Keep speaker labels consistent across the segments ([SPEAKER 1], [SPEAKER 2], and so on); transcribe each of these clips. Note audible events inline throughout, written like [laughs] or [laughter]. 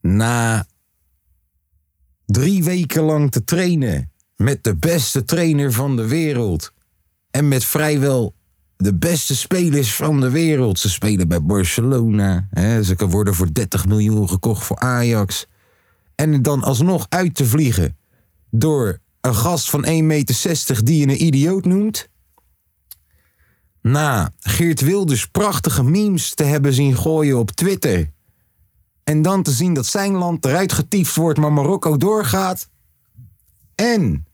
[SPEAKER 1] Na drie weken lang te trainen met de beste trainer van de wereld. En met vrijwel de beste spelers van de wereld. Ze spelen bij Barcelona. Hè. Ze kunnen worden voor 30 miljoen gekocht voor Ajax. En dan alsnog uit te vliegen door een gast van 1,60 meter die je een idioot noemt. Na Geert Wilders prachtige memes te hebben zien gooien op Twitter. En dan te zien dat zijn land eruit getiefd wordt, maar Marokko doorgaat. En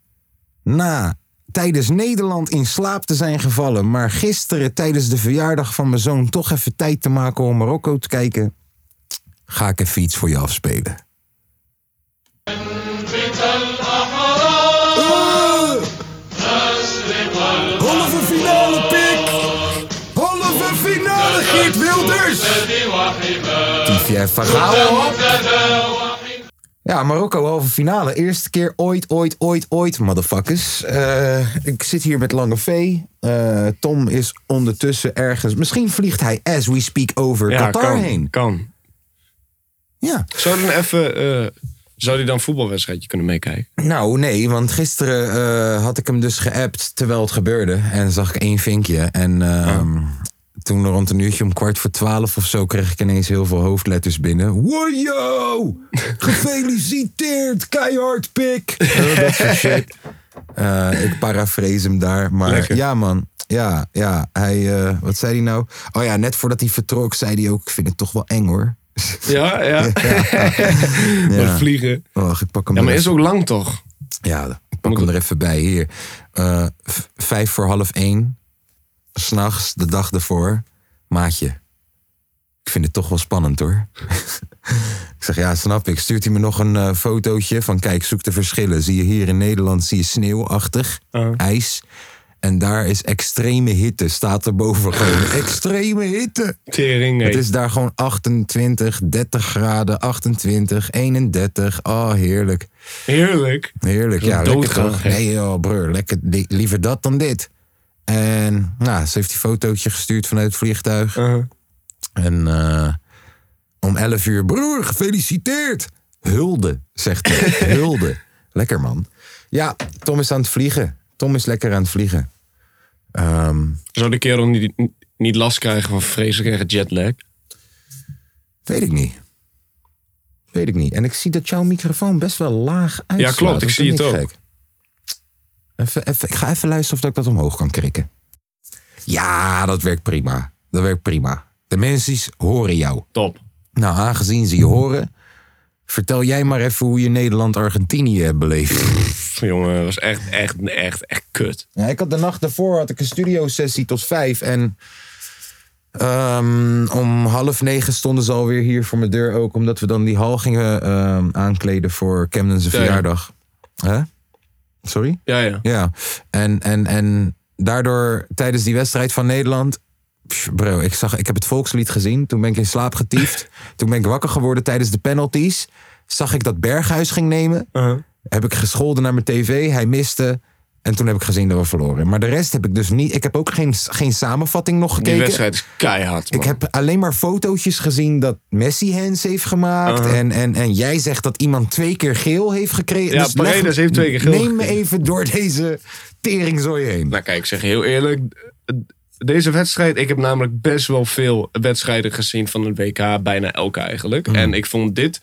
[SPEAKER 1] na tijdens Nederland in slaap te zijn gevallen, maar gisteren tijdens de verjaardag van mijn zoon toch even tijd te maken om Marokko te kijken, ga ik even iets voor je afspelen. Halve finale pik! Halve finale Geert Wilders! Tief jij van Gaal op? Ja, Marokko halve finale. Eerste keer ooit, ooit, ooit, ooit, motherfuckers. Eh, ik zit hier met Lange V. Eh, Tom is ondertussen ergens. Misschien vliegt hij as we speak over Qatar
[SPEAKER 2] kan,
[SPEAKER 1] heen.
[SPEAKER 2] kan.
[SPEAKER 1] Ja.
[SPEAKER 2] Zou dan even, eh, zou hij dan een voetbalwedstrijdje kunnen meekijken?
[SPEAKER 1] Nou, nee, want gisteren eh, had ik hem dus geappt terwijl het gebeurde. En zag ik één vinkje. En ehm, toen rond een uurtje om kwart voor twaalf of zo... kreeg ik ineens heel veel hoofdletters binnen. Wojo! Gefeliciteerd, keihard pik! Eh, dat soort shit. [laughs] Eh, ik parafrase hem daar. Maar
[SPEAKER 2] Lekker.
[SPEAKER 1] ja, man. Ja, ja. Hij, eh, wat zei hij nou? Oh ja, net voordat hij vertrok zei hij ook... Ik vind het toch wel eng, hoor. [laughs]
[SPEAKER 2] Ja, ja. [laughs] Met vliegen.
[SPEAKER 1] Wacht, ik pak hem
[SPEAKER 2] Ja, maar
[SPEAKER 1] er
[SPEAKER 2] is ook lang toch?
[SPEAKER 1] Ja, ik pak hem er even bij. Hier. Eh, v- vijf voor half één. S'nachts, de dag ervoor. Maatje. Ik vind het toch wel spannend hoor. [laughs] ik zeg, ja, snap ik. Stuurt hij me nog een eh, fotootje van, kijk, zoek de verschillen. Zie je hier in Nederland, zie je sneeuwachtig, ijs. En daar is extreme hitte, staat er boven gewoon. extreme hitte!
[SPEAKER 2] Tering,
[SPEAKER 1] Het is daar gewoon 28, 30 graden, 28, 31. Oh, heerlijk.
[SPEAKER 2] Heerlijk.
[SPEAKER 1] Heerlijk, ja.
[SPEAKER 2] doodgaan,
[SPEAKER 1] Lekker toch?
[SPEAKER 2] hè?
[SPEAKER 1] Nee joh, broer. Lekker, li- liever dat dan dit. En nou, ze heeft die fotootje gestuurd vanuit het vliegtuig. En eh, om 11 uur, broer, gefeliciteerd. Hulde, zegt hij. Hulde. Lekker man. Ja, Tom is aan het vliegen. Tom is lekker aan het vliegen. Ehm,
[SPEAKER 2] Zou de kerel niet, niet last krijgen van vreselijke jetlag?
[SPEAKER 1] weet ik niet. Weet ik niet. En ik zie dat jouw microfoon best wel laag uitslaat.
[SPEAKER 2] klopt, ik
[SPEAKER 1] Dat
[SPEAKER 2] zie
[SPEAKER 1] vind
[SPEAKER 2] het ook.
[SPEAKER 1] gek. Even, even, ik ga even luisteren of dat ik dat omhoog kan krikken. Ja, dat werkt prima. Dat werkt prima. De mensen horen jou.
[SPEAKER 2] Top.
[SPEAKER 1] Nou, aangezien ze je horen, vertel jij maar even hoe je Nederland-Argentinië hebt beleefd.
[SPEAKER 2] Pff, jongen, dat was echt, echt, echt, echt kut.
[SPEAKER 1] Ja, ik had de nacht daarvoor had ik een studiosessie tot vijf en ehm, om half negen stonden ze alweer hier voor mijn deur ook, omdat we dan die hal gingen ehm, aankleden voor Camden's
[SPEAKER 2] ja.
[SPEAKER 1] verjaardag. Hè? Sorry?
[SPEAKER 2] Ja, ja.
[SPEAKER 1] Ja, en, en, en daardoor tijdens die wedstrijd van Nederland. pff, Bro, ik, zag, ik heb het volkslied gezien. Toen ben ik in slaap getiefd. Toen ben ik wakker geworden tijdens de penalties. Zag ik dat Berghuis ging nemen. Heb ik gescholden naar mijn tv. Hij miste. En toen heb ik gezien dat we verloren. Maar de rest heb ik dus niet. Ik heb ook geen, geen samenvatting nog
[SPEAKER 2] Die
[SPEAKER 1] gekeken.
[SPEAKER 2] wedstrijd is keihard, man.
[SPEAKER 1] Ik heb alleen maar fotootjes gezien dat Messi hands heeft gemaakt.
[SPEAKER 2] Uh-huh.
[SPEAKER 1] en, en, en jij zegt dat iemand twee keer geel heeft gekregen. Dus
[SPEAKER 2] Ja,
[SPEAKER 1] leg-
[SPEAKER 2] Paredes heeft twee keer geel
[SPEAKER 1] Neem me
[SPEAKER 2] gekregen.
[SPEAKER 1] even door deze teringzooi heen.
[SPEAKER 2] Nou kijk, ik zeg je heel eerlijk. Deze wedstrijd, ik heb namelijk best wel veel wedstrijden gezien van het WK. Bijna elke eigenlijk. En ik vond dit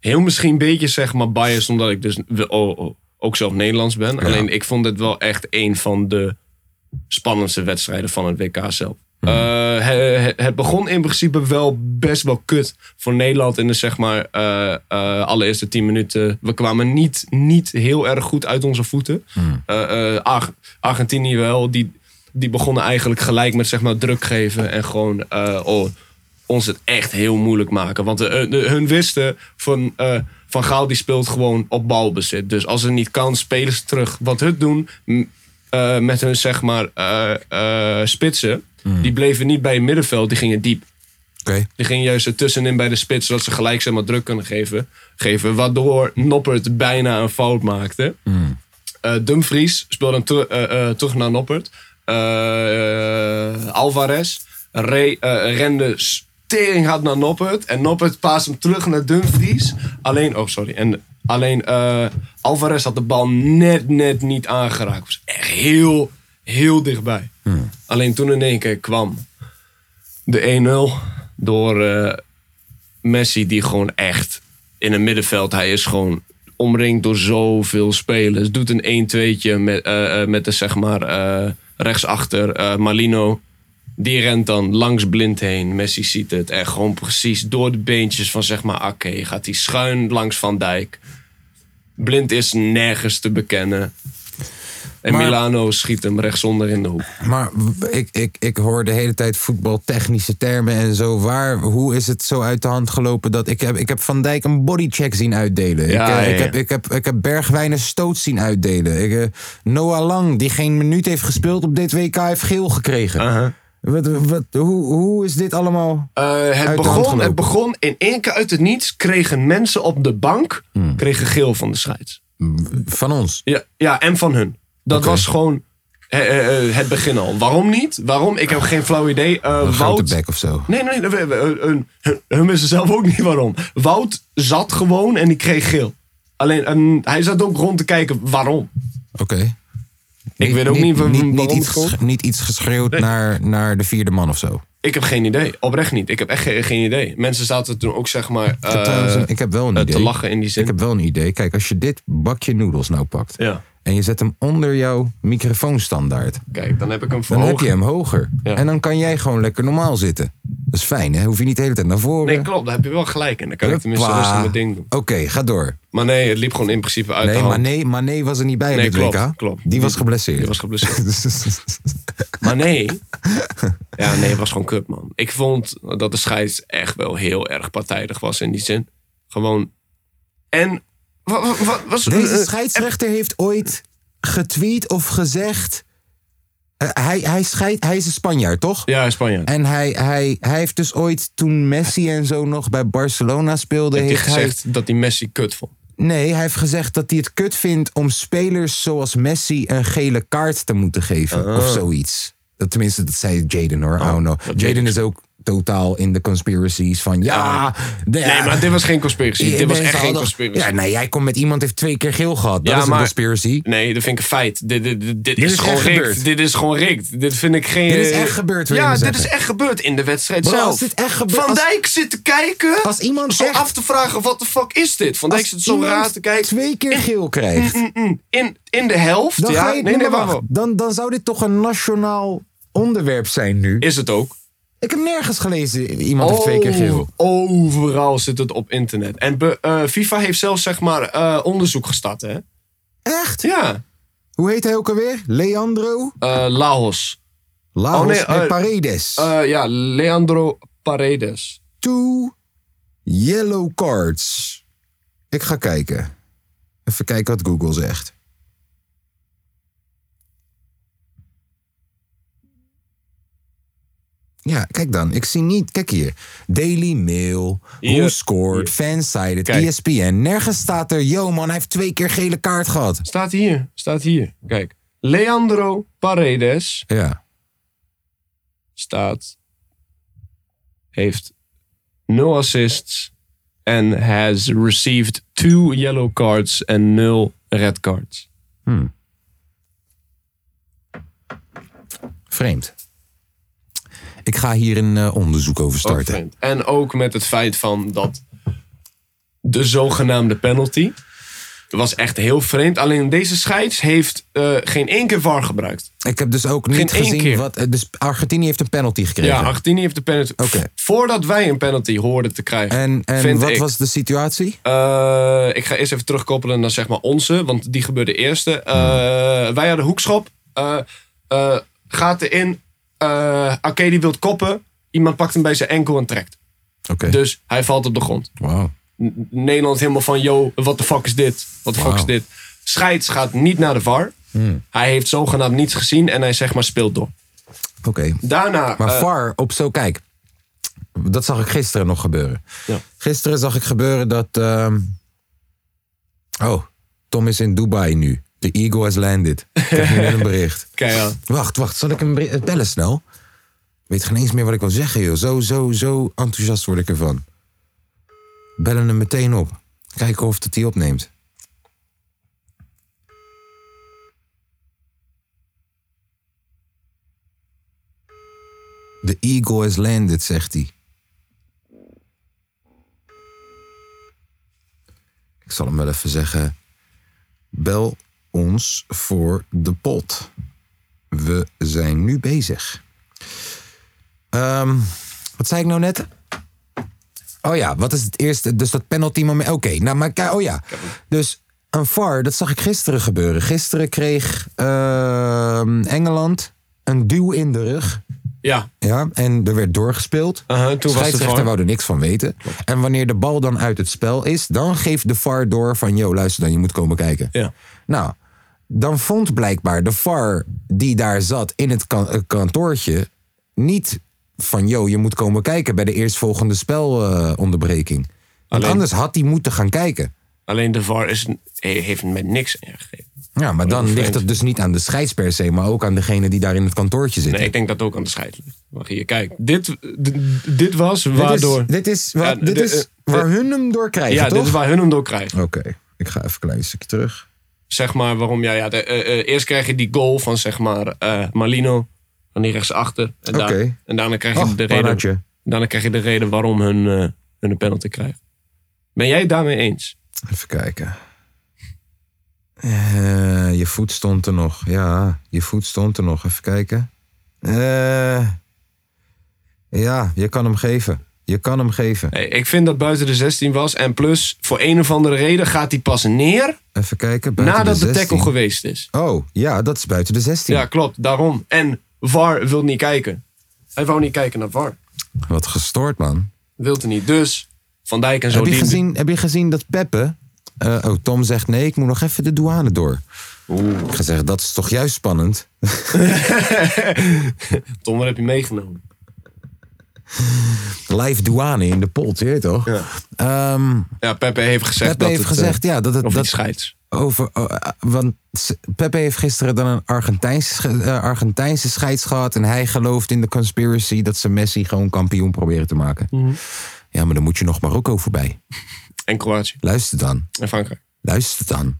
[SPEAKER 2] heel misschien een beetje zeg maar biased. Omdat ik dus we- o- o- ook zelf Nederlands ben. Alleen ik vond dit wel echt een van de spannendste wedstrijden van het WK zelf. Eh, he- he- het begon in principe wel best wel kut voor Nederland in de zeg maar, eh, eh, allereerste 10 minuten. We kwamen niet, niet heel erg goed uit onze voeten. Eh, eh, Ar- Argentinië wel, die, die begonnen eigenlijk gelijk met zeg maar, druk geven en gewoon eh, oh, ons het echt heel moeilijk maken. Want eh, eh, hun wisten van, eh, van Gaal die speelt gewoon op balbezit. Dus als het niet kan, spelen ze terug. Wat hun doen m, eh, met hun zeg maar eh, eh, spitsen, die bleven niet bij het middenveld, die gingen diep.
[SPEAKER 1] Oké.
[SPEAKER 2] Die ging juist ertussenin bij de spits, zodat ze gelijk zeg maar, druk kunnen geven, geven. Waardoor Noppert bijna een fout maakte. Eh, Dumfries speelde hem ter- eh, eh, terug naar Noppert. Eh, Alvarez re- eh, rende stering hard naar Noppert. En Noppert paast hem terug naar Dumfries. Alleen, oh sorry, en alleen eh, Alvarez had de bal net, net niet aangeraakt. Was echt heel, heel dichtbij. Alleen toen in één keer kwam de 1-0 door eh, Messi, die gewoon echt in het middenveld. Hij is gewoon omringd door zoveel spelers. Doet een 1-2'tje met, eh, eh, met de zeg maar eh, rechtsachter eh, Malino. Die rent dan langs blind heen. Messi ziet het. En gewoon precies door de beentjes van zeg maar Aké. Gaat hij schuin langs Van Dijk. Blind is nergens te bekennen. En
[SPEAKER 1] Maar-
[SPEAKER 2] Milano schiet hem rechtsonder in de hoek.
[SPEAKER 1] Maar w- ik, ik, ik hoor de hele tijd voetbaltechnische termen en zo. Waar, hoe is het zo uit de hand gelopen dat ik heb, ik heb Van Dijk een bodycheck zien uitdelen?
[SPEAKER 2] Ja,
[SPEAKER 1] ik, eh,
[SPEAKER 2] ja, ja.
[SPEAKER 1] Ik, heb, ik, heb, ik heb Bergwijn een stoot zien uitdelen. Ik, eh, Noah Lang, die geen minuut heeft gespeeld op dit WK, heeft geel gekregen.
[SPEAKER 2] Uh-huh.
[SPEAKER 1] Wat, wat, hoe, hoe is dit allemaal?
[SPEAKER 2] Eh, het,
[SPEAKER 1] Uit de hand
[SPEAKER 2] begon,
[SPEAKER 1] gelopen.
[SPEAKER 2] het begon in één keer uit het niets. Kregen mensen op de bank
[SPEAKER 1] Hmm.
[SPEAKER 2] kregen geel van de scheids.
[SPEAKER 1] Van ons.
[SPEAKER 2] Ja, ja en van hun. Dat
[SPEAKER 1] Oké.
[SPEAKER 2] was gewoon eh, eh, eh, het begin al. Waarom niet? Waarom? Ik heb geen flauw idee. Eh,
[SPEAKER 1] Een grote
[SPEAKER 2] Wout.
[SPEAKER 1] bek of zo.
[SPEAKER 2] Nee, nee, nee, we- we- eh, hun- hun- hun wisten zelf ook niet waarom. Wout zat gewoon en die kreeg geel. Alleen eh, hij zat ook rond te kijken waarom.
[SPEAKER 1] Oké.
[SPEAKER 2] Ik weet ook niet, waar- waarom
[SPEAKER 1] niet,
[SPEAKER 2] het
[SPEAKER 1] iets,
[SPEAKER 2] komt.
[SPEAKER 1] gesch- niet iets geschreeuwd naar, naar de vierde man of zo.
[SPEAKER 2] Ik heb geen idee. Oprecht niet. Ik heb echt geen, geen idee. Mensen zaten toen ook zeg maar
[SPEAKER 1] Ik heb, trouwens
[SPEAKER 2] eh,
[SPEAKER 1] een- ik heb wel een
[SPEAKER 2] eh,
[SPEAKER 1] idee.
[SPEAKER 2] te lachen in die zin.
[SPEAKER 1] Ik heb wel een idee. Kijk, als je dit bakje noedels nou pakt.
[SPEAKER 2] Ja.
[SPEAKER 1] en je zet hem onder jouw microfoonstandaard.
[SPEAKER 2] Kijk, dan heb ik hem
[SPEAKER 1] dan
[SPEAKER 2] verhoogd.
[SPEAKER 1] heb je hem hoger.
[SPEAKER 2] Ja.
[SPEAKER 1] En dan kan jij gewoon lekker normaal zitten. Dat is fijn, hè? Hoef je niet de hele tijd naar voren.
[SPEAKER 2] Nee, klopt. Daar heb je wel gelijk in. Dan kan ik
[SPEAKER 1] Huppa.
[SPEAKER 2] tenminste rustig mijn ding doen.
[SPEAKER 1] Oké, ga door.
[SPEAKER 2] Maar nee, het liep gewoon in principe uit
[SPEAKER 1] Nee,
[SPEAKER 2] de hand.
[SPEAKER 1] maar nee, maar nee was er niet bij
[SPEAKER 2] Nee,
[SPEAKER 1] dit
[SPEAKER 2] klopt,
[SPEAKER 1] WK.
[SPEAKER 2] klopt.
[SPEAKER 1] Die was geblesseerd.
[SPEAKER 2] Die was geblesseerd. Maar nee. Ja, nee, het was gewoon kut, man. Ik vond dat de scheids echt wel heel erg partijdig was in die zin. Gewoon. En. Wat, wat,
[SPEAKER 1] [laughs]
[SPEAKER 2] was,
[SPEAKER 1] Deze
[SPEAKER 2] eh,
[SPEAKER 1] scheidsrechter heeft ooit getweet of gezegd... Eh, hij, hij, scheidt- hij is een Spanjaard, toch?
[SPEAKER 2] Ja, Spanje.
[SPEAKER 1] En hij, hij, hij heeft dus ooit, toen Messi en zo nog bij Barcelona speelde...
[SPEAKER 2] Heeft hij
[SPEAKER 1] heeft hij,
[SPEAKER 2] gezegd dat hij Messi kut vond?
[SPEAKER 1] nee, hij heeft gezegd dat hij het kut vindt om spelers zoals Messi een gele kaart te moeten geven. Of
[SPEAKER 2] Oh.
[SPEAKER 1] zoiets. Dat, tenminste, dat zei Jaden hoor. Oh, no.
[SPEAKER 2] dat weet
[SPEAKER 1] Jaden
[SPEAKER 2] ik.
[SPEAKER 1] is ook totaal in de conspiracies van ja... de-
[SPEAKER 2] Nee, maar dit was geen conspiracy.
[SPEAKER 1] ja,
[SPEAKER 2] dit was
[SPEAKER 1] mensen
[SPEAKER 2] echt geen
[SPEAKER 1] hadden-
[SPEAKER 2] conspiracy.
[SPEAKER 1] Ja, nou, jij komt met iemand heeft twee keer geel gehad. Dat
[SPEAKER 2] Ja,
[SPEAKER 1] is een
[SPEAKER 2] maar-
[SPEAKER 1] conspiracy.
[SPEAKER 2] Nee, dat vind ik een feit. Dit, dit, dit, dit is,
[SPEAKER 1] is
[SPEAKER 2] gewoon
[SPEAKER 1] echt
[SPEAKER 2] rigged.
[SPEAKER 1] gebeurd.
[SPEAKER 2] Dit is gewoon rigged. Dit vind ik geen...
[SPEAKER 1] Dit is
[SPEAKER 2] eh,
[SPEAKER 1] echt gebeurd, wil je
[SPEAKER 2] Ja,
[SPEAKER 1] maar
[SPEAKER 2] dit
[SPEAKER 1] zeggen.
[SPEAKER 2] is echt gebeurd in de wedstrijd
[SPEAKER 1] Bro,
[SPEAKER 2] zelf.
[SPEAKER 1] als dit echt gebeurt-
[SPEAKER 2] Van
[SPEAKER 1] als-
[SPEAKER 2] Dijk zit te kijken.
[SPEAKER 1] Als iemand
[SPEAKER 2] zo
[SPEAKER 1] zegt-
[SPEAKER 2] af te vragen, wat de fuck is dit? Van Dijk
[SPEAKER 1] Als
[SPEAKER 2] zit zo
[SPEAKER 1] iemand
[SPEAKER 2] raar te kijken.
[SPEAKER 1] twee keer geel krijgt,
[SPEAKER 2] In, in de helft.
[SPEAKER 1] dan,
[SPEAKER 2] ja?
[SPEAKER 1] ga je, nee,
[SPEAKER 2] nee, nee,
[SPEAKER 1] maar
[SPEAKER 2] wacht.
[SPEAKER 1] wacht. Dan, dan zou dit toch een nationaal onderwerp zijn nu?
[SPEAKER 2] Is het ook.
[SPEAKER 1] Ik heb nergens gelezen, iemand heeft
[SPEAKER 2] Oh.
[SPEAKER 1] twee keer geel.
[SPEAKER 2] Overal zit het op internet. En be- eh, FIFA heeft zelfs zeg maar eh, onderzoek gestart, hè?
[SPEAKER 1] Echt?
[SPEAKER 2] Ja.
[SPEAKER 1] Hoe heet hij ook alweer? Leandro?
[SPEAKER 2] Eh, Laos.
[SPEAKER 1] Laos
[SPEAKER 2] Oh, nee,
[SPEAKER 1] en
[SPEAKER 2] eh,
[SPEAKER 1] Paredes.
[SPEAKER 2] Eh, ja, Leandro Paredes.
[SPEAKER 1] Two yellow cards. Ik ga kijken. Even kijken wat Google zegt. Ja, kijk dan. Ik zie niet. Kijk hier. Daily Mail.
[SPEAKER 2] Hier.
[SPEAKER 1] Who scored? Fansided. E
[SPEAKER 2] Kijk.
[SPEAKER 1] ESPN. Nergens staat er. Yo man, hij heeft twee keer gele kaart gehad.
[SPEAKER 2] Staat hier. Staat hier. Kijk. Leandro Paredes
[SPEAKER 1] Ja.
[SPEAKER 2] staat. Heeft nul assists. En has received two yellow cards en nul red cards.
[SPEAKER 1] Vreemd. Ik ga hier een eh, onderzoek over
[SPEAKER 2] Ook
[SPEAKER 1] starten.
[SPEAKER 2] Oh, vreemd. En ook met het feit van dat de zogenaamde penalty. was echt heel vreemd. Alleen deze scheids heeft eh, geen één keer VAR gebruikt.
[SPEAKER 1] Ik heb dus ook niet
[SPEAKER 2] Geen één
[SPEAKER 1] gezien
[SPEAKER 2] keer.
[SPEAKER 1] wat. eh, Dus Argentinië heeft een penalty gekregen.
[SPEAKER 2] Ja, Argentinië heeft de penalty.
[SPEAKER 1] Oké.
[SPEAKER 2] Voordat wij een penalty hoorden te krijgen.
[SPEAKER 1] en en
[SPEAKER 2] vind
[SPEAKER 1] wat
[SPEAKER 2] ik.
[SPEAKER 1] was de situatie?
[SPEAKER 2] Eh, ik ga eerst even terugkoppelen naar zeg maar onze, want die gebeurde eerst. Eh, Wij hadden hoekschop. Eh, eh, gaat erin. eh Arcade wil koppen. Iemand pakt hem bij zijn enkel en trekt.
[SPEAKER 1] Oké.
[SPEAKER 2] Dus hij valt op de grond.
[SPEAKER 1] Wauw.
[SPEAKER 2] N- Nederland helemaal van, yo, wat de fuck is dit? Wat de fuck is
[SPEAKER 1] Wauw. Hmm.
[SPEAKER 2] dit? Scheids gaat niet naar de VAR. Hij heeft zogenaamd niets gezien en hij zeg maar speelt door.
[SPEAKER 1] Oké.
[SPEAKER 2] Daarna...
[SPEAKER 1] Maar
[SPEAKER 2] eh,
[SPEAKER 1] VAR op zo, kijk. Dat zag ik gisteren nog gebeuren.
[SPEAKER 2] Ja.
[SPEAKER 1] Gisteren zag ik gebeuren dat. ehm, oh, Tom is in Dubai nu. The Eagle has landed. Ik heb nu net een bericht.
[SPEAKER 2] keihard.
[SPEAKER 1] Wacht, wacht. Zal ik hem beri- eh, bellen snel? Weet geen eens meer wat ik wil zeggen, joh. Zo, zo, zo enthousiast word ik ervan. Bellen hem meteen op. Kijken of dat hij opneemt. The eagle has landed, zegt hij. Ik zal hem wel even zeggen. Bel ons voor de pot. We zijn nu bezig. Ehm, wat zei ik nou net? Oh ja, wat is het eerste? Dus dat penalty moment. Oké, nou maar kijk, oh ja. Dus een VAR, dat zag ik gisteren gebeuren. Gisteren kreeg ehm, Engeland een duw in de rug.
[SPEAKER 2] Ja,
[SPEAKER 1] Ja, en er werd doorgespeeld.
[SPEAKER 2] Aha, Uh-huh, toen was de
[SPEAKER 1] Scheidsrechter
[SPEAKER 2] VAR.
[SPEAKER 1] wou er niks van weten. En wanneer de bal dan uit het spel is, dan geeft de VAR door van... yo, luister dan, je moet komen kijken.
[SPEAKER 2] ja.
[SPEAKER 1] Nou, dan vond blijkbaar de VAR die daar zat in het kan- eh, kantoortje niet van, yo, je moet komen kijken bij de eerstvolgende spelonderbreking. Want
[SPEAKER 2] Alleen-
[SPEAKER 1] anders had hij moeten gaan kijken.
[SPEAKER 2] Alleen de VAR is, heeft met niks ingegeven.
[SPEAKER 1] Ja, maar dan
[SPEAKER 2] is
[SPEAKER 1] ligt het
[SPEAKER 2] vreemd.
[SPEAKER 1] dus niet aan de scheids per se, maar ook aan degene die daar in het kantoortje zit.
[SPEAKER 2] Nee, ik denk dat het ook aan de scheid ligt. Maar hier, kijk. Dit, d- dit was waardoor...
[SPEAKER 1] Dit is, wa-
[SPEAKER 2] Ja,
[SPEAKER 1] dit
[SPEAKER 2] de-
[SPEAKER 1] is
[SPEAKER 2] eh,
[SPEAKER 1] waar hun hem door krijgen,
[SPEAKER 2] ja,
[SPEAKER 1] toch?
[SPEAKER 2] dit is waar hun hem door krijgen.
[SPEAKER 1] Oké, ik ga even een klein stukje terug.
[SPEAKER 2] zeg maar, waarom ja, ja, de- eh, eh, eerst krijg je die goal van zeg maar eh, Marlino, van die rechtsachter. En, daar-
[SPEAKER 1] Oké.
[SPEAKER 2] en daarna krijg je
[SPEAKER 1] Oh,
[SPEAKER 2] de reden.
[SPEAKER 1] Paratje.
[SPEAKER 2] Daarna krijg je de reden waarom hun, eh, hun een penalty krijgen. Ben jij het daarmee eens?
[SPEAKER 1] Even kijken. Eh, je voet stond er nog. Ja, je voet stond er nog. Even kijken. Eh, ja, je kan hem geven. Je kan hem geven.
[SPEAKER 2] Nee, ik vind dat buiten de 16 was. En plus, voor een of andere reden gaat hij pas neer
[SPEAKER 1] Even kijken. buiten
[SPEAKER 2] nadat de,
[SPEAKER 1] 16.
[SPEAKER 2] tackle geweest is.
[SPEAKER 1] Oh, ja, dat is buiten de 16.
[SPEAKER 2] Ja, klopt. Daarom. En VAR wil niet kijken. Hij wou niet kijken naar VAR.
[SPEAKER 1] Wat gestoord, man.
[SPEAKER 2] Wilde niet. Dus Van Dijk en zo.
[SPEAKER 1] Heb je,
[SPEAKER 2] die-
[SPEAKER 1] gezien, heb je gezien dat Peppe... eh, oh, Tom zegt nee, ik moet nog even de douane door. Ik ga zeggen, dat is toch juist spannend?
[SPEAKER 2] Tom, wat heb je meegenomen?
[SPEAKER 1] Live douane in de pot, je weet toch?
[SPEAKER 2] Ja.
[SPEAKER 1] Ehm,
[SPEAKER 2] Ja, Pepe heeft gezegd
[SPEAKER 1] Peppe
[SPEAKER 2] dat
[SPEAKER 1] heeft
[SPEAKER 2] het, eh,
[SPEAKER 1] gezegd ja, dat het...
[SPEAKER 2] of
[SPEAKER 1] dat,
[SPEAKER 2] iets scheids.
[SPEAKER 1] over. oh, eh, want s- Pepe heeft gisteren dan een Argentijnse, sch- eh, Argentijnse scheids gehad. En hij gelooft in de conspiracy dat ze Messi gewoon kampioen proberen te maken. Ja, maar dan moet je nog Marokko voorbij.
[SPEAKER 2] En Kroatië.
[SPEAKER 1] Luister dan.
[SPEAKER 2] En Frankrijk.
[SPEAKER 1] Luister dan.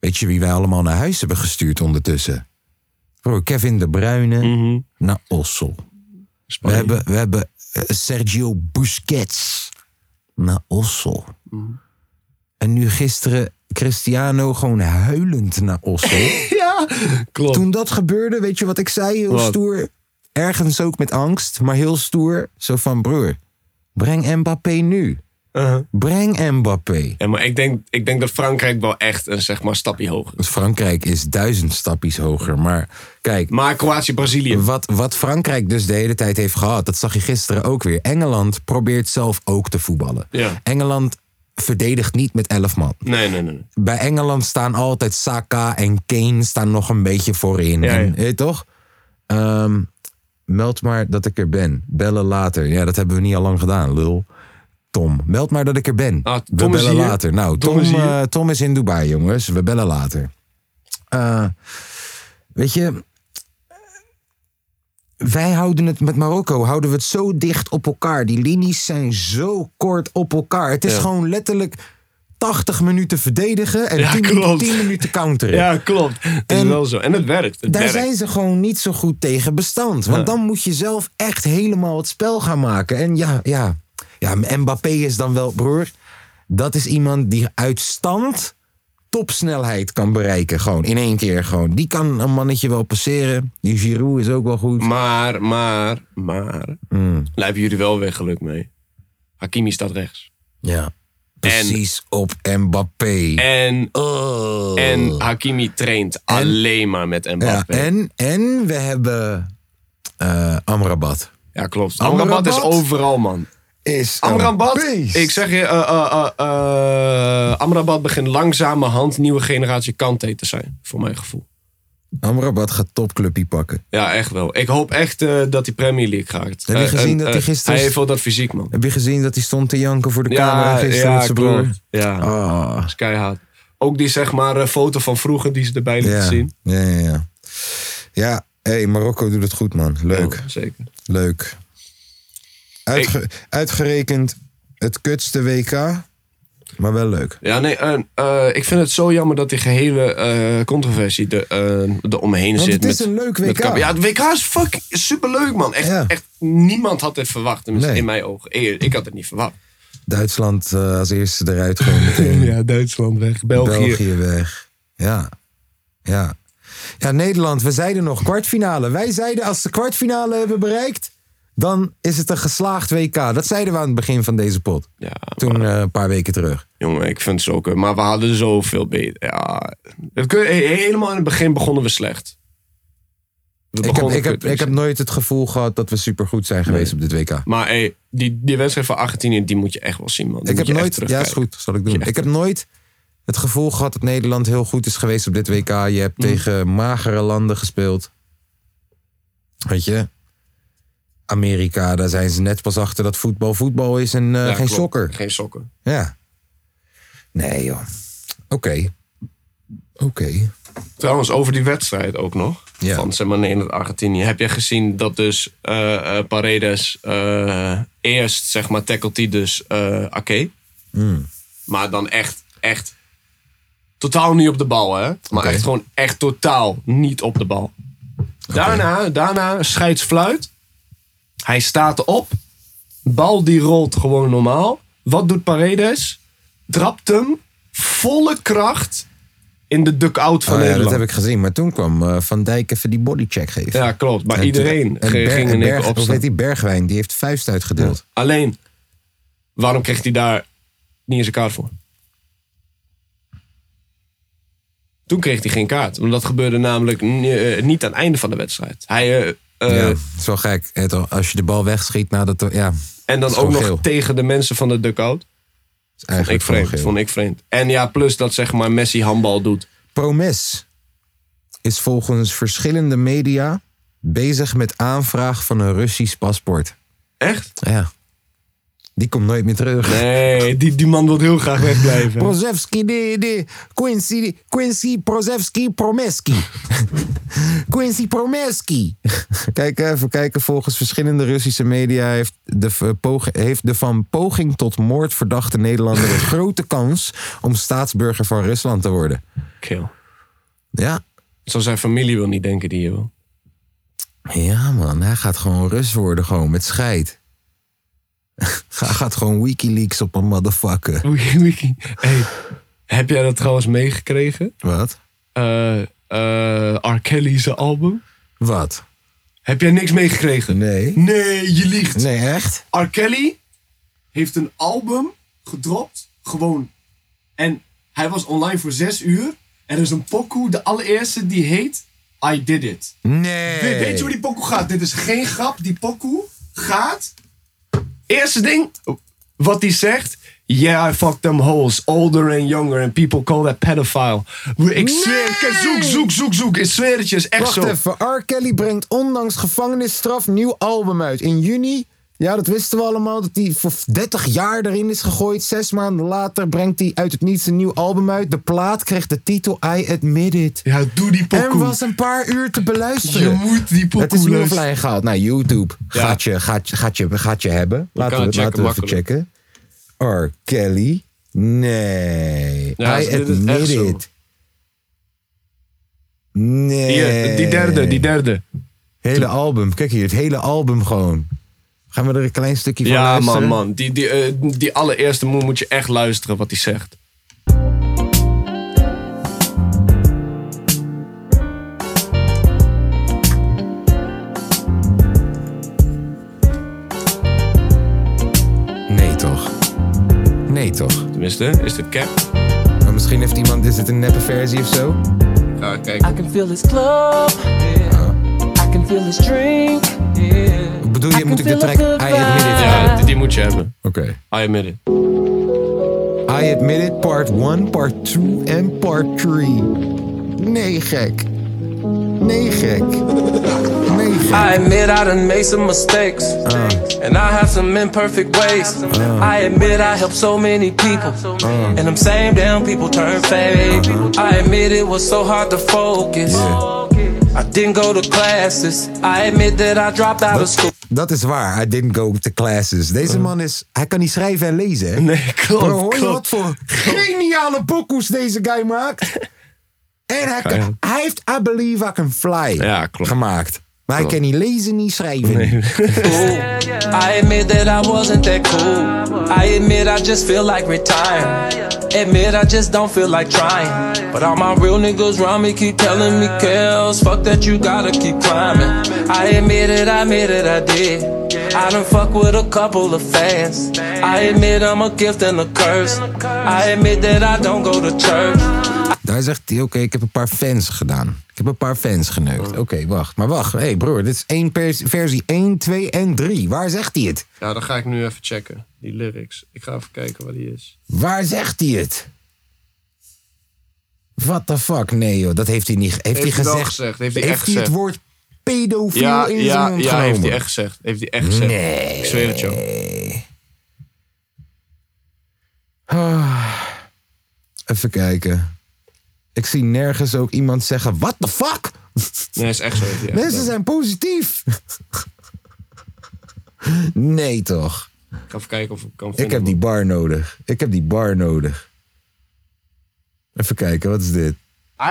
[SPEAKER 1] Weet je wie wij allemaal naar huis hebben gestuurd ondertussen? Bro, Kevin de Bruyne naar Ossel. We hebben, we hebben eh, Sergio Busquets naar Ossel. En nu gisteren Cristiano gewoon huilend naar Ossel.
[SPEAKER 2] [laughs] Ja, klopt.
[SPEAKER 1] Toen dat gebeurde, weet je wat ik zei? Heel
[SPEAKER 2] Oh. Wat?
[SPEAKER 1] stoer. Ergens ook met angst, maar heel stoer. Zo van, broer, breng Mbappé nu.
[SPEAKER 2] Uh-huh.
[SPEAKER 1] Breng Mbappé.
[SPEAKER 2] Ja, maar ik denk, ik denk dat Frankrijk wel echt een zeg maar, stapje hoger is.
[SPEAKER 1] Want Frankrijk is duizend stapjes hoger. Maar kijk,
[SPEAKER 2] Maar Kroatië-Brazilië.
[SPEAKER 1] Wat, wat Frankrijk dus de hele tijd heeft gehad, dat zag je gisteren ook weer. Engeland probeert zelf ook te voetballen.
[SPEAKER 2] Ja.
[SPEAKER 1] Engeland verdedigt niet met 11 man.
[SPEAKER 2] Nee, nee, nee. nee.
[SPEAKER 1] Bij Engeland staan altijd Saka en Kane staan nog een beetje voorin.
[SPEAKER 2] Ja,
[SPEAKER 1] En,
[SPEAKER 2] ja.
[SPEAKER 1] weet je toch? Ehm, meld maar dat ik er ben. Bellen later. Ja, dat hebben we niet al lang gedaan, lul. Tom, meld maar dat ik er ben.
[SPEAKER 2] Ah,
[SPEAKER 1] we
[SPEAKER 2] Tom is
[SPEAKER 1] bellen
[SPEAKER 2] hier.
[SPEAKER 1] later. Nou,
[SPEAKER 2] Tom
[SPEAKER 1] Tom, eh,
[SPEAKER 2] is
[SPEAKER 1] Tom,
[SPEAKER 2] hier.
[SPEAKER 1] is in Dubai, jongens. We bellen later. Eh, weet je, wij houden het met Marokko, houden we het zo dicht op elkaar. Die linies zijn zo kort op elkaar. Het is
[SPEAKER 2] Ja.
[SPEAKER 1] gewoon letterlijk 80 minuten verdedigen en
[SPEAKER 2] Ja,
[SPEAKER 1] 10, minuten-
[SPEAKER 2] klopt.
[SPEAKER 1] 10 minuten counteren.
[SPEAKER 2] Ja, klopt. Het is
[SPEAKER 1] En-
[SPEAKER 2] wel zo. En het werkt. Het
[SPEAKER 1] Daar
[SPEAKER 2] werkt.
[SPEAKER 1] zijn ze gewoon niet zo goed tegen bestand. Want dan moet je zelf echt helemaal het spel gaan maken. En ja, ja, ja, Mbappé is dan wel, broer. Dat is iemand die uitstand topsnelheid kan bereiken. Gewoon in één keer. Gewoon. Die kan een mannetje wel passeren. Die Giroud is ook wel goed.
[SPEAKER 2] Maar, maar, maar.
[SPEAKER 1] Mm.
[SPEAKER 2] Daar hebben jullie wel weer geluk mee. Hakimi staat rechts.
[SPEAKER 1] Ja. Precies op Mbappé.
[SPEAKER 2] En,
[SPEAKER 1] Oh.
[SPEAKER 2] en Hakimi traint alleen maar met
[SPEAKER 1] ja,
[SPEAKER 2] Mbappé. Ja,
[SPEAKER 1] en, en we hebben eh, Amrabat. Amrabat?
[SPEAKER 2] klopt. Amrabat is overal, man.
[SPEAKER 1] is een
[SPEAKER 2] Amrabat,
[SPEAKER 1] beest.
[SPEAKER 2] ik zeg je, eh eh, eh, eh, Amrabat begint langzamerhand nieuwe generatie Kante te zijn, voor mijn gevoel.
[SPEAKER 1] Amrabat gaat topclubje pakken.
[SPEAKER 2] Ja, echt wel. Ik hoop echt eh, dat hij Premier League gaat.
[SPEAKER 1] Heb je
[SPEAKER 2] Eh,
[SPEAKER 1] gezien dat hij
[SPEAKER 2] eh,
[SPEAKER 1] gisteren-
[SPEAKER 2] Hij heeft wel dat fysiek, man.
[SPEAKER 1] Heb je gezien dat hij stond te janken voor de camera gisteren met zijn broer?
[SPEAKER 2] klopt. Ja,
[SPEAKER 1] Ah,
[SPEAKER 2] dat is keihard. Ook die, zeg maar, eh, foto van vroeger die ze erbij lieten
[SPEAKER 1] Ah. ja.
[SPEAKER 2] zien.
[SPEAKER 1] Ja, ja, ja. Ja, hey, Marokko doet het goed, man. Leuk,
[SPEAKER 2] Ja, zeker.
[SPEAKER 1] leuk. Uitge- Uitgerekend het kutste WK, maar wel leuk.
[SPEAKER 2] Ja, nee, eh, eh, ik vind het zo jammer dat die gehele eh, controversie er eh, eromheen
[SPEAKER 1] Want
[SPEAKER 2] zit.
[SPEAKER 1] het is
[SPEAKER 2] met,
[SPEAKER 1] een leuk
[SPEAKER 2] met
[SPEAKER 1] WK.
[SPEAKER 2] Kap- ja, het WK is fucking superleuk, man. Echt,
[SPEAKER 1] Ja.
[SPEAKER 2] echt niemand had dit verwacht, tenminste
[SPEAKER 1] Nee.
[SPEAKER 2] in mijn ogen. Eh, Ik, ik had het niet verwacht.
[SPEAKER 1] Duitsland eh, als eerste eruit
[SPEAKER 2] [laughs]
[SPEAKER 1] gewoon meteen.
[SPEAKER 2] Duitsland weg,
[SPEAKER 1] België weg. Ja. Ja. Ja, Nederland, we zeiden nog kwartfinale. Wij zeiden als ze kwartfinale hebben bereikt, dan is het een geslaagd WK. Dat zeiden we aan het begin van deze pot.
[SPEAKER 2] Ja,
[SPEAKER 1] Toen eh, een paar weken terug.
[SPEAKER 2] jongen, ik vind het zo kut. Maar we hadden zoveel beter. Ja, het kun- he- helemaal in het begin begonnen we slecht. We
[SPEAKER 1] Ik heb,
[SPEAKER 2] begonnen
[SPEAKER 1] ik, heb,
[SPEAKER 2] kut.
[SPEAKER 1] ik heb nooit het gevoel gehad dat we supergoed zijn geweest op dit WK.
[SPEAKER 2] Maar hey, die, die wedstrijd van Argentinië, die moet je echt wel zien, man. Die
[SPEAKER 1] Ik
[SPEAKER 2] moet
[SPEAKER 1] heb
[SPEAKER 2] je echt
[SPEAKER 1] nooit, ja, is
[SPEAKER 2] terugkijken.
[SPEAKER 1] goed, zal ik doen. Ik heb nooit het gevoel gehad dat Nederland heel goed is geweest op dit WK. Je hebt
[SPEAKER 2] Mm.
[SPEAKER 1] tegen magere landen gespeeld. Weet je, Amerika, daar zijn ze net pas achter dat voetbal voetbal is en eh,
[SPEAKER 2] Ja,
[SPEAKER 1] geen
[SPEAKER 2] klopt.
[SPEAKER 1] sokker.
[SPEAKER 2] Geen sokken.
[SPEAKER 1] Ja. Nee, joh. Oké. Oké.
[SPEAKER 2] Trouwens, over die wedstrijd ook nog.
[SPEAKER 1] Ja.
[SPEAKER 2] Van zeg maar Nederland Argentinië. Heb jij gezien dat dus eh, eh, Paredes eh, eerst zeg maar tackelt hij dus eh Ake.
[SPEAKER 1] Hmm.
[SPEAKER 2] Maar dan echt, echt totaal niet op de bal hè. Maar
[SPEAKER 1] Oké.
[SPEAKER 2] echt gewoon echt totaal niet op de bal. Daarna, daarna scheidsfluit. Hij staat erop. Bal die rolt gewoon normaal. Wat doet Paredes? Trapt hem volle kracht in de duck-out van
[SPEAKER 1] Ah, ja,
[SPEAKER 2] Nederland.
[SPEAKER 1] dat heb ik gezien. Maar toen kwam eh, Van Dijk even die bodycheck geven.
[SPEAKER 2] Ja, klopt. Maar
[SPEAKER 1] En
[SPEAKER 2] iedereen
[SPEAKER 1] toen- en
[SPEAKER 2] ging,
[SPEAKER 1] Ber-
[SPEAKER 2] ging
[SPEAKER 1] en
[SPEAKER 2] in één
[SPEAKER 1] Berg-
[SPEAKER 2] keer
[SPEAKER 1] Hoe heet
[SPEAKER 2] opstaan.
[SPEAKER 1] die Bergwijn? Die heeft vuist uitgedeeld.
[SPEAKER 2] Alleen, waarom kreeg hij daar niet eens een kaart voor? Toen kreeg hij geen kaart. Want dat gebeurde namelijk n- eh, niet aan het einde van de wedstrijd. Hij, eh, eh,
[SPEAKER 1] ja, het is wel gek. Het- Als je de bal wegschiet nadat... de- Ja,
[SPEAKER 2] En
[SPEAKER 1] Dat
[SPEAKER 2] dan
[SPEAKER 1] is
[SPEAKER 2] ook
[SPEAKER 1] gewoon
[SPEAKER 2] nog
[SPEAKER 1] geel.
[SPEAKER 2] tegen de mensen van de duckout.
[SPEAKER 1] is
[SPEAKER 2] Vond
[SPEAKER 1] eigenlijk
[SPEAKER 2] ik vreemd.
[SPEAKER 1] gewoon geel.
[SPEAKER 2] Vond ik vreemd. En ja, plus dat zeg maar Messi handbal doet.
[SPEAKER 1] Promes is volgens verschillende media bezig met aanvraag van een Russisch paspoort. Nou
[SPEAKER 2] Echt?
[SPEAKER 1] Ja. Die komt nooit meer terug.
[SPEAKER 2] Nee, [laughs] die, die man wil heel graag [laughs] wegblijven.
[SPEAKER 1] Prozevski, de, de, Quincy, de- Quincy Prozevski Promeski. [laughs] Quincy Promeski. Kijk even, kijken. Volgens verschillende Russische media heeft de, v- pog- heeft de van poging tot moord verdachte Nederlander [laughs] een grote kans om staatsburger van Rusland te worden.
[SPEAKER 2] Kill.
[SPEAKER 1] Ja.
[SPEAKER 2] Zo zijn familie wil niet denken die hier wil.
[SPEAKER 1] Ja, man. Hij gaat gewoon Rus worden, gewoon met scheid. [laughs] Hij gaat gewoon Wikileaks op een motherfucker.
[SPEAKER 2] Wiki, wiki. Hey, heb jij dat trouwens meegekregen?
[SPEAKER 1] Wat?
[SPEAKER 2] Eh eh R. Kelly's album?
[SPEAKER 1] Wat?
[SPEAKER 2] Heb jij niks meegekregen?
[SPEAKER 1] Nee.
[SPEAKER 2] Nee, je liegt.
[SPEAKER 1] Nee, echt?
[SPEAKER 2] R. Kelly heeft een album gedropt. Gewoon. En hij was online voor zes uur. En er is een pokoe, de allereerste, die heet I Did It.
[SPEAKER 1] Nee.
[SPEAKER 2] We- Weet je hoe die pokoe gaat? Dit is geen grap. Die pokoe gaat... Eerste ding wat hij zegt... Yeah, I fucked them holes. Older and younger. And people call that pedophile. We- Ik zweer... Kijk, Zoek, zoek, zoek, zoek. Ik zweer het je. is echt
[SPEAKER 1] Wacht
[SPEAKER 2] zo.
[SPEAKER 1] even, R. Kelly brengt ondanks gevangenisstraf nieuw album uit. In juni, ja dat wisten we allemaal, dat hij voor 30 jaar erin is gegooid. Zes maanden later brengt hij uit het niets een nieuw album uit. De plaat kreeg de titel I Admit It.
[SPEAKER 2] Ja, doe die
[SPEAKER 1] En
[SPEAKER 2] pokoe.
[SPEAKER 1] was een paar uur te beluisteren.
[SPEAKER 2] Je moet die pokoe
[SPEAKER 1] Het is nu
[SPEAKER 2] luisteren.
[SPEAKER 1] offline gehaald. Nou, YouTube
[SPEAKER 2] Ja.
[SPEAKER 1] gaat, je, gaat, je- gaat, je, gaat je hebben. Laten we,
[SPEAKER 2] het
[SPEAKER 1] laten
[SPEAKER 2] checken,
[SPEAKER 1] we even
[SPEAKER 2] makkelijk.
[SPEAKER 1] checken. R. Kelly. Nee.
[SPEAKER 2] Ja, dus
[SPEAKER 1] I
[SPEAKER 2] dit is echt
[SPEAKER 1] Admit
[SPEAKER 2] zo.
[SPEAKER 1] It. Nee.
[SPEAKER 2] Hier, die derde, die derde.
[SPEAKER 1] Hele album. Kijk hier, het hele album gewoon. Gaan we er een klein stukje van
[SPEAKER 2] Ja,
[SPEAKER 1] luisteren?
[SPEAKER 2] man, man. Die, die, eh, die allereerste moe moet je echt luisteren wat hij zegt.
[SPEAKER 1] Nee toch? Nee toch?
[SPEAKER 2] Tenminste, is dit cap?
[SPEAKER 1] Maar misschien heeft iemand... Is het een neppe versie of zo?
[SPEAKER 2] Ja, kijk.
[SPEAKER 3] I can feel this club. Yeah. I can feel this drink. Yeah.
[SPEAKER 1] Ik bedoel je, moet ik de track I Admit It?
[SPEAKER 2] Ja, die, die moet je hebben.
[SPEAKER 1] Oké.
[SPEAKER 2] I admit it.
[SPEAKER 1] I Admit It, part 1, part 2 en part 3. Nee, gek. Nee, gek. Nee, gek.
[SPEAKER 3] I admit I done made some mistakes. And I have some imperfect ways. I admit I helped so many people. And them same damn people turn fake. I admit it was so hard to focus. I didn't go to classes. I admit that I dropped out of school.
[SPEAKER 1] Dat is waar. I didn't go to classes. Deze man is... Hij kan niet schrijven en lezen, hè?
[SPEAKER 2] Nee, [laughs] klopt,
[SPEAKER 1] Maar hoor je wat
[SPEAKER 2] klopt.
[SPEAKER 1] voor geniale pokoes deze guy maakt?
[SPEAKER 2] [laughs]
[SPEAKER 1] En hij, kan-
[SPEAKER 2] Ja.
[SPEAKER 1] hij heeft I Believe I Can Fly
[SPEAKER 2] Ja, klopt.
[SPEAKER 1] gemaakt. Maar hij kan niet lezen, niet schrijven.
[SPEAKER 3] I admit that I wasn't that cool. I admit I just feel like retiring. Admit I just don't feel like trying. But all my real niggas round me keep telling me, Kels, fuck that you gotta keep climbing. I admit it, I admit it, I did. I done fuck with a couple of fans. I admit I'm a gift and a curse. I admit that I don't go to church.
[SPEAKER 1] Daar zegt hij, oké, ik heb een paar fans gedaan. Ik heb een paar fans geneukt.
[SPEAKER 2] Oh.
[SPEAKER 1] Oké, wacht. Maar wacht. Hé hey broer, dit is één pers- versie 1, 2 en 3. Waar zegt hij het?
[SPEAKER 2] Ja, dan ga ik nu even checken. Die lyrics. Ik ga even kijken waar die is.
[SPEAKER 1] Waar zegt hij het? What the fuck? Nee joh, dat heeft hij niet... Heeft, hij
[SPEAKER 2] hij wel
[SPEAKER 1] gezegd?
[SPEAKER 2] gezegd, heeft hij echt
[SPEAKER 1] het
[SPEAKER 2] gezegd.
[SPEAKER 1] woord pedofiel
[SPEAKER 2] Ja,
[SPEAKER 1] in zijn
[SPEAKER 2] ja,
[SPEAKER 1] mond
[SPEAKER 2] ja, heeft hij
[SPEAKER 1] genomen?
[SPEAKER 2] echt gezegd. Heeft hij echt gezegd.
[SPEAKER 1] Nee.
[SPEAKER 2] Ik zweer het jou.
[SPEAKER 1] Even kijken. Ik zie nergens ook iemand zeggen, what the fuck?
[SPEAKER 2] Nee, is echt zo. heeft hij echt
[SPEAKER 1] Mensen
[SPEAKER 2] gedaan.
[SPEAKER 1] zijn positief. [laughs] nee toch?
[SPEAKER 2] Ik ga even kijken of ik kan
[SPEAKER 1] Ik heb die bar nodig. Ik heb die bar nodig. Even kijken, wat is dit?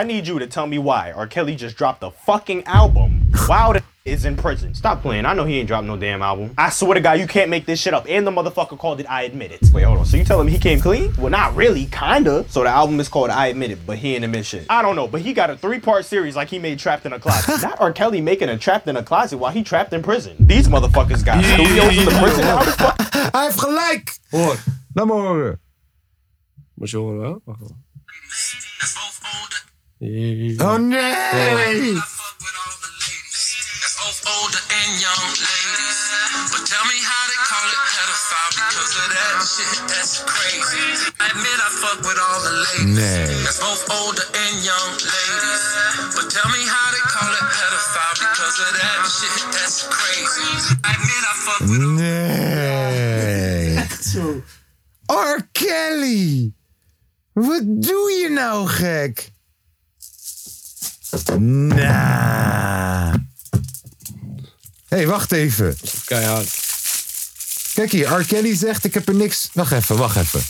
[SPEAKER 4] I need you to tell me why R. Kelly just dropped a fucking album. Wild [laughs] is in prison. Stop playing. I know he ain't dropped no damn album. I swear to God, you can't make this shit up. And the motherfucker called it I Admit It. Wait, hold on. So you telling me he came clean? Well, not really, kinda. So the album is called I Admit It, but he ain't admit shit. I don't know, but he got a three-part series like he made Trapped in a Closet. not R. Kelly making a Trapped in a Closet while he trapped in prison. These motherfuckers got studios in the prison. How the fuck?
[SPEAKER 1] Hij heeft gelijk! Hoor. Laat me horen.
[SPEAKER 2] Moet je horen wel? Wacht wel.
[SPEAKER 1] Oh nee!
[SPEAKER 5] fuck with all the ladies. That's both older and young ladies. But tell me how they call it pedophile because of that shit. That's crazy. I admit I fuck with all the ladies.
[SPEAKER 1] Nee.
[SPEAKER 5] That's both older and young ladies. But tell me how they call it pedophile because of that shit. That's crazy. I admit I fuck with
[SPEAKER 1] [laughs] Nee! R. Kelly! Wat doe je nou gek? Nah. Hé, hey, wacht even.
[SPEAKER 2] Keihard.
[SPEAKER 1] Kijk hier, R. Kelly zegt ik heb er niks... Wacht even, wacht even.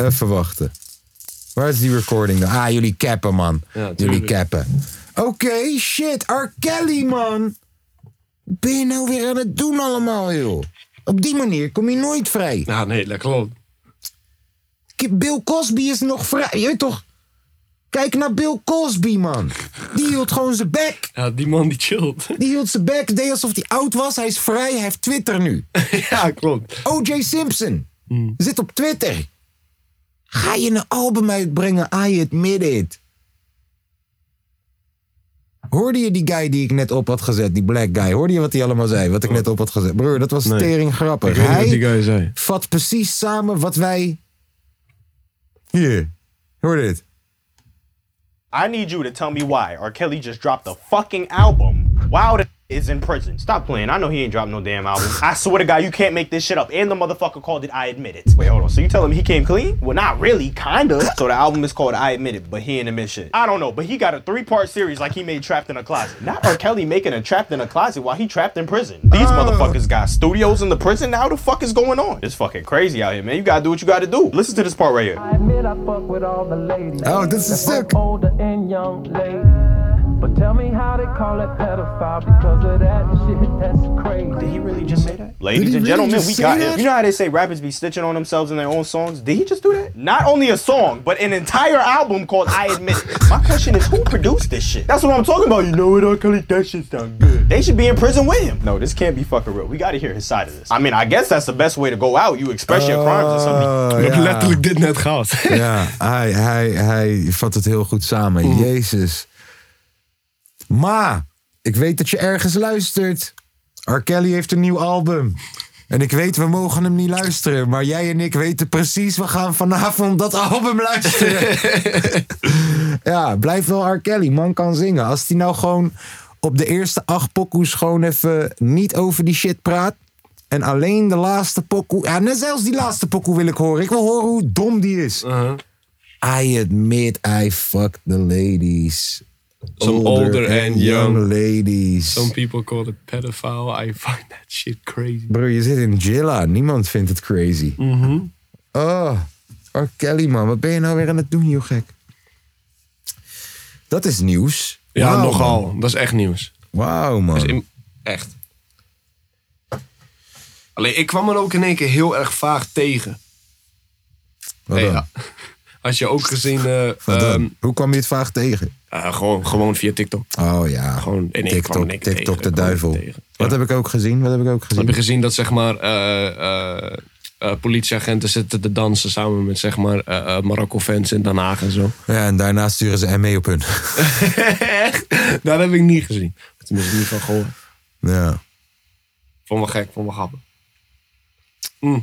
[SPEAKER 1] Even wachten. Waar is die recording dan? Ah, jullie cappen, man. jullie
[SPEAKER 2] tuurlijk.
[SPEAKER 1] cappen. Oké, shit. R. Kelly, man. Wat Ben je nou weer aan het doen allemaal, joh? Op die manier kom je nooit vrij.
[SPEAKER 2] Ja, nee, dat klopt.
[SPEAKER 1] K- Bill Cosby is nog vrij. Je weet toch? Kijk naar Bill Cosby, man. Die hield gewoon zijn bek.
[SPEAKER 2] Ja, die man die chillt. [laughs]
[SPEAKER 1] Die hield zijn bek. Deed alsof hij oud was. Hij is vrij. Hij heeft Twitter nu.
[SPEAKER 2] ja, klopt.
[SPEAKER 1] O.J. Simpson
[SPEAKER 2] Hmm.
[SPEAKER 1] zit op Twitter. Ga je een album uitbrengen? I admit it. Hoorde je die guy die ik net op had gezet, die black guy? Hoorde je wat hij allemaal zei? Wat ik net op had gezet. Broer, dat was tering grappig. Hij
[SPEAKER 2] guy zei.
[SPEAKER 1] vat precies samen wat wij. Hier, hoor dit.
[SPEAKER 4] I need you to tell me why R. Kelly just dropped a fucking album. Wild [laughs] is in prison. Stop playing. I know he ain't dropped no damn album. I swear to God, you can't make this shit up. And the motherfucker called it I Admit It. Wait, hold on. So you telling me he came clean? Well, not really, kinda. [laughs] So the album is called I Admit It, but he ain't admit shit. I don't know, but he got a three-part series like he made Trapped in a Closet. Not R. Kelly making a Trapped in a Closet while he trapped in prison. These motherfuckers got studios in the prison. Now the fuck is going on? It's fucking crazy out here, man. You gotta do what you gotta do. Listen to this part right here.
[SPEAKER 3] I admit I fuck with all the ladies.
[SPEAKER 1] Oh, dit is een stuk.
[SPEAKER 3] older and young ladies. But tell me how they call it pedophile because of that shit that's crazy.
[SPEAKER 4] Did he really just say that? Ladies
[SPEAKER 1] Did he
[SPEAKER 4] and
[SPEAKER 1] really
[SPEAKER 4] gentlemen,
[SPEAKER 1] just
[SPEAKER 4] we
[SPEAKER 1] say
[SPEAKER 4] got
[SPEAKER 1] that?
[SPEAKER 4] it. You know how they say rappers be stitching on themselves in their own songs? Did he just do that? Not only a song, but an entire album called I Admit It. My question is, who produced this shit? That's what I'm talking about. You know what, R. Kelly? That shit sound good. They should be in prison with him. No, this can't be fucking real. We gotta hear his side of this. I mean, I guess that's the best way to go out. You express your crimes to somebody.
[SPEAKER 1] Oh,
[SPEAKER 2] Ik heb
[SPEAKER 1] ja.
[SPEAKER 2] letterlijk dit net
[SPEAKER 1] [laughs]
[SPEAKER 2] gehad. Mm.
[SPEAKER 1] Ja, hij, hij, hij vat het heel goed samen. Jezus. Ma, ik weet dat je ergens luistert. R. Kelly heeft een nieuw album. En ik weet, we mogen hem niet luisteren. Maar jij en ik weten precies, we gaan vanavond dat album
[SPEAKER 2] [laughs]
[SPEAKER 1] luisteren. ja, blijf wel R. Kelly. Man kan zingen. Als hij nou gewoon op de eerste acht pokoes gewoon even niet over die shit praat. En alleen de laatste pokoe... Ja, net zelfs die laatste pokoe wil ik horen. Ik wil horen hoe dom die is.
[SPEAKER 2] Uh-huh.
[SPEAKER 1] I admit I fucked the ladies.
[SPEAKER 2] Some older and young.
[SPEAKER 1] ladies.
[SPEAKER 2] Some people call it pedophile. I find that shit crazy.
[SPEAKER 1] Bro, je zit in Jilla. Niemand vindt het crazy.
[SPEAKER 2] Mm-hmm.
[SPEAKER 1] Oh, R. Kelly, man. Wat ben je nou weer aan het doen, joh, gek? Dat is nieuws.
[SPEAKER 2] Ja,
[SPEAKER 1] Wauw,
[SPEAKER 2] nogal.
[SPEAKER 1] man.
[SPEAKER 2] Dat is echt nieuws.
[SPEAKER 1] Wauw, man.
[SPEAKER 2] Dus in- echt. Alleen, ik kwam er ook in één keer heel erg vaag tegen.
[SPEAKER 1] Wat
[SPEAKER 2] Hey,
[SPEAKER 1] dan?
[SPEAKER 2] ja. Had je ook gezien... eh,
[SPEAKER 1] Wat dan?
[SPEAKER 2] ehm,
[SPEAKER 1] Hoe kwam je het vaag tegen?
[SPEAKER 2] eh, gewoon, gewoon via TikTok.
[SPEAKER 1] Oh ja,
[SPEAKER 2] Gewoon in één keer kwam
[SPEAKER 1] TikTok,
[SPEAKER 2] in één keer
[SPEAKER 1] TikTok
[SPEAKER 2] tegen.
[SPEAKER 1] de
[SPEAKER 2] Kwam
[SPEAKER 1] duivel.
[SPEAKER 2] tegen.
[SPEAKER 1] Wat heb ik ook gezien? Wat heb ik ook gezien?
[SPEAKER 2] Heb je gezien dat zeg maar eh, eh, eh, politieagenten zitten te dansen samen met zeg maar eh, eh, Marokko-fans in Den Haag en zo?
[SPEAKER 1] Ja, en daarna sturen ze hem mee op hun. [laughs]
[SPEAKER 2] Echt? Dat heb ik niet gezien. Tenminste, niet van gehoord.
[SPEAKER 1] ja.
[SPEAKER 2] Vond me gek, vond me grappig. Hm.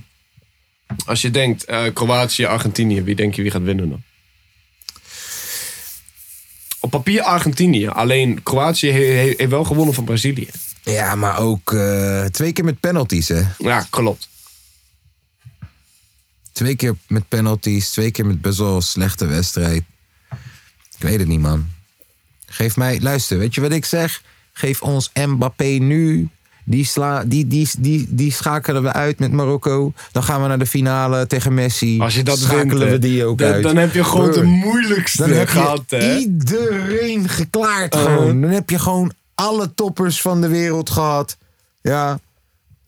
[SPEAKER 2] Als je denkt, eh, Kroatië, Argentinië, wie denk je wie gaat winnen dan? Op papier Argentinië, alleen Kroatië he- he- heeft wel gewonnen van Brazilië.
[SPEAKER 1] ja, maar ook eh, twee keer met penalties, hè?
[SPEAKER 2] Ja, klopt.
[SPEAKER 1] Twee keer met penalties, twee keer met best wel slechte wedstrijd. Ik weet het niet, man. Geef mij, luister, weet je wat ik zeg? Geef ons Mbappé nu. Die, sla, die, die, die, die schakelen we uit met Marokko. Dan gaan we naar de finale tegen Messi.
[SPEAKER 2] Als je dat
[SPEAKER 1] schakelen
[SPEAKER 2] wint,
[SPEAKER 1] we
[SPEAKER 2] hè,
[SPEAKER 1] die ook
[SPEAKER 2] dan,
[SPEAKER 1] uit.
[SPEAKER 2] Dan heb je gewoon
[SPEAKER 1] Broer,
[SPEAKER 2] de moeilijkste
[SPEAKER 1] dan heb je
[SPEAKER 2] gehad, hè? Uh-huh.
[SPEAKER 1] iedereen geklaard gewoon. Dan heb je gewoon alle toppers van de wereld gehad. Ja,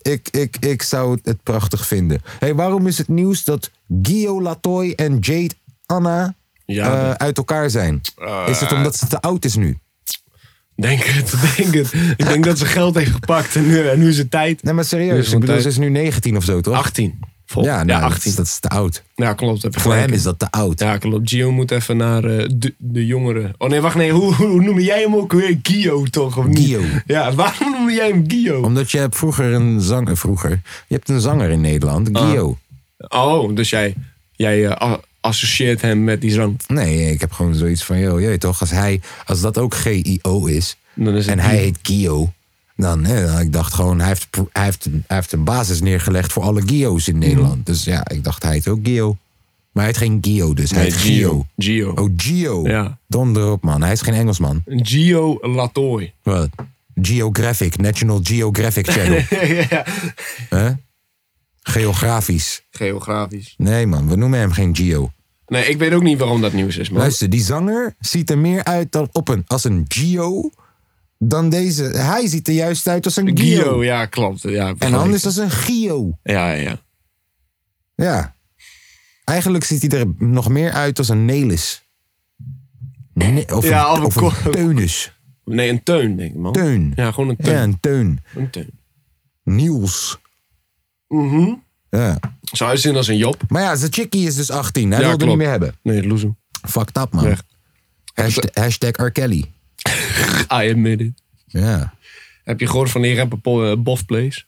[SPEAKER 1] ik, ik, ik zou het- het prachtig vinden. hey, waarom is het nieuws dat Gio Latoy en Jade Anna
[SPEAKER 2] Ja, Eh.
[SPEAKER 1] eh,
[SPEAKER 2] dat-
[SPEAKER 1] uit elkaar zijn? is het omdat ze te oud is nu?
[SPEAKER 2] Denk het, denk het. Ik denk dat ze geld heeft gepakt en nu, en nu is het tijd.
[SPEAKER 1] Nee, maar
[SPEAKER 2] Nu
[SPEAKER 1] serieus.
[SPEAKER 2] is
[SPEAKER 1] Ik
[SPEAKER 2] het
[SPEAKER 1] bedoel,
[SPEAKER 2] tijd.
[SPEAKER 1] ze is nu 19 of zo, toch?
[SPEAKER 2] 18. Vol.
[SPEAKER 1] ja,
[SPEAKER 2] Ja,
[SPEAKER 1] nou, dat is-
[SPEAKER 2] 18.
[SPEAKER 1] Dat, is te oud.
[SPEAKER 2] Ja, klopt. heb je
[SPEAKER 1] Voor
[SPEAKER 2] gelijk
[SPEAKER 1] hem
[SPEAKER 2] in.
[SPEAKER 1] is dat te oud.
[SPEAKER 2] Ja, klopt. Gio moet even naar eh, de, de jongeren. Oh nee, wacht, nee. Hoe, hoe noem jij hem ook weer? Gio toch? Of niet?
[SPEAKER 1] Gio.
[SPEAKER 2] Ja, waarom noem jij hem Gio?
[SPEAKER 1] Omdat je hebt vroeger een zanger... Vroeger? Je hebt een zanger in Nederland,
[SPEAKER 2] Ah.
[SPEAKER 1] Gio.
[SPEAKER 2] Oh, dus jij, jij eh, a- associeert hem met die zang.
[SPEAKER 1] Nee, ik heb gewoon zoiets van, joh, jeet toch, als, hij, als dat ook G-I-O is
[SPEAKER 2] Dan is het
[SPEAKER 1] en hij heet Gio, dan, hè, dan- ik dacht gewoon, hij heeft, pro- hij, heeft een, hij heeft een basis neergelegd voor alle Gio's
[SPEAKER 2] Mhm.
[SPEAKER 1] in Nederland. Dus ja, ik dacht, hij heet ook Gio. Maar hij heet geen Gio dus, hij
[SPEAKER 2] Nee,
[SPEAKER 1] heet Gio.
[SPEAKER 2] Gio.
[SPEAKER 1] Oh, Gio.
[SPEAKER 2] Ja.
[SPEAKER 1] Donder op, man. Hij is geen Engelsman.
[SPEAKER 2] Gio Latoy. [laughs]
[SPEAKER 1] Wat? Geographic, National Geographic
[SPEAKER 2] [laughs]
[SPEAKER 1] Channel.
[SPEAKER 2] ja.
[SPEAKER 1] hè? Geografisch.
[SPEAKER 2] Geografisch.
[SPEAKER 1] Nee, man, we noemen hem geen Gio.
[SPEAKER 2] Nee, ik weet ook niet waarom dat nieuws is, man.
[SPEAKER 1] Luister, die zanger ziet er meer uit dan op een, als een Gio dan deze. Hij ziet er juist uit als een Gio.
[SPEAKER 2] Gio, ja, klopt. Ja,
[SPEAKER 1] En
[SPEAKER 2] gelijk.
[SPEAKER 1] anders als een Gio.
[SPEAKER 2] Ja, ja, ja.
[SPEAKER 1] Ja. Eigenlijk ziet hij er nog meer uit als een Nelis. Ne- of
[SPEAKER 2] Ja, of
[SPEAKER 1] een,
[SPEAKER 2] een
[SPEAKER 1] of een
[SPEAKER 2] ko-
[SPEAKER 1] Teunus.
[SPEAKER 2] Nee, een teun, denk ik, man.
[SPEAKER 1] Teun.
[SPEAKER 2] Ja, gewoon een teun.
[SPEAKER 1] Ja, een Teun.
[SPEAKER 2] Een teun.
[SPEAKER 1] Niels.
[SPEAKER 2] Mhm.
[SPEAKER 1] Ja.
[SPEAKER 2] Zou hij zien als een Job?
[SPEAKER 1] Maar ja, zijn chickie is dus 18. Hij
[SPEAKER 2] Ja,
[SPEAKER 1] wilde
[SPEAKER 2] klopt.
[SPEAKER 1] niet meer hebben.
[SPEAKER 2] Nee, loezoe.
[SPEAKER 1] Fucked up, man.
[SPEAKER 2] Echt.
[SPEAKER 1] Hashtag, hashtag R. Kelly.
[SPEAKER 2] I admit it.
[SPEAKER 1] Ja.
[SPEAKER 2] Heb je gehoord van die rapper Po- eh, Bof Plays?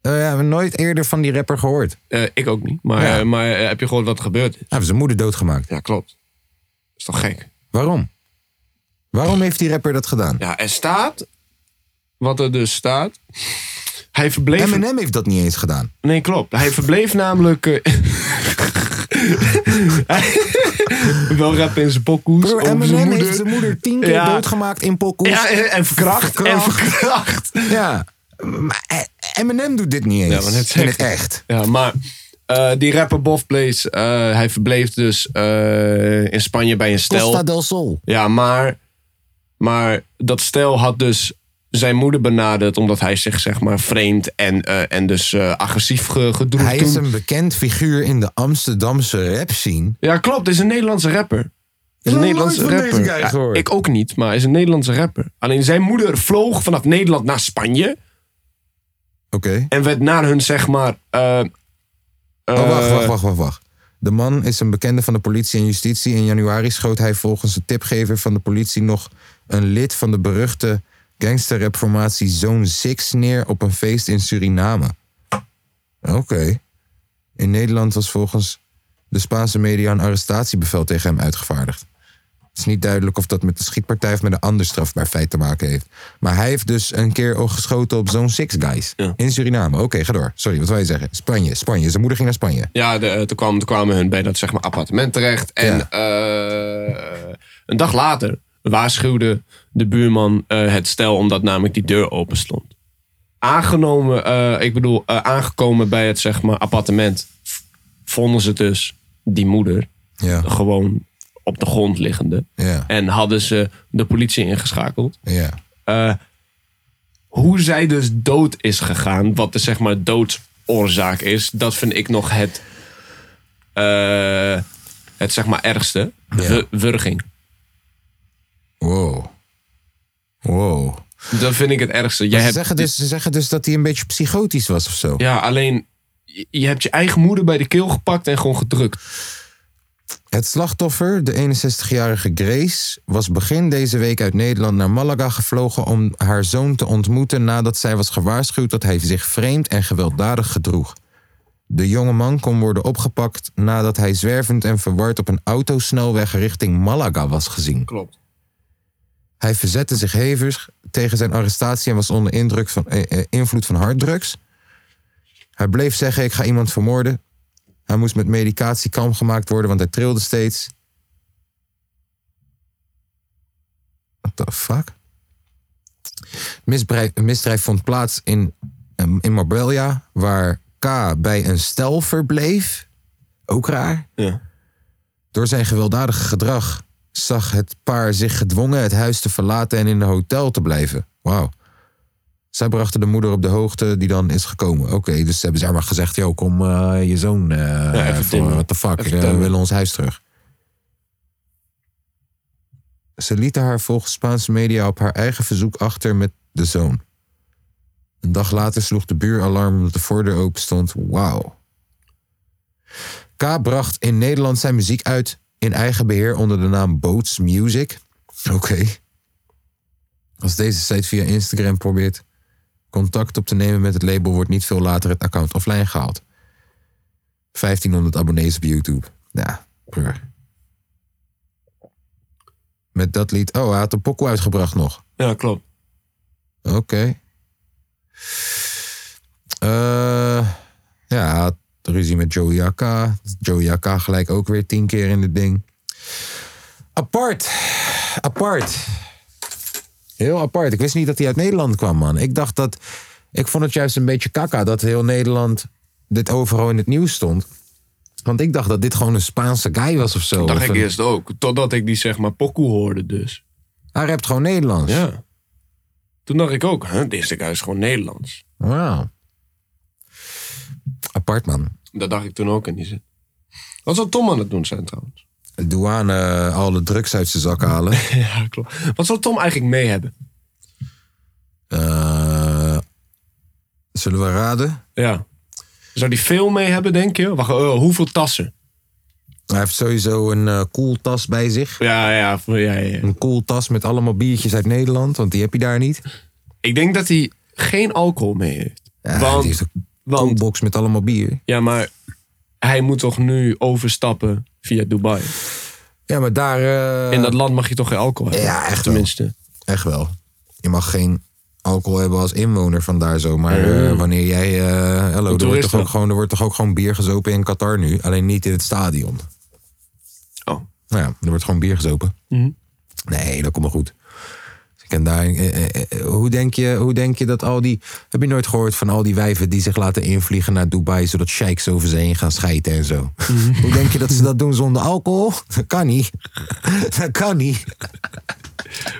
[SPEAKER 1] Eh, ja, we hebben nooit eerder van die rapper gehoord. Hij
[SPEAKER 2] Eh, ik ook niet. Maar,
[SPEAKER 1] Ja.
[SPEAKER 2] eh, maar eh, heb je gehoord wat er gebeurd is?
[SPEAKER 1] heeft zijn moeder doodgemaakt.
[SPEAKER 2] Ja, klopt. Is toch gek?
[SPEAKER 1] Waarom? Waarom heeft die rapper dat gedaan?
[SPEAKER 2] Ja, er staat... Wat er dus staat... Hij verbleef...
[SPEAKER 1] Eminem M&M heeft dat niet eens gedaan.
[SPEAKER 2] Nee, klopt. Hij verbleef namelijk... eh, [laughs] Hij- [laughs] Wel rappen in zijn pokoes.
[SPEAKER 1] Bro,
[SPEAKER 2] over zijn
[SPEAKER 1] Eminem
[SPEAKER 2] moeder.
[SPEAKER 1] M&M heeft zijn moeder tien keer
[SPEAKER 2] Ja.
[SPEAKER 1] doodgemaakt in pokoes.
[SPEAKER 2] Ja, en, en verkracht. En
[SPEAKER 1] Verkracht.
[SPEAKER 2] verkracht.
[SPEAKER 1] Ja. Maar eh, Eminem doet dit niet
[SPEAKER 2] Ja,
[SPEAKER 1] eens.
[SPEAKER 2] maar net
[SPEAKER 1] in
[SPEAKER 2] zeg-
[SPEAKER 1] het echt.
[SPEAKER 2] Ja, maar eh, die rapper Bof Plays, eh, hij verbleef dus eh, in Spanje bij een stel.
[SPEAKER 1] Costa del Sol.
[SPEAKER 2] Ja, maar, maar dat stel had dus zijn moeder benaderd omdat hij zich zeg maar vreemd en, eh, en dus eh, agressief ge- gedroeg
[SPEAKER 1] Hij
[SPEAKER 2] toen.
[SPEAKER 1] is een bekend figuur in de Amsterdamse rap scene.
[SPEAKER 2] Ja, klopt. Hij is een Nederlandse rapper.
[SPEAKER 1] Ik
[SPEAKER 2] Is
[SPEAKER 1] heb
[SPEAKER 2] een
[SPEAKER 1] nog
[SPEAKER 2] Nederlandse
[SPEAKER 1] nooit van
[SPEAKER 2] rapper.
[SPEAKER 1] deze guy
[SPEAKER 2] Ja,
[SPEAKER 1] gehoord.
[SPEAKER 2] ik ook niet, maar hij is een Nederlandse rapper. Alleen zijn moeder vloog vanaf Nederland naar Spanje
[SPEAKER 1] Oké.
[SPEAKER 2] en werd naar hun zeg maar eh,
[SPEAKER 1] Oh, wacht, Oh,
[SPEAKER 2] eh,
[SPEAKER 1] wacht, wacht, wacht, wacht. De man is een bekende van de politie en justitie. In januari schoot hij volgens een tipgever van de politie nog een lid van de beruchte gangsterrapformatie Zone 6 neer op een feest in Suriname. Oké. In Nederland was volgens de Spaanse media een arrestatiebevel tegen hem uitgevaardigd. Het is niet duidelijk of dat met de schietpartij of met een ander strafbaar feit te maken heeft. Maar hij heeft dus een keer ook geschoten op zo'n Six Guys in Suriname. Oké, ga door. Sorry, wat wij zeggen? Spanje, Spanje. Zijn moeder ging naar Spanje.
[SPEAKER 2] Ja, de, eh, toen, kwamen, toen kwamen hun bij dat zeg maar, appartement terecht. En eh, een dag later waarschuwde de buurman eh, het stel omdat namelijk die deur open stond. Aangenomen, eh, ik bedoel, eh, aangekomen bij het zeg maar, appartement v- vonden ze dus die moeder
[SPEAKER 1] Ja,
[SPEAKER 2] gewoon op de grond liggende.
[SPEAKER 1] ja,
[SPEAKER 2] En hadden ze de politie ingeschakeld
[SPEAKER 1] ja.
[SPEAKER 2] hoe zij dus dood is gegaan, wat de zeg maar doodsoorzaak is, dat vind ik nog het, eh, het zeg maar ergste. Wu- Wurging.
[SPEAKER 1] Wow. Wow.
[SPEAKER 2] Dat vind ik het ergste. Jij
[SPEAKER 1] Ze,
[SPEAKER 2] hebt,
[SPEAKER 1] zeggen dus, ze zeggen dus dat hij een beetje psychotisch was of zo.
[SPEAKER 2] Ja, alleen je- je hebt je eigen moeder bij de keel gepakt en gewoon gedrukt.
[SPEAKER 1] Het slachtoffer, de 61-jarige Grace, was begin deze week uit Nederland naar Malaga gevlogen om haar zoon te ontmoeten nadat zij was gewaarschuwd dat hij zich vreemd en gewelddadig gedroeg. De jonge man kon worden opgepakt nadat hij zwervend en verward op een autosnelweg richting Malaga was gezien.
[SPEAKER 2] Klopt.
[SPEAKER 1] Hij verzette zich hevig tegen zijn arrestatie en was onder indruk van, eh, eh, invloed van harddrugs. Hij bleef zeggen: Ik ga iemand vermoorden. Hij moest met medicatie kalm gemaakt worden, want hij trilde steeds. What the fuck? Misdrijf, misdrijf vond plaats in, ehm, in Marbella, waar K bij een stel verbleef. Ook raar.
[SPEAKER 2] Ja.
[SPEAKER 1] Door zijn gewelddadige gedrag zag het paar zich gedwongen het huis te verlaten en in een hotel te blijven. Wauw. Zij brachten de moeder op de hoogte die dan is gekomen. Oké, dus ze hebben zeg maar gezegd: Yo, kom eh, je zoon. eh
[SPEAKER 2] even
[SPEAKER 1] voor,
[SPEAKER 2] timmen.
[SPEAKER 1] what the fuck,
[SPEAKER 2] Even
[SPEAKER 1] eh, we
[SPEAKER 2] timmen.
[SPEAKER 1] willen ons huis terug. Ze lieten haar volgens Spaanse media op haar eigen verzoek achter met de zoon. Een dag later sloeg de buur alarm omdat de voordeur open stond. Wauw. K bracht in Nederland zijn muziek uit in eigen beheer onder de naam Boots Music. Oké. Als deze site via Instagram probeert contact op te nemen met het label, wordt niet veel later het account offline gehaald. 1500 abonnees op YouTube. Ja, brr. Met dat lied. Oh, hij had een pokoe uitgebracht nog.
[SPEAKER 2] Ja, klopt.
[SPEAKER 1] Oké. Eh, ja, hij had ruzie met Joey Akka. Joey Akka gelijk ook weer tien keer in het ding. Apart. Apart. Heel apart. Ik wist niet dat hij uit Nederland kwam, man. Ik dacht dat... Ik vond het juist een beetje kakka dat heel Nederland... dit overal in het nieuws stond. Want ik dacht dat dit gewoon een Spaanse guy was of zo.
[SPEAKER 2] Dacht
[SPEAKER 1] Of
[SPEAKER 2] ik
[SPEAKER 1] een-
[SPEAKER 2] eerst ook. Totdat ik die zeg maar pokoe hoorde dus.
[SPEAKER 1] Hij rapt gewoon Nederlands.
[SPEAKER 2] Ja. Toen dacht ik ook, hè, deze guy is gewoon Nederlands.
[SPEAKER 1] Wauw. Apart, man.
[SPEAKER 2] Dat dacht ik toen ook in die zin. Wat zou Tom aan het doen zijn trouwens?
[SPEAKER 1] De douane eh, alle drugs uit zijn zak
[SPEAKER 2] [laughs]
[SPEAKER 1] halen.
[SPEAKER 2] Ja, klopt. Wat zou Tom eigenlijk mee hebben?
[SPEAKER 1] Eh, zullen we raden?
[SPEAKER 2] Ja. Zou die veel mee hebben, denk je? Wacht, eh, hoeveel tassen?
[SPEAKER 1] Hij heeft sowieso een eh, koeltas bij zich.
[SPEAKER 2] Ja, ja, voor- ja, ja, ja.
[SPEAKER 1] Een koeltas met allemaal biertjes uit Nederland, want die heb je daar niet.
[SPEAKER 2] Ik denk dat hij geen alcohol mee heeft.
[SPEAKER 1] Ja,
[SPEAKER 2] want,
[SPEAKER 1] die heeft een
[SPEAKER 2] want,
[SPEAKER 1] koelbox met allemaal bier.
[SPEAKER 2] ja, maar hij moet toch nu overstappen via Dubai?
[SPEAKER 1] Ja, maar daar... eh,
[SPEAKER 2] In dat land mag je toch geen alcohol hebben?
[SPEAKER 1] Ja, echt wel.
[SPEAKER 2] Tenminste.
[SPEAKER 1] Echt wel. Je mag geen alcohol hebben als inwoner van daar zo. Maar eh, wanneer jij... eh hallo, er wordt,
[SPEAKER 2] Mm. toeristen.
[SPEAKER 1] toch ook gewoon, er wordt toch ook gewoon bier gezopen in Qatar nu? Alleen niet in het stadion.
[SPEAKER 2] Oh.
[SPEAKER 1] Nou ja, er wordt gewoon bier gezopen.
[SPEAKER 2] Mhm.
[SPEAKER 1] Nee, dat komt wel goed. Dus ik ken daar, eh, eh, eh, hoe, denk je, hoe denk je dat al die... Heb je nooit gehoord van al die wijven die zich laten invliegen naar Dubai... zodat sheiks over ze heen gaan schijten en zo?
[SPEAKER 2] Mhm.
[SPEAKER 1] hoe denk je dat ze dat doen zonder alcohol? [laughs] Dat kan niet. dat kan niet.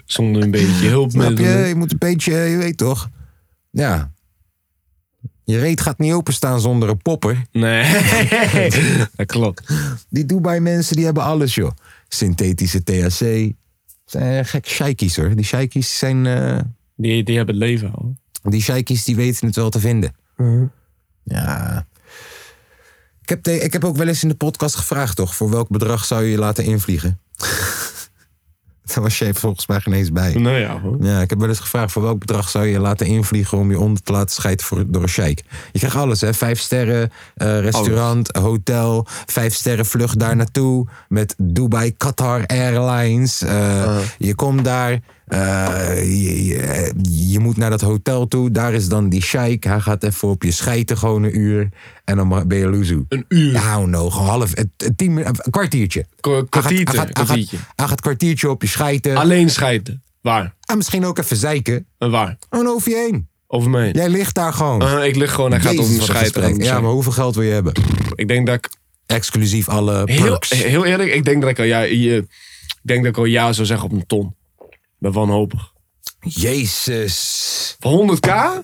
[SPEAKER 2] Zonder een beetje
[SPEAKER 1] Snap je?
[SPEAKER 2] hulpmiddelen.
[SPEAKER 1] Je moet een beetje, je weet toch? Ja. Je reet gaat niet openstaan zonder een popper.
[SPEAKER 2] Nee, [laughs] dat klopt.
[SPEAKER 1] Die Dubai-mensen, die hebben alles, joh. Synthetische THC. Zijn eh, gek sheikies, hoor. Die sheikies zijn... eh,
[SPEAKER 2] Die, die hebben het leven al.
[SPEAKER 1] Die sheikies die weten het wel te vinden. Ja. Ik heb, te- ik heb ook wel eens in de podcast gevraagd, toch? Voor welk bedrag zou je je laten invliegen? [laughs] Daar was je volgens mij geen eens bij.
[SPEAKER 2] Nou ja, hoor.
[SPEAKER 1] Ja, ik heb wel eens gevraagd voor welk bedrag zou je je laten invliegen om je onder te laten scheiden voor, door een sheik. Je krijgt alles, hè? Vijf sterren, eh, restaurant, hotel, vijf sterren vlucht daar naartoe met Dubai Qatar Airlines. Eh, Je komt daar, eh, je, je, je moet naar dat hotel toe, daar is dan die sheik. Hij gaat even op je scheiden gewoon een uur en dan ma- ben je loezoe. Een uur? Nou, no, gewoon half, eh, t- tien, min- een kwartiertje.
[SPEAKER 2] Kwa-
[SPEAKER 1] Hij gaat-
[SPEAKER 2] kwartiertje,
[SPEAKER 1] hij gaat- hij gaat-
[SPEAKER 2] kwartiertje.
[SPEAKER 1] Hij gaat kwartiertje op je scheiden.
[SPEAKER 2] Alleen scheiden. Waar?
[SPEAKER 1] En misschien ook even zeiken.
[SPEAKER 2] En waar?
[SPEAKER 1] Gewoon over Oh, je heen.
[SPEAKER 2] Over me heen.
[SPEAKER 1] Jij ligt daar gewoon.
[SPEAKER 2] Eh, ik lig gewoon, hij gaat
[SPEAKER 1] Jezus,
[SPEAKER 2] over me
[SPEAKER 1] wat een
[SPEAKER 2] scheiden.
[SPEAKER 1] gesprek. Ja, maar hoeveel geld wil je hebben?
[SPEAKER 2] Ik denk dat ik
[SPEAKER 1] Exclusief alle
[SPEAKER 2] Heel, eh,
[SPEAKER 1] perks.
[SPEAKER 2] heel eerlijk, ik denk dat ik al ja, je- ik denk dat ik al ja zou zeggen op een ton. Ik ben wanhopig.
[SPEAKER 1] Jezus.
[SPEAKER 2] Voor 100k?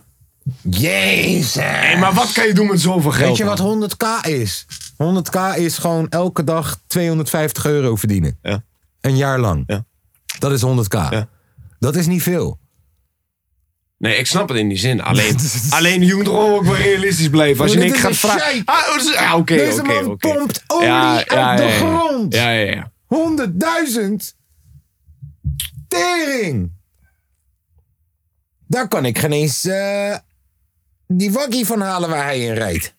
[SPEAKER 1] Jezus.
[SPEAKER 2] Hé, maar wat kan je doen met zoveel geld?
[SPEAKER 1] Weet je
[SPEAKER 2] man?
[SPEAKER 1] wat 100k is? 100k is gewoon elke dag 250 euro verdienen.
[SPEAKER 2] Ja.
[SPEAKER 1] Een jaar lang.
[SPEAKER 2] Ja.
[SPEAKER 1] Dat is 100k.
[SPEAKER 2] Ja.
[SPEAKER 1] Dat is niet veel.
[SPEAKER 2] Nee, ik snap het in die
[SPEAKER 1] [laughs]
[SPEAKER 2] zin. Alleen, alleen je moet gewoon ook wel realistisch blijven. Als je
[SPEAKER 1] Dit
[SPEAKER 2] niks
[SPEAKER 1] is
[SPEAKER 2] gaat
[SPEAKER 1] een
[SPEAKER 2] vragen.
[SPEAKER 1] sheik.
[SPEAKER 2] Ah, oh, dus- ah, oké, oké,
[SPEAKER 1] Deze
[SPEAKER 2] oké.
[SPEAKER 1] man pompt olie uit de grond.
[SPEAKER 2] Ja, ja, ja.
[SPEAKER 1] 100.000? Tering! Daar kan ik geen eens eh, die wakkie van halen waar hij in rijdt.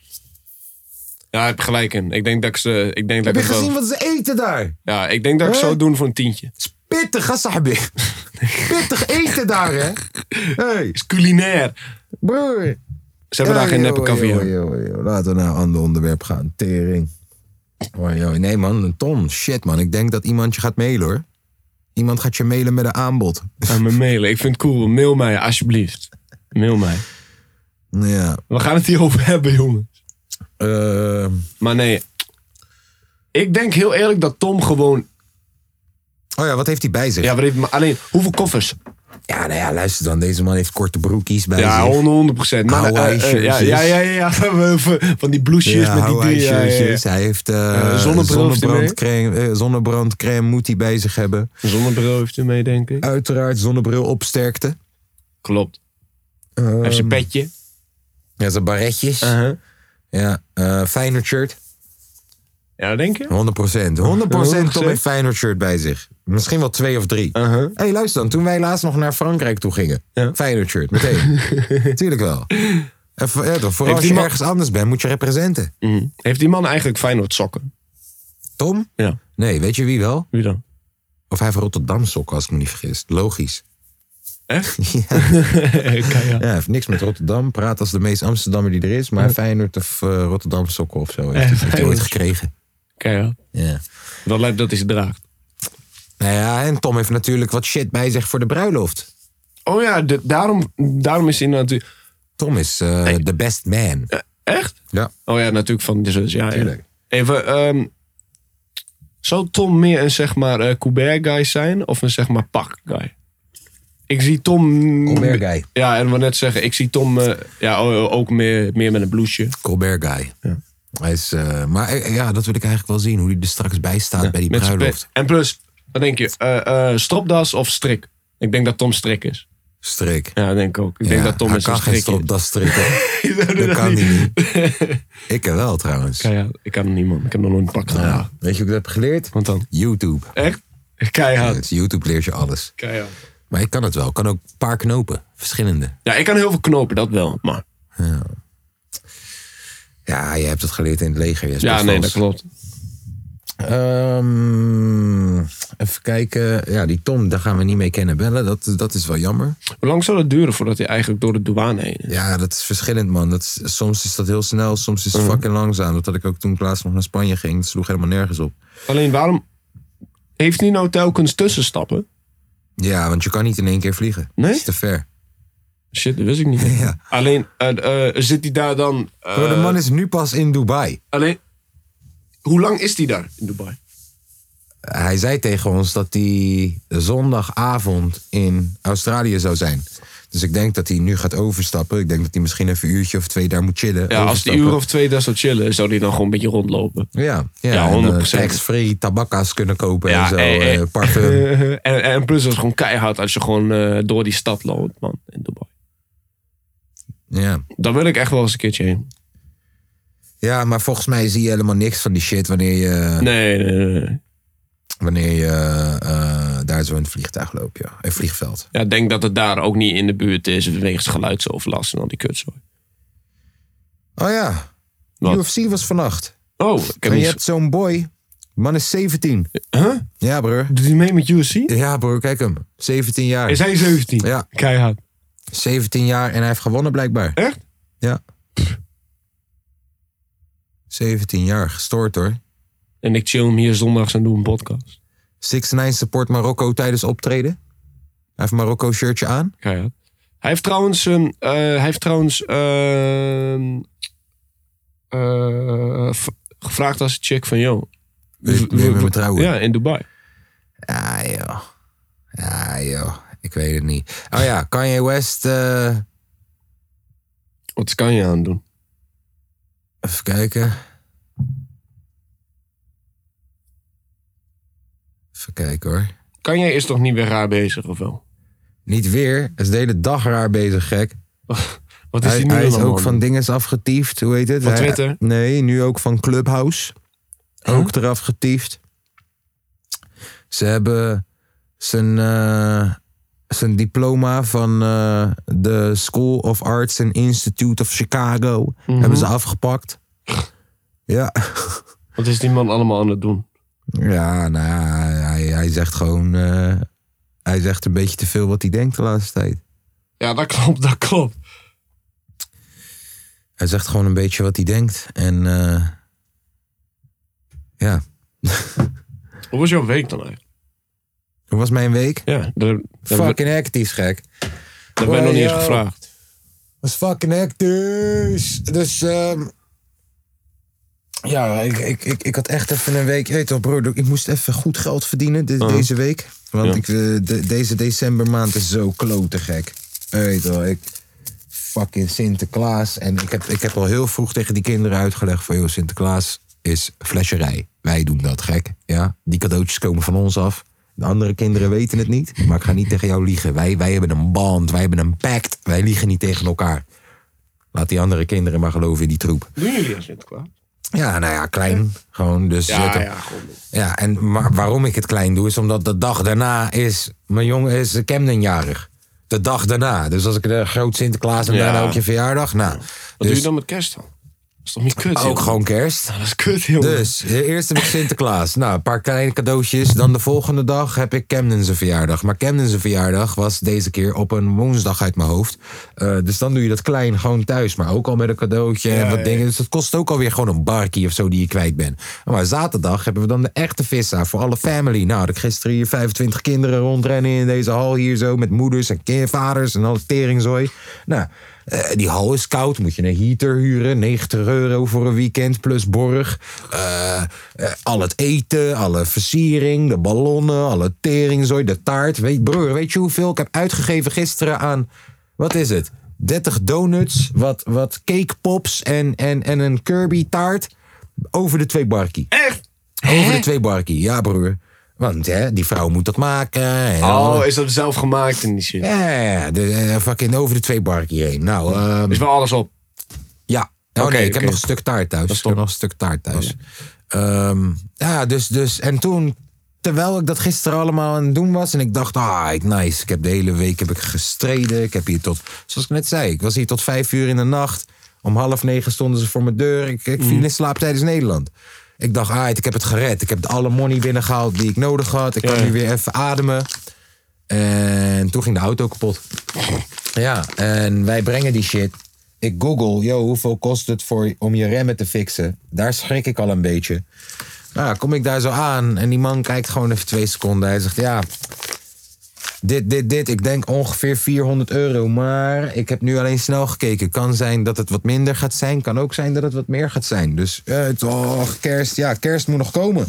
[SPEAKER 2] Ja, ik heb gelijk in. Ik denk dat ik ze. Ik denk dat
[SPEAKER 1] Heb je
[SPEAKER 2] ik het wel-
[SPEAKER 1] gezien wat ze eten daar?
[SPEAKER 2] Ja, ik denk dat ik
[SPEAKER 1] Hè?
[SPEAKER 2] zou doen voor een tientje. Het
[SPEAKER 1] Pittig, hè, sahabi? Pittig eten daar, hè? hey,
[SPEAKER 2] is culinair.
[SPEAKER 1] broer.
[SPEAKER 2] Ze hebben daar geen neppe caviar.
[SPEAKER 1] Laten we naar een ander onderwerp gaan. Tering. Oei, oei. Nee, man, een ton. Shit, man. Ik denk dat iemand je gaat mailen, hoor. Iemand gaat je mailen met een aanbod.
[SPEAKER 2] Aan me mailen. Ik vind het cool. Mail mij, alsjeblieft. Mail mij.
[SPEAKER 1] Ja.
[SPEAKER 2] We gaan het hierover [laughs] hebben, jongen.
[SPEAKER 1] eh,
[SPEAKER 2] Maar nee. Ik denk heel eerlijk dat Tom gewoon.
[SPEAKER 1] oh ja, wat heeft hij bij zich?
[SPEAKER 2] Ja, wat heeft, maar alleen hoeveel koffers?
[SPEAKER 1] Ja, nou ja, luister dan. Deze man heeft korte broekies bij
[SPEAKER 2] Ja,
[SPEAKER 1] zich.
[SPEAKER 2] 100 procent. Maar
[SPEAKER 1] Hawaii
[SPEAKER 2] eh, eh, ja,
[SPEAKER 1] shirtjes.
[SPEAKER 2] ja, ja, ja, [laughs] ja. Van die blousejes met die
[SPEAKER 1] Hawaii
[SPEAKER 2] dingen. Ja, ja, ja.
[SPEAKER 1] shirtjes. Hij heeft eh
[SPEAKER 2] zonnebril heeft hij
[SPEAKER 1] zonnebrandcrème, eh, zonnebrandcrème moet hij bij zich hebben.
[SPEAKER 2] Zonnebril heeft hij mee, denk ik.
[SPEAKER 1] Uiteraard zonnebril opsterkte.
[SPEAKER 2] Klopt. Hij heeft zijn petje.
[SPEAKER 1] Ja, zijn barretjes.
[SPEAKER 2] Ehm. Uh-huh.
[SPEAKER 1] Ja, eh Feyenoord shirt. 100%.
[SPEAKER 2] Ja, denk je?
[SPEAKER 1] 100% Tom heeft Feyenoord shirt bij zich. Misschien wel twee of drie.
[SPEAKER 2] Uh-huh.
[SPEAKER 1] Hé, hey, luister dan. Toen wij laatst nog naar Frankrijk toe gingen.
[SPEAKER 2] Ja.
[SPEAKER 1] Feyenoord shirt, meteen.
[SPEAKER 2] [laughs]
[SPEAKER 1] Tuurlijk wel. En voor, ja, toch, voor
[SPEAKER 2] Heeft
[SPEAKER 1] als je
[SPEAKER 2] iemand-
[SPEAKER 1] ergens anders bent, moet je representen.
[SPEAKER 2] Mhm. Heeft die man eigenlijk Feyenoord sokken?
[SPEAKER 1] Tom?
[SPEAKER 2] Ja.
[SPEAKER 1] Nee, weet je wie wel?
[SPEAKER 2] Wie [laughs] dan?
[SPEAKER 1] Of hij heeft Rotterdam sokken, als ik me niet vergis. Logisch.
[SPEAKER 2] Echt?
[SPEAKER 1] Ja,
[SPEAKER 2] Kan, ja.
[SPEAKER 1] hij heeft niks met Rotterdam. Praat als de meest Amsterdammer die er is. Maar Feyenoord of eh, Rotterdam sokken of zo. Heeft, heeft hij ooit gekregen.
[SPEAKER 2] Kan, ja.
[SPEAKER 1] Ja.
[SPEAKER 2] Dat lijkt dat hij ze draagt.
[SPEAKER 1] Nou ja, en Tom heeft natuurlijk wat shit bij zich voor de bruiloft.
[SPEAKER 2] Oh ja, de- daarom, daarom is hij natuurlijk...
[SPEAKER 1] Tom is eh, the best man.
[SPEAKER 2] Eh, Echt?
[SPEAKER 1] Ja.
[SPEAKER 2] Oh ja, natuurlijk van de zus. Ja, ja.
[SPEAKER 1] Tuurlijk.
[SPEAKER 2] Even, ehm, zou Tom meer een zeg maar eh Colbert guy zijn of een zeg maar pak guy? Ik zie Tom...
[SPEAKER 1] Colbert guy.
[SPEAKER 2] Ja, en wat net zeggen, ik zie Tom eh, ja, o- ook meer, meer met een blouseje.
[SPEAKER 1] Colbert guy. Hij is, eh, maar eh, ja, dat wil ik eigenlijk wel zien. Hoe hij er straks bij staat bij die
[SPEAKER 2] Met zijn
[SPEAKER 1] bruiloft.
[SPEAKER 2] pet. En plus, wat denk je, eh, eh, stropdas of strik? Ik denk dat Tom strik is.
[SPEAKER 1] Strik.
[SPEAKER 2] Ja, dat denk ik ook. Ik denk
[SPEAKER 1] Ja,
[SPEAKER 2] dat Tom
[SPEAKER 1] hij
[SPEAKER 2] is een
[SPEAKER 1] kan geen
[SPEAKER 2] strik. [laughs]
[SPEAKER 1] stop, dat [laughs] strikken.
[SPEAKER 2] dat
[SPEAKER 1] dat kan hij niet. [laughs] Ik wel trouwens.
[SPEAKER 2] ik kan hem niet, man. Ik heb nog nooit een pak gedragen.
[SPEAKER 1] Ja. Weet je hoe ik dat heb geleerd?
[SPEAKER 2] Want dan?
[SPEAKER 1] YouTube.
[SPEAKER 2] Echt?
[SPEAKER 1] Ja,
[SPEAKER 2] Keihard.
[SPEAKER 1] het is YouTube leert je alles.
[SPEAKER 2] Keihard.
[SPEAKER 1] Maar ik kan het wel. Ik kan ook een paar knopen. Verschillende.
[SPEAKER 2] Ja, ik kan heel veel knopen, dat wel. Maar
[SPEAKER 1] Ja, je hebt het geleerd in het leger. Je
[SPEAKER 2] ja, nee, dat klopt.
[SPEAKER 1] Ehm, even kijken. Ja, die Tom, daar gaan we niet mee kennen bellen. Dat, dat is wel jammer.
[SPEAKER 2] Hoe lang zou dat duren voordat hij eigenlijk door de douane heen is?
[SPEAKER 1] Ja, dat is verschillend, man. Dat is- soms is dat heel snel, soms is het fucking langzaam. Dat had ik ook toen ik laatst nog naar Spanje ging. Dat sloeg helemaal nergens op.
[SPEAKER 2] Alleen waarom heeft hij nou telkens tussenstappen?
[SPEAKER 1] Ja, want je kan niet in één keer vliegen.
[SPEAKER 2] Nee?
[SPEAKER 1] Dat is te ver.
[SPEAKER 2] Shit, dat wist ik niet.
[SPEAKER 1] [laughs] Ja.
[SPEAKER 2] Alleen eh, eh, zit hij daar dan. eh,
[SPEAKER 1] Bro, de man is nu pas in Dubai.
[SPEAKER 2] Alleen. Hoe lang is hij daar in Dubai?
[SPEAKER 1] Hij zei tegen ons dat hij zondagavond in Australië zou zijn. Dus ik denk dat hij nu gaat overstappen. Ik denk dat hij misschien even een uurtje of twee daar moet chillen.
[SPEAKER 2] Ja, als hij
[SPEAKER 1] Overstappen.
[SPEAKER 2] een uur of twee daar zou chillen, zou hij dan gewoon een beetje rondlopen.
[SPEAKER 1] Ja, ja,
[SPEAKER 2] Ja,
[SPEAKER 1] en, eh,
[SPEAKER 2] 100%.
[SPEAKER 1] tax-free tabakka's kunnen kopen
[SPEAKER 2] Ja,
[SPEAKER 1] en zo.
[SPEAKER 2] eh, eh.
[SPEAKER 1] eh,
[SPEAKER 2] [laughs]
[SPEAKER 1] parfum.
[SPEAKER 2] en, en plus, dat is gewoon keihard als je gewoon eh, door die stad loopt, man, in Dubai.
[SPEAKER 1] ja.
[SPEAKER 2] Daar wil ik echt wel eens een keertje heen.
[SPEAKER 1] Ja, maar volgens mij zie je helemaal niks van die shit wanneer je,
[SPEAKER 2] Nee, nee, nee, nee.
[SPEAKER 1] wanneer je eh, daar zo in het vliegtuig loopt, ja. Een vliegveld.
[SPEAKER 2] Ja, ik denk dat het daar ook niet in de buurt is wegens geluidsoverlast en al die kutzooi.
[SPEAKER 1] Oh ja,
[SPEAKER 2] Wat?
[SPEAKER 1] UFC was vannacht.
[SPEAKER 2] Oh, ik heb
[SPEAKER 1] en je
[SPEAKER 2] niet...
[SPEAKER 1] hebt zo'n boy. Man is 17.
[SPEAKER 2] Huh?
[SPEAKER 1] Ja, broer.
[SPEAKER 2] Doet hij mee met UFC?
[SPEAKER 1] Ja, broer, kijk hem. 17 jaar.
[SPEAKER 2] Is hij 17?
[SPEAKER 1] Ja.
[SPEAKER 2] Keihard.
[SPEAKER 1] 17 jaar en hij heeft gewonnen blijkbaar.
[SPEAKER 2] Echt?
[SPEAKER 1] Ja. 17 jaar, gestoord hoor.
[SPEAKER 2] En ik chill hem hier zondags en doe een podcast.
[SPEAKER 1] 6 9 support Marokko tijdens optreden. Hij heeft een Marokko shirtje aan.
[SPEAKER 2] Keihard. Hij heeft trouwens... ehm, eh, hij heeft trouwens... ehm, eh, v- gevraagd als een chick van... Yo,
[SPEAKER 1] Wil je- wil je met me trouwen?
[SPEAKER 2] Ja, in Dubai.
[SPEAKER 1] Ja, joh. Ja, joh. Ik weet het niet. Oh ja, Kanye West. eh,
[SPEAKER 2] Wat kan je aan doen?
[SPEAKER 1] even kijken. Even kijken hoor.
[SPEAKER 2] Kan jij is toch niet weer raar bezig of wel? [laughs]
[SPEAKER 1] Niet weer. Hij is de hele dag raar bezig, gek.
[SPEAKER 2] Wat is
[SPEAKER 1] Hij,
[SPEAKER 2] die nu
[SPEAKER 1] hij is
[SPEAKER 2] allemaal
[SPEAKER 1] ook van
[SPEAKER 2] aan
[SPEAKER 1] dinges afgetiefd. Hoe heet het?
[SPEAKER 2] Van
[SPEAKER 1] Hij-
[SPEAKER 2] Twitter?
[SPEAKER 1] nee, nu ook van Clubhouse. Ook eraf getiefd. Ze hebben zijn, eh, zijn diploma van eh, de School of Arts and Institute of Chicago. Hebben ze afgepakt. Ja.
[SPEAKER 2] doen? Wat is die man allemaal aan het doen?
[SPEAKER 1] Ja, nou ja, hij, hij zegt gewoon... eh, hij zegt een beetje te veel wat hij denkt de laatste tijd.
[SPEAKER 2] Ja, dat [laughs] klopt, dat klopt.
[SPEAKER 1] Hij zegt gewoon een beetje wat hij denkt. En eh, ja,
[SPEAKER 2] Hoe was jouw week dan eigenlijk?
[SPEAKER 1] hoe was mijn week?
[SPEAKER 2] Ja, daar, daar, ben-
[SPEAKER 1] Fucking hectisch, gek.
[SPEAKER 2] daar ben ik nog niet eens
[SPEAKER 1] Wow, yo.
[SPEAKER 2] gevraagd.
[SPEAKER 1] was fucking hectisch. Dus ehm, ja, ik, ik, ik, ik had echt even een week... Je weet toch, broer, ik moest even goed geld verdienen de- deze week. Want
[SPEAKER 2] Oh. Ja.
[SPEAKER 1] ik, eh, de- deze decembermaand is zo klote gek. Je Weet toch, ik... Fucking Sinterklaas. En ik heb, ik heb al heel vroeg tegen die kinderen uitgelegd van... joh, Sinterklaas is flesjerij. Wij doen dat, gek. Ja? Die cadeautjes komen van ons af. De andere kinderen weten het niet. Maar ik ga niet tegen jou liegen. Wij, wij hebben een band, wij hebben een pact. Wij liegen niet tegen elkaar. Laat die andere kinderen maar geloven in die troep.
[SPEAKER 2] Doen jullie aan Sinterklaas?
[SPEAKER 1] Ja, nou ja, klein. Gewoon, dus... zet
[SPEAKER 2] Ja,
[SPEAKER 1] hem-
[SPEAKER 2] ja, gewoon.
[SPEAKER 1] ja, en maar waarom ik het klein doe, is omdat de dag daarna is. Mijn jongen is Camdenjarig. De dag daarna. Dus als ik de groot Sinterklaas en
[SPEAKER 2] Ja.
[SPEAKER 1] daarna ook je verjaardag. Nou,
[SPEAKER 2] Wat doe
[SPEAKER 1] dus
[SPEAKER 2] je dan met kerst dan? Dat is toch niet kut?
[SPEAKER 1] ook
[SPEAKER 2] jongen?
[SPEAKER 1] gewoon kerst.
[SPEAKER 2] Dat is kut, jongen.
[SPEAKER 1] Dus, eh, eerst heb ik Sinterklaas. Nou, een paar kleine cadeautjes. Dan de volgende dag heb ik Camden zijn verjaardag. Maar Camden zijn verjaardag was deze keer op een woensdag uit mijn hoofd. Eh, dus dan doe je dat klein gewoon thuis. Maar ook al met een cadeautje en wat dingen. Dus dat kost ook alweer gewoon een barkie of zo die je kwijt bent. Maar zaterdag hebben we dan de echte vissa voor alle family. Nou, had ik gisteren hier 25 kinderen rondrennen in deze hal hier zo. Met moeders en ki- vaders en alle teringzooi. Nou... eh, die hal is koud, moet je een heater huren. 90 euro voor een weekend plus borg. Eh, eh, al het eten, alle versiering, de ballonnen, alle teringzooi, de taart. Weet, broer, weet je hoeveel ik heb uitgegeven gisteren aan... Wat is het? 30 donuts, wat, wat cakepops en, en, en een Kirby taart. Over de twee barkie.
[SPEAKER 2] Echt?
[SPEAKER 1] Over de twee barkie, ja broer. Want hè, die vrouw moet dat maken. En
[SPEAKER 2] Oh, is dat zelf gemaakt en die shit?
[SPEAKER 1] Ja, ja, ja, de, eh, fucking over de twee barkie heen. Nou, ehm,
[SPEAKER 2] Is wel alles op.
[SPEAKER 1] ja. Oh
[SPEAKER 2] Oké,
[SPEAKER 1] nee, ik heb
[SPEAKER 2] oké.
[SPEAKER 1] nog een stuk taart thuis. Ik heb nog een stuk taart thuis. Ehm, ja, dus, dus. En toen, terwijl ik dat gisteren allemaal aan het doen was. En ik dacht, ah, nice. Ik heb de hele week heb ik gestreden. Ik heb hier tot, zoals ik net zei, ik was hier tot vijf uur in de nacht. Om half negen stonden ze voor mijn deur. Ik,
[SPEAKER 2] Mm.
[SPEAKER 1] ik viel in slaap tijdens Nederland. Ik dacht, ah, ik heb het gered. Ik heb alle money binnengehaald die ik nodig had. Ik kan
[SPEAKER 2] Ja.
[SPEAKER 1] nu weer even ademen. En toen ging de auto kapot. Ja, en wij brengen die shit. Ik google, yo, hoeveel kost het voor, om je remmen te fixen? Daar schrik ik al een beetje. Nou, ja, kom ik daar zo aan en die man kijkt gewoon even twee seconden. Hij zegt, ja, dit, dit, dit. Ik denk ongeveer 400 euro. Maar ik heb nu alleen snel gekeken. Kan zijn dat het wat minder gaat zijn. Kan ook zijn dat het wat meer gaat zijn. Dus, eh, toch, kerst. Ja, kerst moet nog komen.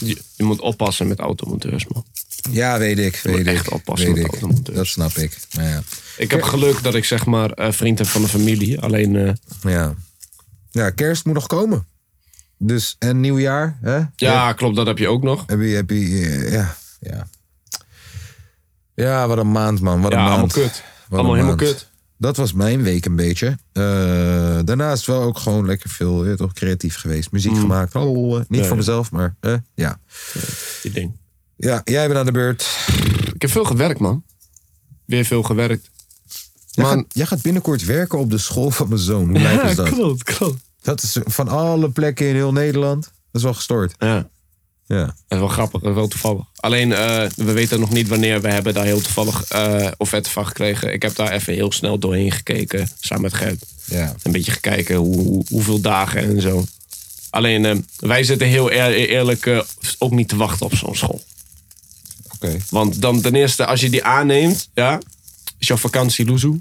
[SPEAKER 2] Je, je moet oppassen met automonteurs, man.
[SPEAKER 1] Ja, weet ik.
[SPEAKER 2] moet
[SPEAKER 1] Weet ik.
[SPEAKER 2] echt oppassen
[SPEAKER 1] weet
[SPEAKER 2] met
[SPEAKER 1] ik.
[SPEAKER 2] automonteurs.
[SPEAKER 1] Dat snap ik. Maar ja.
[SPEAKER 2] Ik heb geluk dat ik zeg maar eh, vriend heb van de familie. Alleen, eh,
[SPEAKER 1] Ja. ja, kerst moet nog komen. Dus, en nieuwjaar, hè?
[SPEAKER 2] ja, klopt, dat heb je ook nog.
[SPEAKER 1] Heb je, heb je, eh, ja, ja. Ja, wat een maand, man. Wat
[SPEAKER 2] Ja,
[SPEAKER 1] een
[SPEAKER 2] allemaal
[SPEAKER 1] maand.
[SPEAKER 2] kut.
[SPEAKER 1] Wat
[SPEAKER 2] Allemaal
[SPEAKER 1] een
[SPEAKER 2] helemaal
[SPEAKER 1] maand.
[SPEAKER 2] kut.
[SPEAKER 1] dat was mijn week een beetje. Eh, daarnaast wel ook gewoon lekker veel eh, toch, creatief geweest. Muziek
[SPEAKER 2] Mm.
[SPEAKER 1] gemaakt. Oh, eh, niet voor mezelf, maar eh, ja.
[SPEAKER 2] Die ding.
[SPEAKER 1] Ja, jij bent aan de beurt.
[SPEAKER 2] Ik heb veel gewerkt, man. Weer veel gewerkt.
[SPEAKER 1] Jij,
[SPEAKER 2] Man.
[SPEAKER 1] gaat, jij gaat binnenkort werken op de school van mijn zoon. Hoe
[SPEAKER 2] [laughs]
[SPEAKER 1] lijkt is dat?
[SPEAKER 2] klopt, klopt.
[SPEAKER 1] Dat is van alle plekken in heel Nederland. Dat is wel gestoord.
[SPEAKER 2] Ja.
[SPEAKER 1] Ja.
[SPEAKER 2] Dat is wel grappig, dat is wel toevallig. Alleen, eh, we weten nog niet wanneer. We hebben daar heel toevallig eh offerte van gekregen. Ik heb daar even heel snel doorheen gekeken, samen met Gert.
[SPEAKER 1] ja.
[SPEAKER 2] Een beetje gekeken hoe, hoe- hoeveel dagen en zo. Alleen, eh, wij zitten heel eer- eerlijk eh, ook niet te wachten op zo'n school.
[SPEAKER 1] Oké.
[SPEAKER 2] Want dan ten eerste, als je die aanneemt, ja, is jouw vakantie loezoe.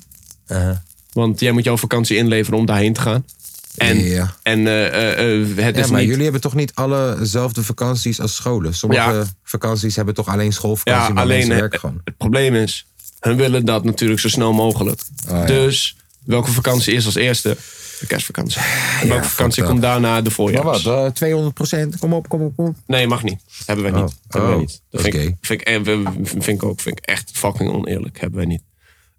[SPEAKER 1] Uh-huh.
[SPEAKER 2] Want jij moet jouw vakantie inleveren om daarheen te gaan. En,
[SPEAKER 1] Ja.
[SPEAKER 2] en eh, eh, eh, het
[SPEAKER 1] Ja,
[SPEAKER 2] is
[SPEAKER 1] maar
[SPEAKER 2] niet...
[SPEAKER 1] jullie hebben toch niet allezelfde vakanties als scholen? Sommige
[SPEAKER 2] Ja.
[SPEAKER 1] vakanties hebben toch alleen
[SPEAKER 2] Ja,
[SPEAKER 1] schoolvakantie, maar
[SPEAKER 2] alleen
[SPEAKER 1] mensen
[SPEAKER 2] eh,
[SPEAKER 1] werken gewoon.
[SPEAKER 2] het probleem is, hun willen dat natuurlijk zo snel mogelijk.
[SPEAKER 1] Oh, ja.
[SPEAKER 2] Dus welke vakantie is als eerste? De kerstvakantie. En welke vakantie
[SPEAKER 1] dat.
[SPEAKER 2] komt daarna de voorjaar?
[SPEAKER 1] Maar wat, eh, 200 Kom op, kom op, kom op.
[SPEAKER 2] Nee, mag niet. Hebben wij niet.
[SPEAKER 1] Oh.
[SPEAKER 2] Hebben wij
[SPEAKER 1] Oh,
[SPEAKER 2] niet. Dat vind, ik,
[SPEAKER 1] oké.
[SPEAKER 2] vind, ik, eh, we- vind ik ook vind ik echt fucking oneerlijk. Hebben wij niet.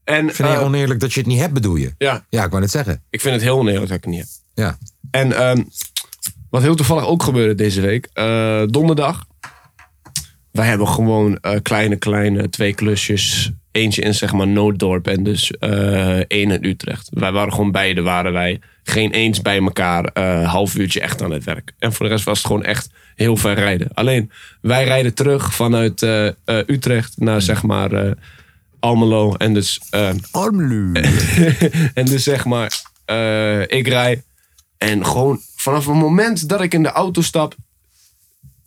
[SPEAKER 2] En
[SPEAKER 1] Vind je
[SPEAKER 2] eh,
[SPEAKER 1] oneerlijk dat je het niet hebt, bedoel je?
[SPEAKER 2] ja,
[SPEAKER 1] Ja, ik wou net zeggen.
[SPEAKER 2] ik vind het heel oneerlijk dat ik het niet heb.
[SPEAKER 1] Ja.
[SPEAKER 2] En ehm, wat heel toevallig ook gebeurde deze week. eh, donderdag. Wij hebben gewoon eh, kleine, kleine twee klusjes. Eentje in zeg maar Nooddorp en dus eh één in Utrecht. Wij waren gewoon beide, waren wij geen eens bij elkaar. eh, half uurtje echt aan het werk. En voor de rest was het gewoon echt heel ver rijden. Alleen, wij rijden terug vanuit eh, eh, Utrecht naar zeg maar eh, Almelo. En dus eh, [laughs] en dus zeg maar, eh, ik rij. En gewoon vanaf het moment dat ik in de auto stap,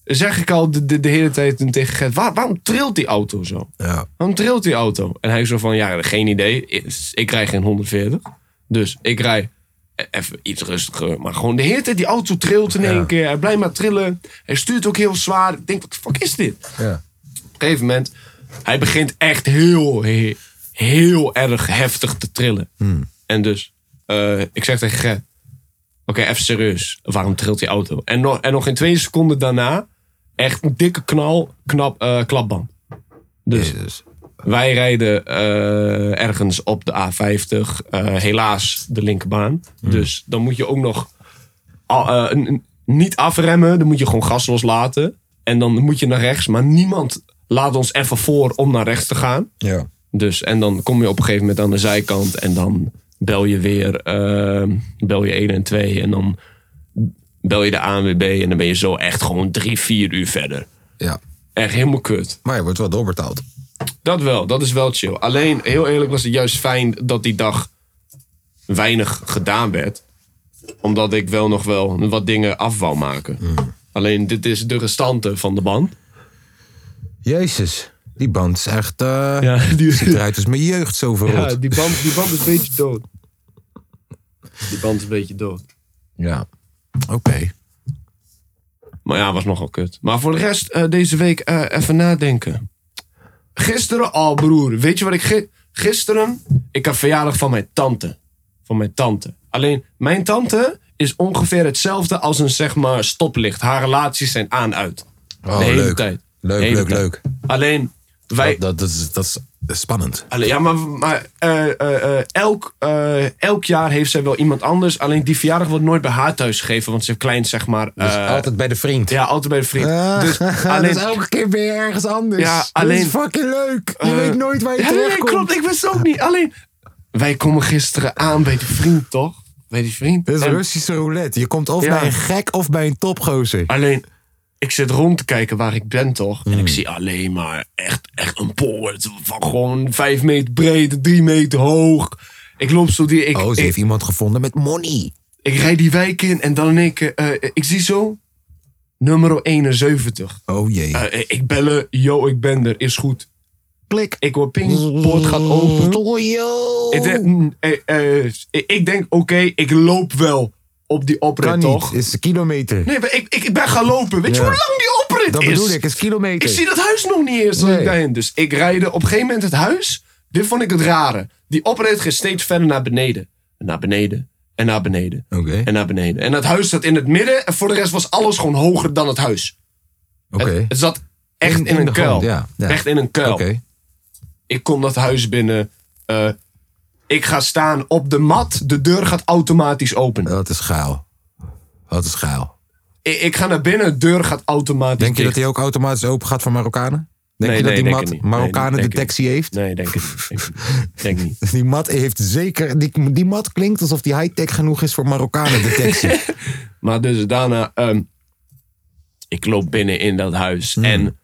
[SPEAKER 2] zeg ik al de, de, de hele tijd tegen Gert, "Waar- waarom trilt die auto zo?
[SPEAKER 1] Ja.
[SPEAKER 2] Waarom trilt die auto? En hij zo van, ja, geen idee. Ik rij geen 140. Dus ik rij e- even iets rustiger. Maar gewoon de hele tijd die auto trilt in één keer. Hij blijft maar trillen. Hij stuurt ook heel zwaar. Ik denk, wat de fuck is dit?
[SPEAKER 1] Ja.
[SPEAKER 2] Op een gegeven moment, hij begint echt heel, heel, heel erg heftig te trillen. En dus, eh, ik zeg tegen Gert, oké, even serieus, waarom trilt die auto? En nog, en nog in twee seconden daarna, echt een dikke knal, knap, eh, klapband. Dus
[SPEAKER 1] Jezus.
[SPEAKER 2] wij rijden eh, ergens op de A50, eh, helaas de linkerbaan. Dus dan moet je ook nog al- eh, n- n- niet afremmen, dan moet je gewoon gas loslaten. En dan moet je naar rechts, maar niemand laat ons even voor om naar rechts te gaan.
[SPEAKER 1] Ja.
[SPEAKER 2] Dus, en dan kom je op een gegeven moment aan de zijkant en dan bel je weer, eh, bel je 1 en 2 en dan bel je de ANWB en dan ben je zo echt gewoon drie, vier uur verder.
[SPEAKER 1] ja.
[SPEAKER 2] Echt helemaal kut.
[SPEAKER 1] Maar je wordt wel doorbetaald.
[SPEAKER 2] Dat wel, dat is wel chill. Alleen, heel eerlijk, was het juist fijn dat die dag weinig gedaan werd. Omdat ik wel nog wel wat dingen af wou maken. Alleen, dit is de restante van de band.
[SPEAKER 1] Jezus. Die band is echt... eh,
[SPEAKER 2] die,
[SPEAKER 1] Ziet eruit als mijn jeugd zo verrot. Ja.
[SPEAKER 2] die, band, die band is een beetje dood. Die band is een beetje dood.
[SPEAKER 1] Oké.
[SPEAKER 2] Maar ja, was nogal kut. Maar voor de rest, eh, deze week eh, even nadenken. Gisteren, al broer, weet je wat ik... gi- gisteren, ik had verjaardag van mijn tante. Van mijn tante. Alleen, mijn tante is ongeveer hetzelfde als een, zeg maar, stoplicht. Haar relaties zijn aan-uit.
[SPEAKER 1] Oh,
[SPEAKER 2] de hele
[SPEAKER 1] leuk.
[SPEAKER 2] tijd.
[SPEAKER 1] Leuk,
[SPEAKER 2] De hele
[SPEAKER 1] leuk,
[SPEAKER 2] tijd.
[SPEAKER 1] leuk.
[SPEAKER 2] Alleen, wij...
[SPEAKER 1] Dat, dat, is, dat is spannend.
[SPEAKER 2] Allee, ja, maar, maar eh, eh, eh, elk, eh, elk jaar heeft zij wel iemand anders. Alleen die verjaardag wordt nooit bij haar thuis gegeven. Want ze heeft klein, zeg maar... eh,
[SPEAKER 1] Altijd bij de vriend.
[SPEAKER 2] ja, altijd bij de vriend.
[SPEAKER 1] Ah, [laughs]
[SPEAKER 2] dus, alleen,
[SPEAKER 1] alleen, elke keer ben je ergens anders.
[SPEAKER 2] Ja,
[SPEAKER 1] Ja, alleen,
[SPEAKER 2] alleen-
[SPEAKER 1] dat is fucking leuk. Je
[SPEAKER 2] Eh,
[SPEAKER 1] weet nooit waar je
[SPEAKER 2] ja, nee,
[SPEAKER 1] terechtkomt.
[SPEAKER 2] klopt. Ik wist ook niet. Alleen, wij komen gisteren aan bij die vriend, toch? Bij die vriend.
[SPEAKER 1] Dit is
[SPEAKER 2] En
[SPEAKER 1] Russische roulette. Je komt of
[SPEAKER 2] Ja.
[SPEAKER 1] bij een gek of bij een topgozer.
[SPEAKER 2] Alleen, ik zit rond te kijken waar ik ben, toch? En
[SPEAKER 1] Hmm.
[SPEAKER 2] ik zie alleen maar echt, echt een poort van gewoon vijf meter breed, drie meter hoog. Ik loop zo die... Ik,
[SPEAKER 1] Oh, ze
[SPEAKER 2] ik,
[SPEAKER 1] heeft iemand gevonden met money.
[SPEAKER 2] ik rijd die wijk in en dan in één keer... eh, ik zie zo... Nummer 71.
[SPEAKER 1] Oh jee.
[SPEAKER 2] Eh, ik bellen. Yo, ik ben er. Is goed.
[SPEAKER 1] Klik.
[SPEAKER 2] Ik hoor ping. Poort gaat open.
[SPEAKER 1] Yo.
[SPEAKER 2] Ik denk, mm, eh, eh, ik- ik denk, oké, ik loop wel op die oprit,
[SPEAKER 1] kan
[SPEAKER 2] toch?
[SPEAKER 1] niet. Is een kilometer.
[SPEAKER 2] Nee, maar ik, ik ben gaan lopen. Weet je
[SPEAKER 1] Ja.
[SPEAKER 2] hoe lang die oprit
[SPEAKER 1] Dat
[SPEAKER 2] is?
[SPEAKER 1] bedoel ik. Is kilometer.
[SPEAKER 2] Ik zie dat huis nog niet eerst.
[SPEAKER 1] Nee.
[SPEAKER 2] Nee. Daarin. Dus ik rijdde op een gegeven moment het huis. Dit vond ik het rare. Die oprit ging steeds verder naar beneden. En naar beneden. En naar beneden.
[SPEAKER 1] Oké.
[SPEAKER 2] En naar beneden. En dat huis zat in het midden. En voor de rest was alles gewoon hoger dan het huis.
[SPEAKER 1] Oké.
[SPEAKER 2] Het, het zat echt
[SPEAKER 1] In-
[SPEAKER 2] in,
[SPEAKER 1] in de
[SPEAKER 2] een kuil.
[SPEAKER 1] grond, ja. Ja.
[SPEAKER 2] Echt in een kuil.
[SPEAKER 1] Oké.
[SPEAKER 2] Ik kom dat huis binnen. eh, Ik ga staan op de mat. De deur gaat automatisch open.
[SPEAKER 1] Dat is gaal. Dat is gaal.
[SPEAKER 2] Ik, ik ga naar binnen. De deur gaat automatisch
[SPEAKER 1] Denk je dat
[SPEAKER 2] dicht.
[SPEAKER 1] hij ook automatisch open gaat voor Marokkanen? Denk
[SPEAKER 2] Nee,
[SPEAKER 1] je dat die
[SPEAKER 2] nee, denk ik
[SPEAKER 1] mat
[SPEAKER 2] niet. Nee,
[SPEAKER 1] Marokkanen
[SPEAKER 2] denk ik
[SPEAKER 1] detectie heeft? [laughs]
[SPEAKER 2] Nee, denk ik niet. Denk ik niet. Denk niet.
[SPEAKER 1] Die mat heeft zeker. Die, die mat klinkt alsof die high-tech genoeg is voor Marokkanen
[SPEAKER 2] [laughs]
[SPEAKER 1] detectie.
[SPEAKER 2] Maar dus daarna, ehm, ik loop binnen in dat huis. En,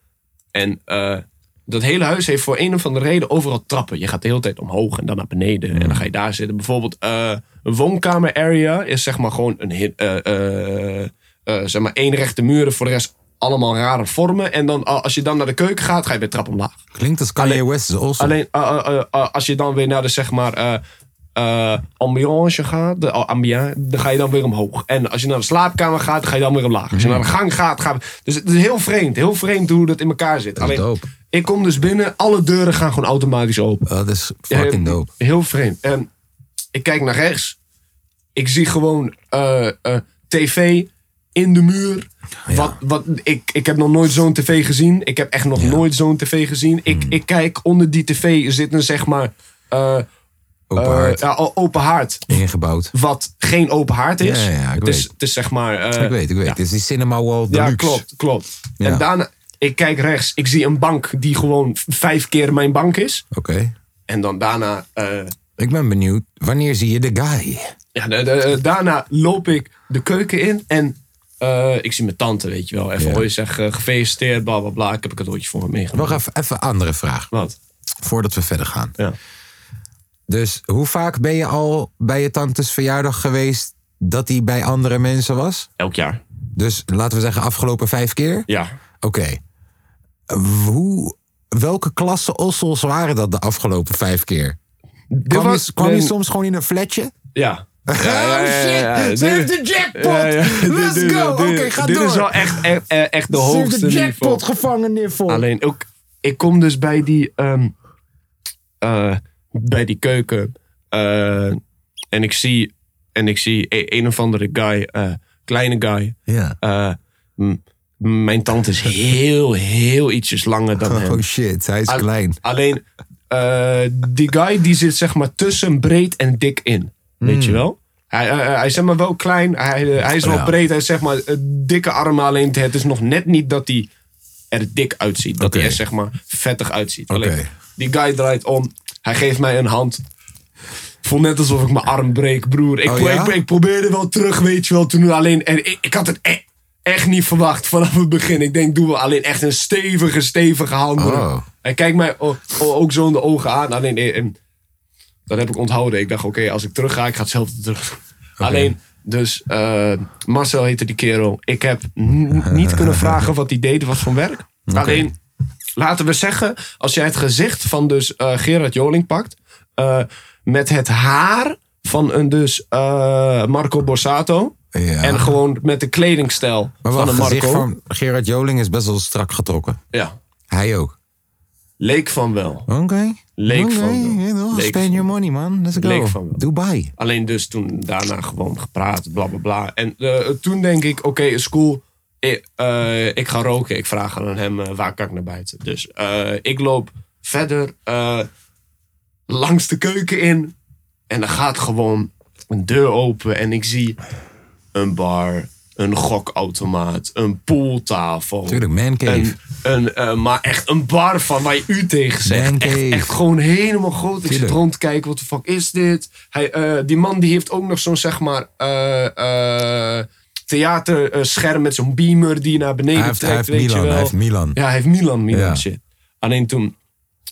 [SPEAKER 2] en eh, dat hele huis heeft voor een of andere reden overal trappen. Je gaat de hele tijd omhoog en dan naar beneden. En dan ga je daar zitten. Bijvoorbeeld, eh, een woonkamer area is zeg maar gewoon een hit, eh, eh, eh, zeg maar één rechte muren. Voor de rest allemaal rare vormen. En dan, eh, als je dan naar de keuken gaat, ga je weer trap omlaag.
[SPEAKER 1] klinkt als Kanye West is awesome.
[SPEAKER 2] Alleen eh, eh, eh, eh, als je dan weer naar de zeg maar eh, eh, ambiance gaat, de eh, ambiance, dan ga je dan weer omhoog. En als je naar de slaapkamer gaat, dan ga je dan weer omlaag. Als
[SPEAKER 1] Mhm.
[SPEAKER 2] je naar de gang gaat, ga dus het is heel vreemd, heel vreemd hoe dat in elkaar zit.
[SPEAKER 1] is
[SPEAKER 2] Alleen,
[SPEAKER 1] dope. Oh,
[SPEAKER 2] ik kom dus binnen, alle deuren gaan gewoon automatisch open.
[SPEAKER 1] dat is fucking
[SPEAKER 2] Eh,
[SPEAKER 1] dope.
[SPEAKER 2] Heel vreemd. En ik kijk naar rechts, ik zie gewoon eh, eh, tv in de muur. Wat, wat, ik, ik heb nog nooit zo'n tv gezien. Ik heb echt nog nooit zo'n tv gezien.
[SPEAKER 1] Hmm.
[SPEAKER 2] Ik, ik kijk, onder die tv zit een zeg maar eh,
[SPEAKER 1] Open
[SPEAKER 2] eh,
[SPEAKER 1] hart.
[SPEAKER 2] ja, o- open haard.
[SPEAKER 1] Ingebouwd.
[SPEAKER 2] Wat geen open haard is.
[SPEAKER 1] Ja, ja, ja, ik
[SPEAKER 2] het, is
[SPEAKER 1] weet.
[SPEAKER 2] het is zeg maar... eh,
[SPEAKER 1] ik weet, ik weet.
[SPEAKER 2] ja.
[SPEAKER 1] Het is die Cinema Wall
[SPEAKER 2] Ja,
[SPEAKER 1] Deluxe.
[SPEAKER 2] klopt, klopt.
[SPEAKER 1] Ja.
[SPEAKER 2] En daarna, ik kijk rechts. Ik zie een bank die gewoon v- vijf keer mijn bank is.
[SPEAKER 1] Oké.
[SPEAKER 2] En dan daarna... eh,
[SPEAKER 1] Ik ben benieuwd. Wanneer zie je de guy?
[SPEAKER 2] ja, de- de- eh, daarna loop ik de keuken in en... eh, ik zie mijn tante, weet je wel. Even
[SPEAKER 1] Ja.
[SPEAKER 2] hoor je zeggen, gefeliciteerd, bla bla bla. Ik heb een cadeautje voor me meegenomen.
[SPEAKER 1] Nog even even een andere vraag.
[SPEAKER 2] Wat?
[SPEAKER 1] Voordat we verder gaan.
[SPEAKER 2] Ja.
[SPEAKER 1] Dus hoe vaak ben je al bij je tantes verjaardag geweest dat hij bij andere mensen was?
[SPEAKER 2] Elk jaar.
[SPEAKER 1] Dus laten we zeggen afgelopen vijf keer?
[SPEAKER 2] Ja.
[SPEAKER 1] Oké. W- Hoe, welke klasse ossels waren dat de afgelopen vijf keer? Kwam,
[SPEAKER 2] was-
[SPEAKER 1] je, kwam je
[SPEAKER 2] nee.
[SPEAKER 1] soms gewoon in een flatje?
[SPEAKER 2] Ja.
[SPEAKER 1] [laughs] oh shit, ze heeft de jackpot! Let's go! Oké, ga
[SPEAKER 2] dit
[SPEAKER 1] door!
[SPEAKER 2] is wel echt, echt, eh, echt de
[SPEAKER 1] ze
[SPEAKER 2] hoogste
[SPEAKER 1] heeft de
[SPEAKER 2] niveau.
[SPEAKER 1] jackpot gevangen, Niffel.
[SPEAKER 2] Alleen ook, ik kom dus bij die, ehm, eh, bij die keuken eh, en ik zie, en ik zie e- een of andere guy, eh, kleine guy.
[SPEAKER 1] Ja.
[SPEAKER 2] eh, m- mijn tante is heel, heel ietsjes langer
[SPEAKER 1] [laughs]
[SPEAKER 2] dan hem.
[SPEAKER 1] Oh shit, hij is
[SPEAKER 2] Al-
[SPEAKER 1] klein.
[SPEAKER 2] Alleen, eh, die guy die zit zeg maar tussen breed en dik in. Weet je wel? Hij, eh, eh, hij is zeg maar wel klein. Hij, eh, hij is wel
[SPEAKER 1] Hmm. Ja.
[SPEAKER 2] breed. Hij heeft zeg maar eh, dikke armen. Alleen het is nog net niet dat hij er dik uitziet. Dat
[SPEAKER 1] Oké.
[SPEAKER 2] hij er zeg maar vettig uitziet.
[SPEAKER 1] Oké.
[SPEAKER 2] Alleen, die guy draait om. Hij geeft mij een hand. Voel net alsof ik mijn arm breek, broer. Ik,
[SPEAKER 1] Oh
[SPEAKER 2] pro-
[SPEAKER 1] ja?
[SPEAKER 2] ik, ik probeerde wel terug, weet je wel. Toen alleen, en ik, ik had het e- echt niet verwacht vanaf het begin. Ik denk, doen we alleen echt een stevige, stevige handdruk.
[SPEAKER 1] Oh.
[SPEAKER 2] Hij kijkt mij o- o- ook zo in de ogen aan. Alleen, eh, eh, dat heb ik onthouden. Ik dacht, oké, als ik terug ga, ik ga hetzelfde terug. Alleen, dus eh, Marcel heette die kerel. Ik heb n- niet
[SPEAKER 1] [laughs]
[SPEAKER 2] kunnen vragen wat hij deed. Het was van werk. Alleen, laten we zeggen, als jij het gezicht van dus eh, Gerard Joling pakt. eh, met het haar van een dus eh, Marco Borsato.
[SPEAKER 1] Ja.
[SPEAKER 2] En gewoon met de kledingstijl
[SPEAKER 1] Maar
[SPEAKER 2] van
[SPEAKER 1] wacht,
[SPEAKER 2] een
[SPEAKER 1] het
[SPEAKER 2] Marco.
[SPEAKER 1] gezicht van Gerard Joling is best wel strak getrokken.
[SPEAKER 2] Ja,
[SPEAKER 1] Hij ook.
[SPEAKER 2] leek van wel.
[SPEAKER 1] Oké.
[SPEAKER 2] Leek
[SPEAKER 1] Oké,
[SPEAKER 2] van wel.
[SPEAKER 1] you know,
[SPEAKER 2] Leek
[SPEAKER 1] Spend
[SPEAKER 2] van
[SPEAKER 1] your money, man. Let's go.
[SPEAKER 2] Leek van wel.
[SPEAKER 1] Dubai.
[SPEAKER 2] Alleen dus toen daarna gewoon gepraat, bla bla bla. En eh, toen denk ik, oké, is cool. Ik, eh, ik ga roken. Ik vraag aan hem, eh, waar kan ik naar buiten? Dus eh, ik loop verder eh, langs de keuken in. En er gaat gewoon een deur open. En ik zie een bar, een gokautomaat, een pooltafel.
[SPEAKER 1] Tuurlijk, man cave.
[SPEAKER 2] Een, een, eh, maar echt een bar van waar je u tegen
[SPEAKER 1] Man
[SPEAKER 2] zegt.
[SPEAKER 1] cave.
[SPEAKER 2] Echt, echt gewoon helemaal groot. Ik zit
[SPEAKER 1] Tuurlijk.
[SPEAKER 2] rond te kijken, wat de fuck is dit? Hij, eh, die man die heeft ook nog zo'n zeg maar eh, eh, theaterscherm met zo'n beamer die je naar beneden
[SPEAKER 1] Hij heeft- hij
[SPEAKER 2] trekt.
[SPEAKER 1] heeft
[SPEAKER 2] weet je
[SPEAKER 1] Milan,
[SPEAKER 2] wel.
[SPEAKER 1] hij heeft Milan.
[SPEAKER 2] Ja, hij heeft Milan, Milan
[SPEAKER 1] Ja.
[SPEAKER 2] shit. Alleen toen,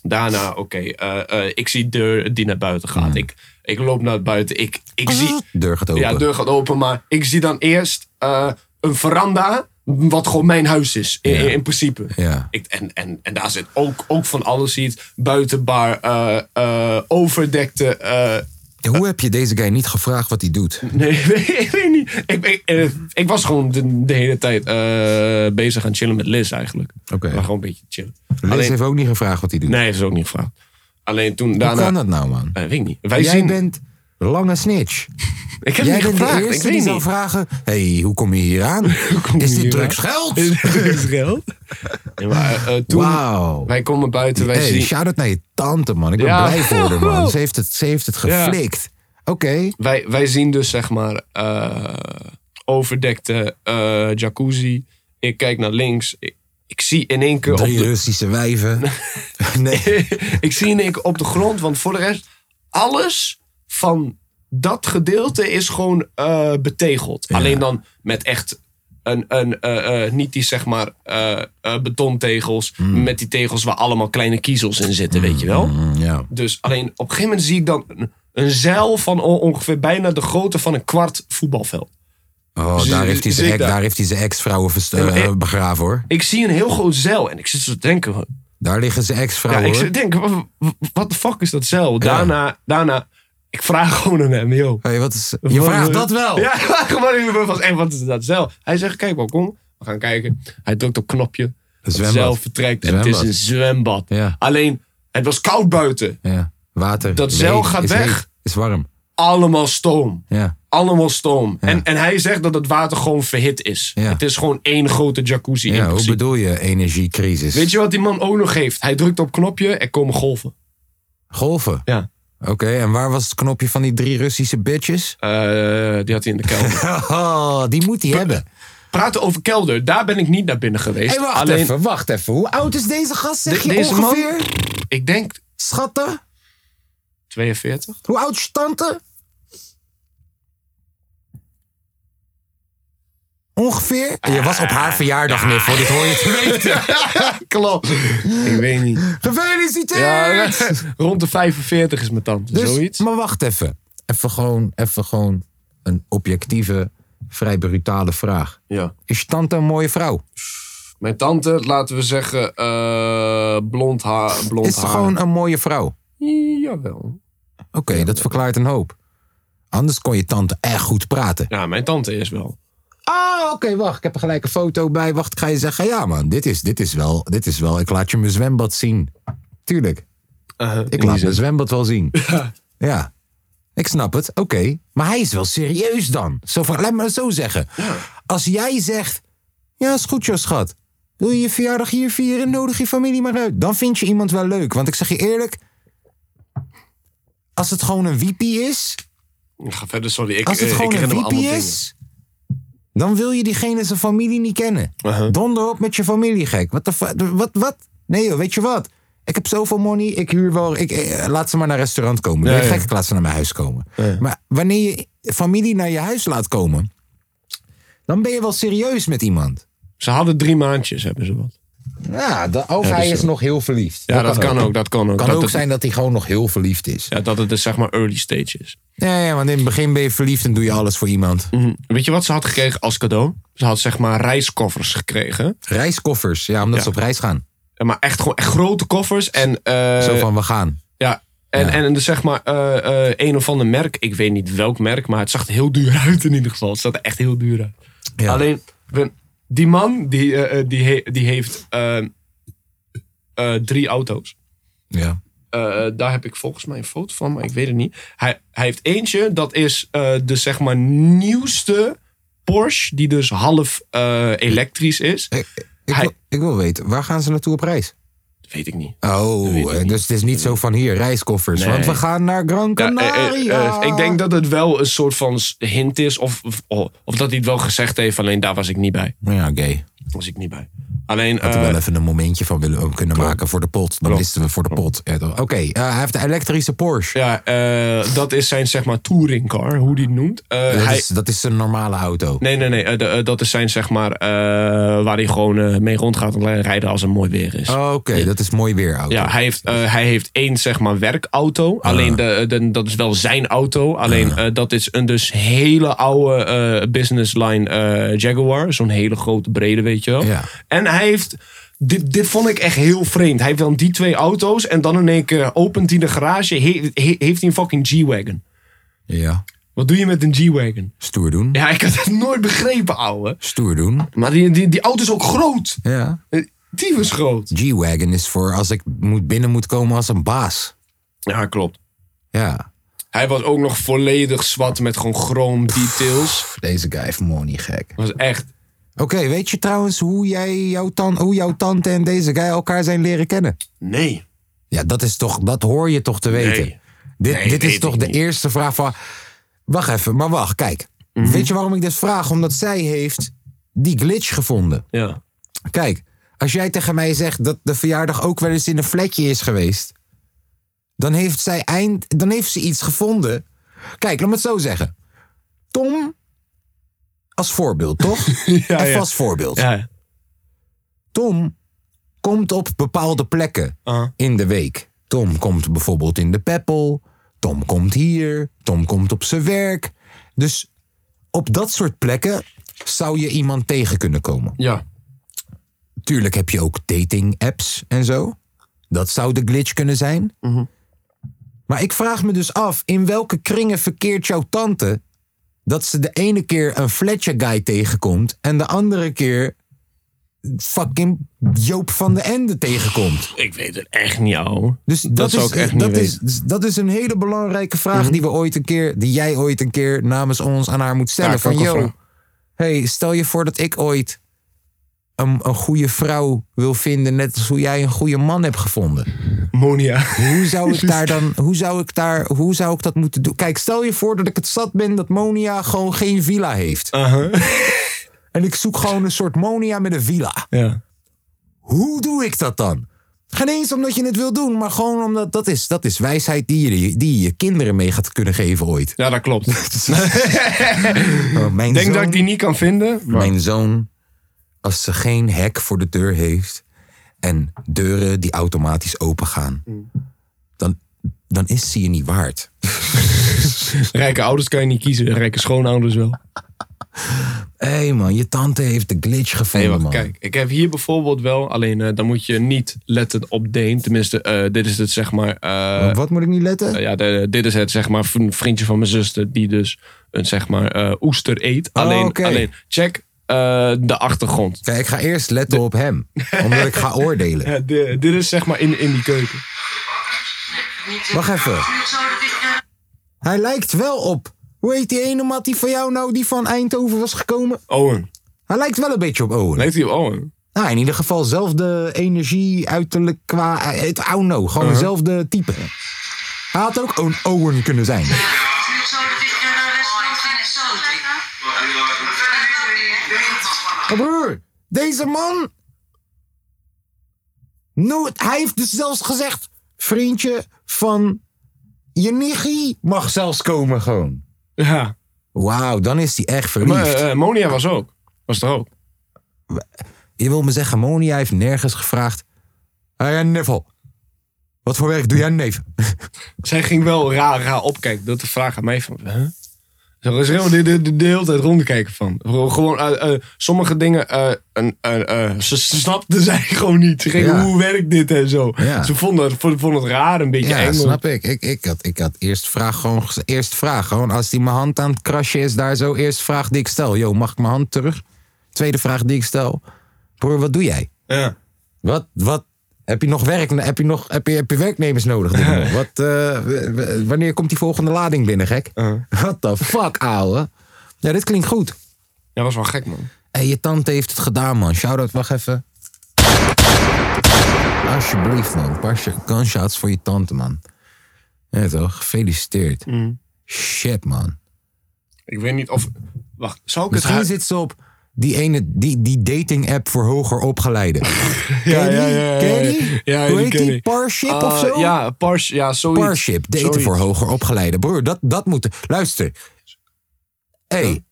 [SPEAKER 2] daarna, oké, eh, eh, ik zie de deur die naar buiten gaat.
[SPEAKER 1] Mm.
[SPEAKER 2] Ik, ik loop naar buiten, ik, ik zie...
[SPEAKER 1] Deur gaat open.
[SPEAKER 2] Ja, deur gaat open, maar ik zie dan eerst eh, een veranda, wat gewoon mijn huis is, in, in principe.
[SPEAKER 1] Ja.
[SPEAKER 2] Ik, en, en, en daar zit ook, ook van alles iets. Buitenbar, eh, eh, overdekte. eh,
[SPEAKER 1] Hoe heb je deze guy niet gevraagd wat hij doet?
[SPEAKER 2] nee, [laughs] ik weet niet. Ik, ik, eh, ik was gewoon de, de hele tijd eh, bezig aan chillen met Liz eigenlijk.
[SPEAKER 1] Oké.
[SPEAKER 2] Maar gewoon een beetje chillen.
[SPEAKER 1] Liz
[SPEAKER 2] Alleen,
[SPEAKER 1] heeft ook niet gevraagd wat hij doet.
[SPEAKER 2] Nee, dat is ook niet gevraagd. Alleen toen
[SPEAKER 1] Hoe
[SPEAKER 2] daarna.
[SPEAKER 1] kan dat nou, man?
[SPEAKER 2] Eh, weet ik niet. Wij
[SPEAKER 1] Jij
[SPEAKER 2] zien.
[SPEAKER 1] bent lange snitch.
[SPEAKER 2] Ik heb
[SPEAKER 1] Jij
[SPEAKER 2] niet
[SPEAKER 1] bent de
[SPEAKER 2] gevraagd. Ik
[SPEAKER 1] eerste die
[SPEAKER 2] weet
[SPEAKER 1] zou
[SPEAKER 2] niet.
[SPEAKER 1] vragen... hey, hoe kom je hier
[SPEAKER 2] [laughs]
[SPEAKER 1] aan? Is dit drugsgeld?
[SPEAKER 2] Israël? Ja, maar eh, eh, toen
[SPEAKER 1] Wauw.
[SPEAKER 2] wij komen buiten, wij
[SPEAKER 1] Hey,
[SPEAKER 2] zien...
[SPEAKER 1] shout-out naar je tante, man. Ik ben
[SPEAKER 2] Ja.
[SPEAKER 1] blij voor haar,
[SPEAKER 2] [laughs]
[SPEAKER 1] man. Ze heeft het, ze heeft het
[SPEAKER 2] Ja.
[SPEAKER 1] geflikt. Oké.
[SPEAKER 2] Wij, wij zien dus zeg maar eh, overdekte eh, jacuzzi. Ik kijk naar links. Ik, ik zie in één keer op
[SPEAKER 1] Drie
[SPEAKER 2] de,
[SPEAKER 1] Russische wijven. nee.
[SPEAKER 2] [laughs] ik zie in één keer op de grond. Want voor de rest, alles van dat gedeelte is gewoon eh, betegeld. Alleen dan met echt een, een eh, eh, niet die zeg maar eh, eh, betontegels. Met die tegels waar allemaal kleine kiezels in zitten, weet je wel.
[SPEAKER 1] Mm, Ja.
[SPEAKER 2] Dus alleen op een gegeven moment zie ik dan een, een zeil van on- ongeveer bijna de grootte van een kwart voetbalveld.
[SPEAKER 1] Oh,
[SPEAKER 2] Dus
[SPEAKER 1] daar
[SPEAKER 2] je-
[SPEAKER 1] heeft hij
[SPEAKER 2] je
[SPEAKER 1] zijn
[SPEAKER 2] ziet
[SPEAKER 1] ex-
[SPEAKER 2] daar-
[SPEAKER 1] daar heeft hij zijn ex-vrouwen verst- eh,
[SPEAKER 2] eh,
[SPEAKER 1] begraven, hoor.
[SPEAKER 2] Ik zie een heel groot zeil en ik zit zo te denken. huh?
[SPEAKER 1] Daar liggen zijn
[SPEAKER 2] Ja,
[SPEAKER 1] ex-vrouwen,
[SPEAKER 2] ik
[SPEAKER 1] Oh, hoor.
[SPEAKER 2] zit te denken, wa- wa- wat de fuck is dat zeil? Daarna, daarna, ik vraag gewoon aan hem, joh.
[SPEAKER 1] Hey, wat is, je
[SPEAKER 2] Wat-
[SPEAKER 1] vraagt dat wel.
[SPEAKER 2] Ja, [laughs] gewoon even van, hey, wat is dat zeil? Hij zegt, kijk maar, kom, we gaan kijken. Hij drukt op knopje, het
[SPEAKER 1] zwembad.
[SPEAKER 2] zeil vertrekt en het is
[SPEAKER 1] Zwembad.
[SPEAKER 2] een zwembad.
[SPEAKER 1] Ja.
[SPEAKER 2] Alleen, het was koud buiten,
[SPEAKER 1] Ja. Water.
[SPEAKER 2] Dat
[SPEAKER 1] is
[SPEAKER 2] zeil
[SPEAKER 1] heet,
[SPEAKER 2] gaat
[SPEAKER 1] is
[SPEAKER 2] weg.
[SPEAKER 1] heet, is warm.
[SPEAKER 2] allemaal stoom.
[SPEAKER 1] Ja.
[SPEAKER 2] Allemaal stoom. En, en hij zegt dat het water gewoon verhit is.
[SPEAKER 1] Ja.
[SPEAKER 2] Het is gewoon één grote jacuzzi in
[SPEAKER 1] Ja, hoe
[SPEAKER 2] principe.
[SPEAKER 1] bedoel je energiecrisis?
[SPEAKER 2] Weet je wat die man ook nog heeft? Hij drukt op knopje, er komen golven.
[SPEAKER 1] Golven.
[SPEAKER 2] Ja.
[SPEAKER 1] Oké, en waar was het knopje van die drie Russische bitches?
[SPEAKER 2] Eh, die had hij in de kelder.
[SPEAKER 1] [laughs] Oh, die moet hij hebben.
[SPEAKER 2] Praten over kelder, daar ben ik niet naar binnen geweest.
[SPEAKER 1] Hé, wacht
[SPEAKER 2] Alleen,
[SPEAKER 1] even, wacht even. Hoe oud is deze gast, zeg
[SPEAKER 2] De-
[SPEAKER 1] je
[SPEAKER 2] deze man-
[SPEAKER 1] ongeveer?
[SPEAKER 2] ik denk
[SPEAKER 1] Schatten? [laughs]
[SPEAKER 2] 42.
[SPEAKER 1] Hoe oud is je tante? Ongeveer? Je was op haar verjaardag, meer voor dit hoor [laughs] je te weten.
[SPEAKER 2] Klopt. ik weet niet. Ja, [laughs]
[SPEAKER 1] Gefeliciteerd!
[SPEAKER 2] rond de 45 is mijn tante,
[SPEAKER 1] Dus,
[SPEAKER 2] zoiets.
[SPEAKER 1] Maar wacht even. Even gewoon, even gewoon een objectieve, vrij brutale vraag.
[SPEAKER 2] Ja.
[SPEAKER 1] Is je tante een mooie vrouw?
[SPEAKER 2] Mijn tante, laten we zeggen, eh, blond haar. Blond
[SPEAKER 1] Is ze
[SPEAKER 2] haar.
[SPEAKER 1] gewoon een mooie vrouw?
[SPEAKER 2] Jawel.
[SPEAKER 1] Oké, dat verklaart een hoop. Anders kon je tante echt goed praten.
[SPEAKER 2] Ja, mijn tante is wel.
[SPEAKER 1] Ah, oké, wacht. Ik heb er gelijk een foto bij. Wacht, ik ga je zeggen. Ja, man, dit is, dit is, wel, dit is wel. Ik laat je mijn zwembad zien. Tuurlijk.
[SPEAKER 2] Eh, in
[SPEAKER 1] Ik
[SPEAKER 2] die
[SPEAKER 1] laat
[SPEAKER 2] zin.
[SPEAKER 1] mijn zwembad wel
[SPEAKER 2] [laughs]
[SPEAKER 1] zien. Ja. Ik snap het, oké. Maar hij is wel serieus dan. Zo van, laat me het zo zeggen. Als jij zegt, ja, is goed, joh, schat. Wil je je verjaardag hier vieren? Nodig je familie maar uit. Dan vind je iemand wel leuk. Want ik zeg je eerlijk, als het gewoon een wiepie is,
[SPEAKER 2] Ik ga verder, sorry. Ik,
[SPEAKER 1] als het
[SPEAKER 2] eh, ik
[SPEAKER 1] gewoon een
[SPEAKER 2] herinner me
[SPEAKER 1] wiepie
[SPEAKER 2] allemaal
[SPEAKER 1] is, dan wil je diegene zijn familie niet kennen.
[SPEAKER 2] Uh-huh.
[SPEAKER 1] Donder op met je familie, gek. Wat de fu- de- Wat, wat? Nee joh, weet je wat? Ik heb zoveel money, ik huur wel... Ik, eh, laat ze maar naar een restaurant komen. Ben je
[SPEAKER 2] Ja, ja.
[SPEAKER 1] gek, ik laat ze naar mijn huis komen. Maar wanneer je familie naar je huis laat komen... dan ben je wel serieus met iemand.
[SPEAKER 2] Ze hadden drie maandjes, hebben ze wat.
[SPEAKER 1] Ja, dus, de, of hij is nog heel verliefd.
[SPEAKER 2] Ja, dat kan ook, dat kan ook.
[SPEAKER 1] kan
[SPEAKER 2] dat
[SPEAKER 1] ook
[SPEAKER 2] het-
[SPEAKER 1] zijn dat hij gewoon nog heel verliefd is.
[SPEAKER 2] Ja, dat het dus zeg maar early stage is.
[SPEAKER 1] Ja, ja, want in het begin ben je verliefd en doe je alles voor iemand.
[SPEAKER 2] Weet je wat ze had gekregen als cadeau? Ze had zeg maar reiskoffers gekregen.
[SPEAKER 1] Reiskoffers, ja, omdat
[SPEAKER 2] Ja.
[SPEAKER 1] ze op reis gaan.
[SPEAKER 2] Ja, Maar echt gewoon echt grote koffers. En, eh,
[SPEAKER 1] Zo van, we gaan.
[SPEAKER 2] ja, en, en, en dus zeg maar eh, eh, een of ander merk. Ik weet niet welk merk, maar het zag er heel duur [laughs] uit in ieder geval. Het zag er echt heel duur uit.
[SPEAKER 1] Ja.
[SPEAKER 2] Alleen, we- die man die, eh, eh, die, he- die heeft eh, eh, drie auto's.
[SPEAKER 1] Ja.
[SPEAKER 2] Eh, daar heb ik volgens mij een foto van, maar ik weet het niet. Hij, hij heeft eentje, dat is eh, de zeg maar nieuwste Porsche, die dus half eh, elektrisch is.
[SPEAKER 1] Ik, ik,
[SPEAKER 2] Hij-
[SPEAKER 1] wil, ik wil weten, waar gaan ze naartoe op reis?
[SPEAKER 2] Dat weet ik niet.
[SPEAKER 1] Oh,
[SPEAKER 2] weet ik
[SPEAKER 1] eh,
[SPEAKER 2] niet.
[SPEAKER 1] dus het is niet zo van hier, reiskoffers.
[SPEAKER 2] Nee.
[SPEAKER 1] Want we gaan naar Gran
[SPEAKER 2] Ja, eh, eh,
[SPEAKER 1] Canaria.
[SPEAKER 2] eh, ik denk dat het wel een soort van s- hint is, of, of, oh, of dat hij het wel gezegd heeft, alleen daar was ik niet bij.
[SPEAKER 1] Nou Ja, oké. Okay.
[SPEAKER 2] Was ik niet bij. Alleen,
[SPEAKER 1] Had er
[SPEAKER 2] eh,
[SPEAKER 1] wel even een momentje van willen ook kunnen maken voor de pot. Dan
[SPEAKER 2] Klopt.
[SPEAKER 1] wisten we voor de pot. Ja, toch. Oké, eh, hij heeft de elektrische Porsche.
[SPEAKER 2] ja, eh, dat is zijn zeg maar touringcar, hoe die het noemt. Eh,
[SPEAKER 1] dat,
[SPEAKER 2] hij,
[SPEAKER 1] is, dat is een normale auto.
[SPEAKER 2] Nee, nee, nee. eh, de- eh, dat is zijn, zeg maar, eh, waar hij gewoon eh, mee rondgaat en rijden als het mooi weer is.
[SPEAKER 1] Oh, Oké, dat is mooi weer auto.
[SPEAKER 2] Ja, hij heeft, eh, hij heeft één, zeg maar, werkauto. Alleen, de, de- dat is wel zijn auto. Alleen, eh, dat is een dus hele oude eh, business line eh, Jaguar. Zo'n hele grote, brede, weet je wel.
[SPEAKER 1] Ja.
[SPEAKER 2] En hij heeft... Dit, dit vond ik echt heel vreemd. Hij heeft dan die twee auto's en dan in één keer opent hij de garage. he- he- heeft hij een fucking G-Wagon.
[SPEAKER 1] Ja,
[SPEAKER 2] Wat doe je met een G-Wagon?
[SPEAKER 1] stoer doen.
[SPEAKER 2] Ja, ik had het nooit begrepen, ouwe.
[SPEAKER 1] Stoer doen.
[SPEAKER 2] Maar die, die, die auto is ook groot.
[SPEAKER 1] Ja.
[SPEAKER 2] Eh, Tyfus groot.
[SPEAKER 1] G-Wagon is voor als ik moet binnen moet komen als een baas.
[SPEAKER 2] Ja, klopt.
[SPEAKER 1] Ja.
[SPEAKER 2] Hij was ook nog volledig zwart met gewoon chroom details.
[SPEAKER 1] Deze guy heeft money gek.
[SPEAKER 2] Was echt.
[SPEAKER 1] Oké, weet je trouwens hoe, jij, jouw tan, hoe jouw tante en deze guy elkaar zijn leren kennen?
[SPEAKER 2] Nee.
[SPEAKER 1] Ja, dat is toch, dat hoor je toch te weten.
[SPEAKER 2] Nee.
[SPEAKER 1] Dit,
[SPEAKER 2] Nee,
[SPEAKER 1] dit
[SPEAKER 2] weet
[SPEAKER 1] is
[SPEAKER 2] ik
[SPEAKER 1] toch de
[SPEAKER 2] niet.
[SPEAKER 1] eerste vraag van. Wacht even, maar wacht, kijk.
[SPEAKER 2] Mhm.
[SPEAKER 1] Weet je waarom ik dit vraag? Omdat zij heeft die glitch gevonden.
[SPEAKER 2] Ja.
[SPEAKER 1] Kijk, als jij tegen mij zegt dat de verjaardag ook wel eens in een vlekje is geweest, dan heeft zij eind, dan heeft ze iets gevonden. Kijk, laat me het zo zeggen. Tom als voorbeeld, toch?
[SPEAKER 2] [laughs] Ja,
[SPEAKER 1] Even
[SPEAKER 2] ja.
[SPEAKER 1] als voorbeeld.
[SPEAKER 2] Ja.
[SPEAKER 1] Tom komt op bepaalde plekken
[SPEAKER 2] Ah.
[SPEAKER 1] in de week. Tom komt bijvoorbeeld in de Peppel. Tom komt hier. Tom komt op zijn werk. Dus op dat soort plekken zou je iemand tegen kunnen komen.
[SPEAKER 2] Ja.
[SPEAKER 1] Tuurlijk heb je ook dating apps en zo. Dat zou de glitch kunnen zijn. Maar ik vraag me dus af, in welke kringen verkeert jouw tante dat ze de ene keer een Fletcher guy tegenkomt en de andere keer fucking Joop van de Ende tegenkomt?
[SPEAKER 2] Ik weet het echt niet, ouwe.
[SPEAKER 1] Dus dat,
[SPEAKER 2] zou
[SPEAKER 1] is,
[SPEAKER 2] ik echt niet
[SPEAKER 1] dat, is,
[SPEAKER 2] weten. Mhm.
[SPEAKER 1] dus dat is een hele belangrijke vraag die we ooit een keer, die jij ooit een keer namens ons aan haar moet stellen.
[SPEAKER 2] Ja, ik
[SPEAKER 1] van
[SPEAKER 2] ook een
[SPEAKER 1] yo,
[SPEAKER 2] vraag.
[SPEAKER 1] hey, stel je voor dat ik ooit een, een goede vrouw wil vinden, net als hoe jij een goede man hebt gevonden.
[SPEAKER 2] Monia.
[SPEAKER 1] Hoe zou ik daar
[SPEAKER 2] [laughs]
[SPEAKER 1] dan, hoe zou ik daar, hoe zou ik dat moeten doen? Kijk, stel je voor dat ik het zat ben dat Monia gewoon geen villa heeft.
[SPEAKER 2] Uh-huh.
[SPEAKER 1] [laughs] En ik zoek gewoon een soort Monia met een villa.
[SPEAKER 2] Ja.
[SPEAKER 1] Hoe doe ik dat dan? Geen eens omdat je het wil doen, maar gewoon omdat dat is, dat is wijsheid die je, die je je kinderen mee gaat kunnen geven ooit.
[SPEAKER 2] ja, [laughs] dat klopt.
[SPEAKER 1] Oh, mijn
[SPEAKER 2] Ik Mm. denk dat
[SPEAKER 1] zoon-
[SPEAKER 2] ik die niet kan vinden. maar-
[SPEAKER 1] Mijn zoon, als ze geen hek voor de deur heeft en deuren die automatisch opengaan,
[SPEAKER 2] Mm.
[SPEAKER 1] dan, dan is ze je niet waard.
[SPEAKER 2] Rijke ouders kan je niet kiezen. Rijke schoonouders wel.
[SPEAKER 1] Hé hey man, je tante heeft de glitch
[SPEAKER 2] Nee,
[SPEAKER 1] gevonden
[SPEAKER 2] wacht,
[SPEAKER 1] man.
[SPEAKER 2] kijk. Ik heb hier bijvoorbeeld wel, alleen eh, dan moet je niet letten op Deen. Tenminste, eh, dit is het zeg maar. eh,
[SPEAKER 1] Wat moet ik niet letten?
[SPEAKER 2] eh, ja, de- dit is het zeg maar een vriendje van mijn zuster die dus een zeg maar eh, oester eet.
[SPEAKER 1] Oh,
[SPEAKER 2] alleen,
[SPEAKER 1] oké.
[SPEAKER 2] alleen check eh, de achtergrond.
[SPEAKER 1] Kijk, ik ga eerst letten op hem, omdat ik
[SPEAKER 2] [laughs]
[SPEAKER 1] ga oordelen.
[SPEAKER 2] Ja, di- dit is zeg maar in, in die keuken.
[SPEAKER 1] Wacht even. Hij lijkt wel op. Hoe heet die ene mat die van jou nou die van Eindhoven was gekomen?
[SPEAKER 2] Owen.
[SPEAKER 1] Hij lijkt wel een beetje op Owen.
[SPEAKER 2] Leeft hij op Owen?
[SPEAKER 1] Nou, in ieder geval zelfde energie, uiterlijk qua. eh, Het Auno, gewoon
[SPEAKER 2] Uh-huh.
[SPEAKER 1] dezelfde type. Hij had ook een Owen kunnen zijn. Maar Oh, broer, deze man. No, hij heeft dus zelfs gezegd: vriendje van je nichie mag zelfs komen, gewoon.
[SPEAKER 2] Ja.
[SPEAKER 1] Wauw, dan is hij echt
[SPEAKER 2] Maar
[SPEAKER 1] verliefd.
[SPEAKER 2] eh, eh, Monia was ook. Was er ook.
[SPEAKER 1] Je wil me zeggen, Monia heeft nergens gevraagd. Hé, hey, Niffel. Wat voor werk doe jij, neef?
[SPEAKER 2] Zij ging wel raar, raar opkijken. Dat de vraag aan mij van... Huh? Zo is er helemaal de, de, de, de hele tijd rondkijken van. Gewoon, gewoon, eh, eh, sommige dingen... eh, een- een- eh, ze ze snapte [laughs] zij gewoon niet. Ze ging,
[SPEAKER 1] Ja.
[SPEAKER 2] hoe werkt dit en zo.
[SPEAKER 1] Ja.
[SPEAKER 2] Ze vonden het, vonden vonden het raar, een beetje
[SPEAKER 1] Ja,
[SPEAKER 2] eng.
[SPEAKER 1] snap ik. Ik, ik, had, ik had eerst vraag gewoon. gez- Eerst vraag gewoon. Als die mijn hand aan het krasje is, daar zo. Eerst vraag die ik stel. Yo, mag ik mijn hand terug? Tweede vraag die ik stel. Broer, wat doe jij?
[SPEAKER 2] Ja.
[SPEAKER 1] Wat, wat? Heb je nog werk? Heb je nog heb je, heb je werknemers nodig? Wat, eh, w- w- wanneer komt die volgende lading binnen, gek? What the fuck, ouwe? Ja, dit klinkt goed.
[SPEAKER 2] ja, was wel gek, man.
[SPEAKER 1] Hé, je tante heeft het gedaan, man. Shout-out, wacht even. Alsjeblieft, man. Pas je gunshots voor je tante, man. Ja, toch? Gefeliciteerd.
[SPEAKER 2] Mm.
[SPEAKER 1] Shit, man.
[SPEAKER 2] Ik weet niet of... Wacht, zou ik het...
[SPEAKER 1] Misschien
[SPEAKER 2] hui-
[SPEAKER 1] zit ze op die ene, die, die dating-app voor hoger opgeleiden.
[SPEAKER 2] [laughs] Ja,
[SPEAKER 1] Ken je
[SPEAKER 2] ja,
[SPEAKER 1] die?
[SPEAKER 2] ja, ja,
[SPEAKER 1] Ken je
[SPEAKER 2] ja.
[SPEAKER 1] die?
[SPEAKER 2] Ja,
[SPEAKER 1] Hoe
[SPEAKER 2] die
[SPEAKER 1] heet
[SPEAKER 2] ken
[SPEAKER 1] die?
[SPEAKER 2] ik.
[SPEAKER 1] Parship of
[SPEAKER 2] Eh,
[SPEAKER 1] zo?
[SPEAKER 2] Ja, pars, ja, zoiets.
[SPEAKER 1] Parship, daten
[SPEAKER 2] Zoiets.
[SPEAKER 1] voor hoger opgeleiden. Broer, dat, dat moet... Luister. Hé, hey,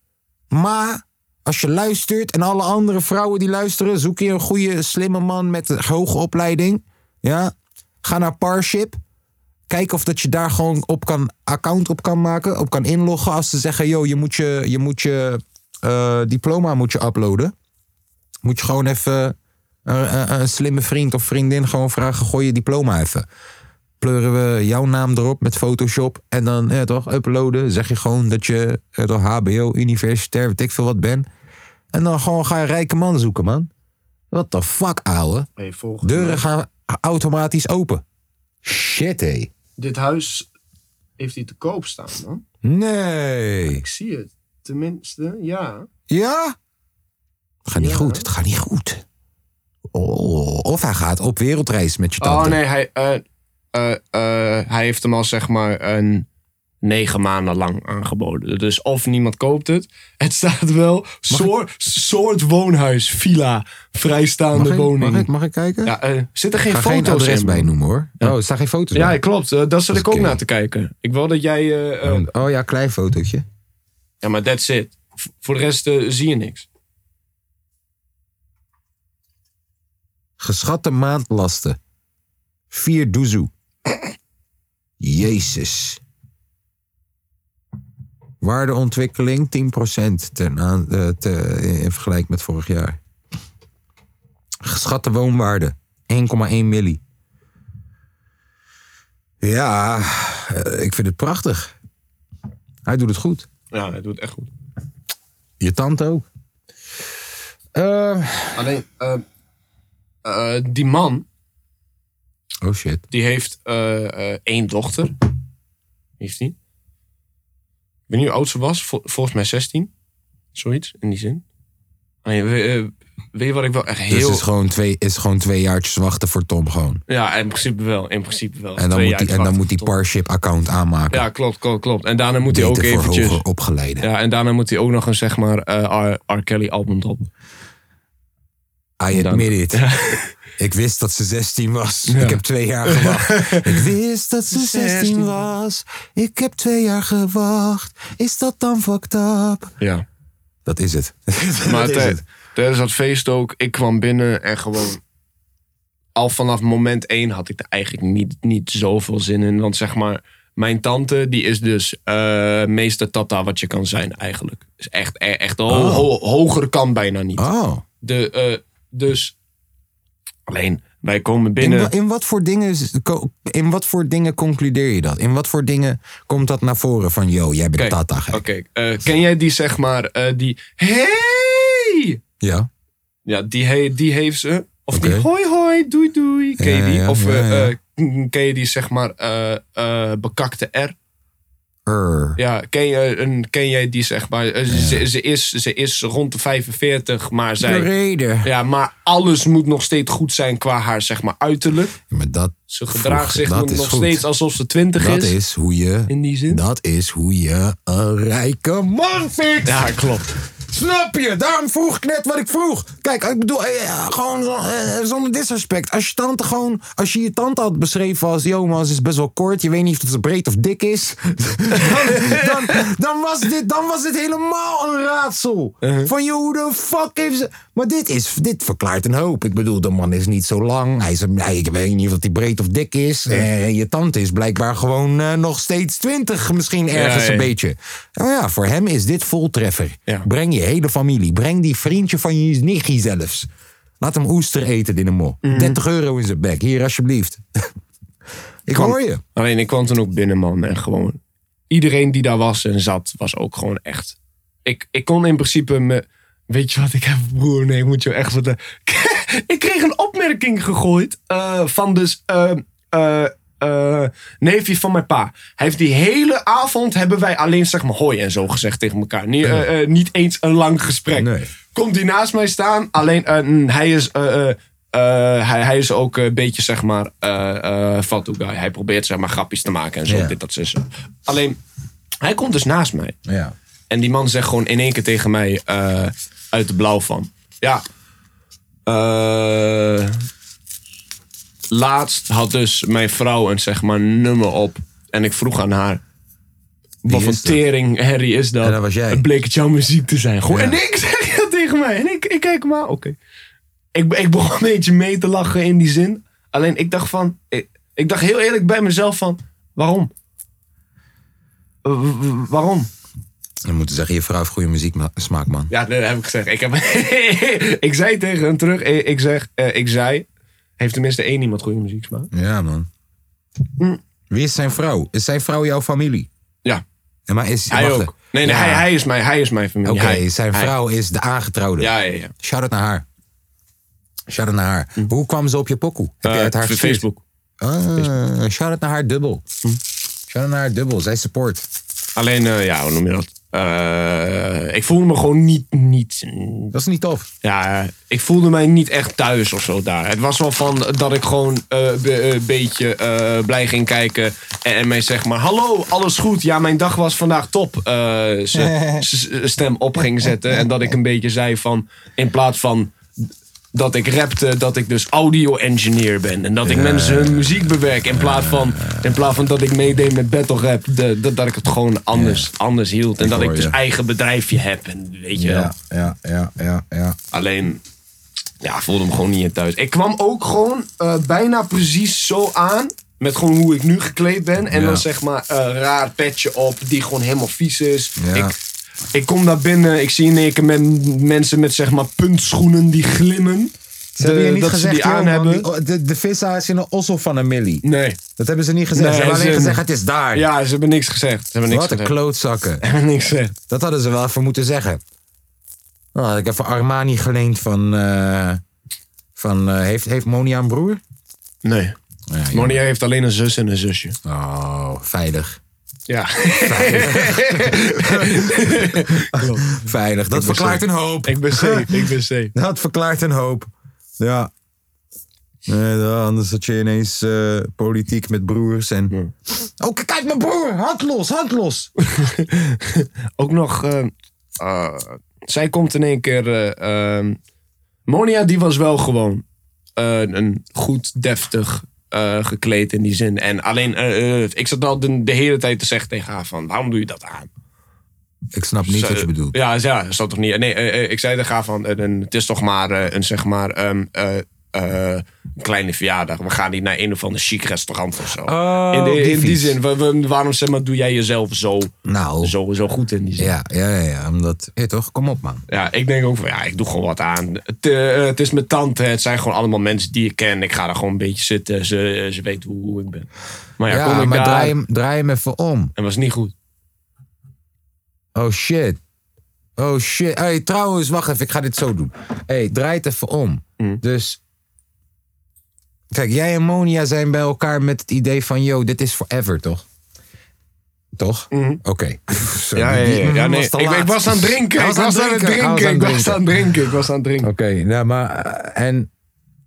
[SPEAKER 1] ma, als je luistert en alle andere vrouwen die luisteren... zoek je een goede, slimme man met een hoge opleiding. Ja? Ga naar Parship. Kijk of dat je daar gewoon op kan, account op kan maken, op kan inloggen. Als ze zeggen, yo, je moet je, je, moet je eh, diploma moet je uploaden. Moet je gewoon even een, een- een slimme vriend of vriendin gewoon vragen, gooi je diploma even pleuren we jouw naam erop met Photoshop. En dan ja, toch, uploaden. Zeg je gewoon dat je ja, toch, HBO, universitair, weet ik veel wat ben. En dan gewoon ga je rijke man zoeken, man. What the fuck, ouwe.
[SPEAKER 2] Hey, volgende.
[SPEAKER 1] Deuren gaan automatisch open. Shit, hé.
[SPEAKER 2] Dit huis
[SPEAKER 6] heeft hij te koop staan, man.
[SPEAKER 1] Nee.
[SPEAKER 6] Ik zie het. Tenminste, ja.
[SPEAKER 1] Ja? Het gaat niet goed. Het gaat niet goed. Oh, of hij gaat op wereldreis met je
[SPEAKER 2] Oh
[SPEAKER 1] tante.
[SPEAKER 2] nee, hij, eh, eh, eh, hij heeft hem al zeg maar een negen maanden lang aangeboden. Dus of niemand koopt het. Het staat wel soor- soort woonhuis, villa, vrijstaande
[SPEAKER 1] mag, ik,
[SPEAKER 2] woning.
[SPEAKER 1] mag, ik, mag ik kijken?
[SPEAKER 2] Ja, eh, zit er geen
[SPEAKER 1] Ik ga geen
[SPEAKER 2] foto's
[SPEAKER 1] adres
[SPEAKER 2] in?
[SPEAKER 1] bij noemen hoor. Oh, er staan geen foto's
[SPEAKER 2] Ja,
[SPEAKER 1] bij.
[SPEAKER 2] klopt. Eh, daar zat ik ook
[SPEAKER 1] Oké.
[SPEAKER 2] naar te kijken. Ik wil dat jij... eh, eh,
[SPEAKER 1] Oh ja, klein fotootje.
[SPEAKER 2] ja, maar that's it. V- voor de rest eh, zie je niks.
[SPEAKER 1] Geschatte maandlasten. Vier doezoe. Jezus. Waardeontwikkeling 10% ten aan, eh, te, in vergelijking met vorig jaar. Geschatte woonwaarde 1,1 milli. Ja, eh, ik vind het prachtig. Hij doet het goed.
[SPEAKER 2] Ja, hij doet echt goed.
[SPEAKER 1] Je tante ook. Eh,
[SPEAKER 2] Alleen, eh, eh, die man,
[SPEAKER 1] oh shit.
[SPEAKER 2] die heeft eh, eh, één dochter. Heeft hij. Ik weet niet hoe oud ze was. Vol- volgens mij 16. Zoiets, in die zin. Alleen, we- eh, weet je wat ik wel echt
[SPEAKER 1] Dus
[SPEAKER 2] heel...
[SPEAKER 1] het is gewoon, twee, is gewoon twee jaartjes wachten voor Tom gewoon.
[SPEAKER 2] Ja, in principe wel. In principe wel.
[SPEAKER 1] En dan,
[SPEAKER 2] Twee
[SPEAKER 1] moet
[SPEAKER 2] jaar
[SPEAKER 1] die, en dan
[SPEAKER 2] wachten
[SPEAKER 1] moet die
[SPEAKER 2] tot-
[SPEAKER 1] Parship-account aanmaken.
[SPEAKER 2] Ja, klopt, klopt, klopt. En daarna moet hij
[SPEAKER 1] Beter
[SPEAKER 2] ook
[SPEAKER 1] voor
[SPEAKER 2] eventjes...
[SPEAKER 1] hoger opgeleiden.
[SPEAKER 2] Ja, en daarna moet hij ook nog een, zeg maar, eh, R, R. Kelly album op.
[SPEAKER 1] I
[SPEAKER 2] Dan-
[SPEAKER 1] admit it. [laughs] Ik wist dat ze 16 was. Ik heb twee jaar gewacht. Ik wist dat ze 16 was. Ik heb twee jaar gewacht. Is dat dan fucked up?
[SPEAKER 2] Ja.
[SPEAKER 1] Dat is het. [laughs]
[SPEAKER 2] Maar eh,
[SPEAKER 1] dat is
[SPEAKER 2] tij-
[SPEAKER 1] het.
[SPEAKER 2] tijdens dat feest ook, ik kwam binnen en gewoon... Al vanaf moment één had ik er eigenlijk niet, niet zoveel zin in. Want zeg maar, mijn tante, die is dus eh, meester tata wat je kan zijn eigenlijk. Is echt, e- echt ho-
[SPEAKER 1] Ah.
[SPEAKER 2] ho- hoger kan bijna niet.
[SPEAKER 1] Oh.
[SPEAKER 2] De, eh, dus, alleen, wij komen
[SPEAKER 1] In,
[SPEAKER 2] binnen...
[SPEAKER 1] wa- in, wat voor dingen, is- ko- in wat voor dingen concludeer je dat? In wat voor dingen komt dat naar voren van... Yo, jij bent
[SPEAKER 2] Kijk,
[SPEAKER 1] tata gek.
[SPEAKER 2] Oké, eh, ken jij die zeg maar, eh, die... Hey!
[SPEAKER 1] Ja.
[SPEAKER 2] Ja, die, he- die heeft ze. Of die
[SPEAKER 1] Oké.
[SPEAKER 2] hoi hoi, doei doei. Ken je
[SPEAKER 1] Ja,
[SPEAKER 2] die?
[SPEAKER 1] ja,
[SPEAKER 2] of
[SPEAKER 1] ja,
[SPEAKER 2] eh,
[SPEAKER 1] ja.
[SPEAKER 2] eh, k- ken je die zeg maar eh, eh, bekakte R?
[SPEAKER 1] Er.
[SPEAKER 2] Ja, ken, je, een, ken jij die zeg maar? eh, ze, ze, is, ze is rond de 45, maar
[SPEAKER 1] De
[SPEAKER 2] zij...
[SPEAKER 1] reden.
[SPEAKER 2] Ja, maar alles moet nog steeds goed zijn qua haar zeg maar uiterlijk.
[SPEAKER 1] Maar dat,
[SPEAKER 2] Ze gedraagt zich
[SPEAKER 1] dat
[SPEAKER 2] nog
[SPEAKER 1] is
[SPEAKER 2] nog
[SPEAKER 1] goed.
[SPEAKER 2] steeds alsof ze 20
[SPEAKER 1] dat
[SPEAKER 2] is.
[SPEAKER 1] is hoe je
[SPEAKER 2] In die zin.
[SPEAKER 1] Dat is hoe je een rijke man vindt.
[SPEAKER 2] Ja, klopt.
[SPEAKER 1] Snap je? Daarom vroeg ik net wat ik vroeg. Kijk, ik bedoel, eh, ja, gewoon zo- eh, zonder disrespect. Als je tante gewoon, als je je tante had beschreven als, yo man, ze is best wel kort. Je weet niet of ze breed of dik is. [laughs] dan, dan, dan, was dit, dan was dit helemaal een raadsel.
[SPEAKER 2] Uh-huh.
[SPEAKER 1] Van, joh, hoe de fuck heeft ze... Maar dit, is, dit verklaart een hoop. Ik bedoel, de man is niet zo lang. Hij is, een- hij- ik weet niet of hij breed of dik is. Eh, je tante is blijkbaar gewoon eh, nog steeds twintig. Misschien ergens
[SPEAKER 2] ja.
[SPEAKER 1] een beetje beetje. Nou ja, voor hem is dit voltreffer.
[SPEAKER 2] Ja.
[SPEAKER 1] Breng je hele familie. Breng die vriendje van je nichtje zelfs. Laat hem oester eten in de mol.
[SPEAKER 2] Mhm.
[SPEAKER 1] 30 euro in zijn bek. Hier, alsjeblieft. [laughs] Ik hoor je.
[SPEAKER 2] Alleen ik kwam toen ook binnen, man. En gewoon iedereen die daar was en zat, was ook gewoon echt. Ik, ik kon in principe me. Weet je wat ik heb, broer? Nee, ik moet je echt wat. eh, [laughs] ik kreeg een opmerking gegooid eh, van dus. eh, eh, eh, neefje van mijn pa. Hij heeft die hele avond hebben wij alleen zeg maar hoi en zo gezegd tegen elkaar. Niet, eh, eh, niet eens een lang gesprek.
[SPEAKER 1] Nee.
[SPEAKER 2] Komt hij naast mij staan, alleen eh, mm, hij is eh, eh, eh, hij, hij is ook een beetje, zeg maar, eh eh fatu guy. Hij probeert, zeg maar, grapjes te maken en zo.
[SPEAKER 1] Ja.
[SPEAKER 2] Dit, dat, zus. Alleen, hij komt dus naast mij.
[SPEAKER 1] Ja.
[SPEAKER 2] En die man zegt gewoon in één keer tegen mij eh, uit de blauw van... Ja, eh, laatst had dus mijn vrouw een, zeg maar, nummer op. En ik vroeg aan haar... Wat
[SPEAKER 1] is
[SPEAKER 2] voor
[SPEAKER 1] dat?
[SPEAKER 2] tering Harry is dat?
[SPEAKER 1] En dat was jij.
[SPEAKER 2] Het bleek het jouw muziek te zijn. Gewoon,
[SPEAKER 1] Ja.
[SPEAKER 2] En ik zeg dat tegen mij. En ik, ik kijk maar, oké. Ik, ik begon een beetje mee te lachen in die zin. Alleen ik dacht van... Ik, ik dacht heel eerlijk bij mezelf van... Waarom? Eh, w- w- waarom?
[SPEAKER 1] Dan moeten zeggen, je vrouw heeft goede muziek smaak, man.
[SPEAKER 2] Ja, nee, dat heb ik gezegd. Ik, heb, [laughs] ik zei tegen hem terug, eh, ik zeg, eh, ik zei, heeft tenminste één iemand goede muziek smaak?
[SPEAKER 1] Ja, man. Mm. Wie is zijn vrouw? Is zijn vrouw jouw familie?
[SPEAKER 2] Ja,
[SPEAKER 1] En maar is,
[SPEAKER 2] hij
[SPEAKER 1] wacht,
[SPEAKER 2] ook. Nee, nee
[SPEAKER 1] Ja.
[SPEAKER 2] hij, hij, is mijn, hij is mijn familie.
[SPEAKER 1] Oké,
[SPEAKER 2] Hij-
[SPEAKER 1] zijn
[SPEAKER 2] hij-
[SPEAKER 1] vrouw is de aangetrouwde.
[SPEAKER 2] ja, ja, ja.
[SPEAKER 1] Shout-out naar haar. Shout-out naar haar. Hoe kwam ze op je pokoe? Heb je
[SPEAKER 2] Mm. Eh,
[SPEAKER 1] uit haar
[SPEAKER 2] v-
[SPEAKER 1] gestuurd?
[SPEAKER 2] Facebook.
[SPEAKER 1] Ah, shout-out naar haar dubbel. Shout out naar haar dubbel, zij support.
[SPEAKER 2] Alleen, eh, ja, hoe noem je dat? Eh, ik voelde me gewoon niet, niet...
[SPEAKER 1] Dat is niet tof.
[SPEAKER 2] Ja, ik voelde mij niet echt thuis of zo daar. Het was wel van dat ik gewoon een beetje eh, blij ging kijken. En, en mij zeg maar, hallo, alles goed. Ja, mijn dag was vandaag top. eh,
[SPEAKER 1] [laughs]
[SPEAKER 2] ze ze- ze stem op ging zetten. En dat ik een beetje zei van, in plaats van dat ik rapte, dat ik dus audio-engineer ben. En dat ik mensen hun muziek bewerk. In plaats van, in plaats van dat ik meedeed met battle rap. de- dat, dat ik het gewoon anders, anders hield. En dat ik
[SPEAKER 1] hoor
[SPEAKER 2] dus
[SPEAKER 1] je.
[SPEAKER 2] eigen bedrijfje heb. En weet je wel.
[SPEAKER 1] Ja, ja, ja, ja, ja.
[SPEAKER 2] Alleen, ja, voelde hem gewoon niet in thuis. Ik kwam ook gewoon eh, bijna precies zo aan. Met gewoon hoe ik nu gekleed ben. En
[SPEAKER 1] Ja.
[SPEAKER 2] dan zeg maar een raar petje op die gewoon helemaal vies is.
[SPEAKER 1] Ja.
[SPEAKER 2] Ik, ik kom daar binnen, ik zie in één keer men- mensen met zeg maar puntschoenen die glimmen.
[SPEAKER 1] Ze hebben
[SPEAKER 2] De-
[SPEAKER 1] je niet
[SPEAKER 2] Eh, dat
[SPEAKER 1] gezegd,
[SPEAKER 2] ze die aan hebben.
[SPEAKER 1] oh, de, de vissa is in een ossel van een millie.
[SPEAKER 2] Nee.
[SPEAKER 1] Dat hebben ze niet gezegd.
[SPEAKER 2] Nee,
[SPEAKER 1] ze hebben alleen
[SPEAKER 2] ze-
[SPEAKER 1] gezegd, het is daar.
[SPEAKER 2] Ja, ze hebben niks gezegd. Ze hebben niks
[SPEAKER 1] Wat een
[SPEAKER 2] gezegd.
[SPEAKER 1] klootzakken.
[SPEAKER 2] [laughs] Ze hebben niks gezegd.
[SPEAKER 1] Dat hadden ze wel even moeten zeggen. Nou, had ik even Armani geleend van... eh, van eh, heeft, heeft Monia een broer?
[SPEAKER 2] Nee.
[SPEAKER 1] Ja, ja.
[SPEAKER 2] Monia heeft alleen een zus en een zusje.
[SPEAKER 1] Oh, veilig.
[SPEAKER 2] Ja. [laughs]
[SPEAKER 1] Veilig. Dat verklaart een hoop.
[SPEAKER 2] ik ben safe, ik ben safe.
[SPEAKER 1] Dat verklaart een hoop. Ja. Nee, ja, anders had je ineens eh, politiek met broers en... Oh, k- kijk, mijn broer! Hand los, hand los!
[SPEAKER 2] [laughs] ook nog. eh, eh, zij komt in één keer. eh, ehm, Monia, die was wel gewoon eh, een goed, deftig eh, gekleed in die zin. En alleen, eh, eh, ik zat al de, de hele tijd te zeggen tegen haar: van, waarom doe je dat aan?
[SPEAKER 1] Ik snap niet wat je
[SPEAKER 2] Ze-
[SPEAKER 1] bedoelt.
[SPEAKER 2] Ja, ze- ja, is dat toch niet? Nee, eh, eh, ik zei tegen haar van, eh, een- het is toch maar eh, een zeg maar ehm, eh, eh, een kleine verjaardag. We gaan niet naar een of ander chic restaurant of zo.
[SPEAKER 1] Oh,
[SPEAKER 2] in, de-
[SPEAKER 1] die
[SPEAKER 2] in die
[SPEAKER 1] vies.
[SPEAKER 2] zin, wa- wa- waarom zeg maar, doe jij jezelf zo,
[SPEAKER 1] Nou,
[SPEAKER 2] zo, zo goed in die zin?
[SPEAKER 1] ja, ja, ja, ja, omdat... Hé, toch? Kom op, man.
[SPEAKER 2] Ja, ik denk ook van ja, ik doe gewoon wat aan. Het, eh, eh, het is mijn tante, het zijn gewoon allemaal mensen die ik ken. Ik ga daar gewoon een beetje zitten. Ze, ze weet hoe, hoe ik ben. Maar ja,
[SPEAKER 1] Ja,
[SPEAKER 2] kom ik
[SPEAKER 1] maar
[SPEAKER 2] daar
[SPEAKER 1] draai hem, draai hem even om.
[SPEAKER 2] en was niet goed.
[SPEAKER 1] Oh, shit. Oh, shit. Hé, hey, trouwens, wacht even. Ik ga dit zo doen. Hé, hey, draai het even om. Dus... Kijk, jij en Monia zijn bij elkaar met het idee van... Yo, dit is forever, toch? Toch? Oké. [laughs] Zo, die- die- die was te laat. Hij Hij was aan het drinken.
[SPEAKER 2] drinken, ik was aan het drinken.
[SPEAKER 1] Oké, nou maar. eh, En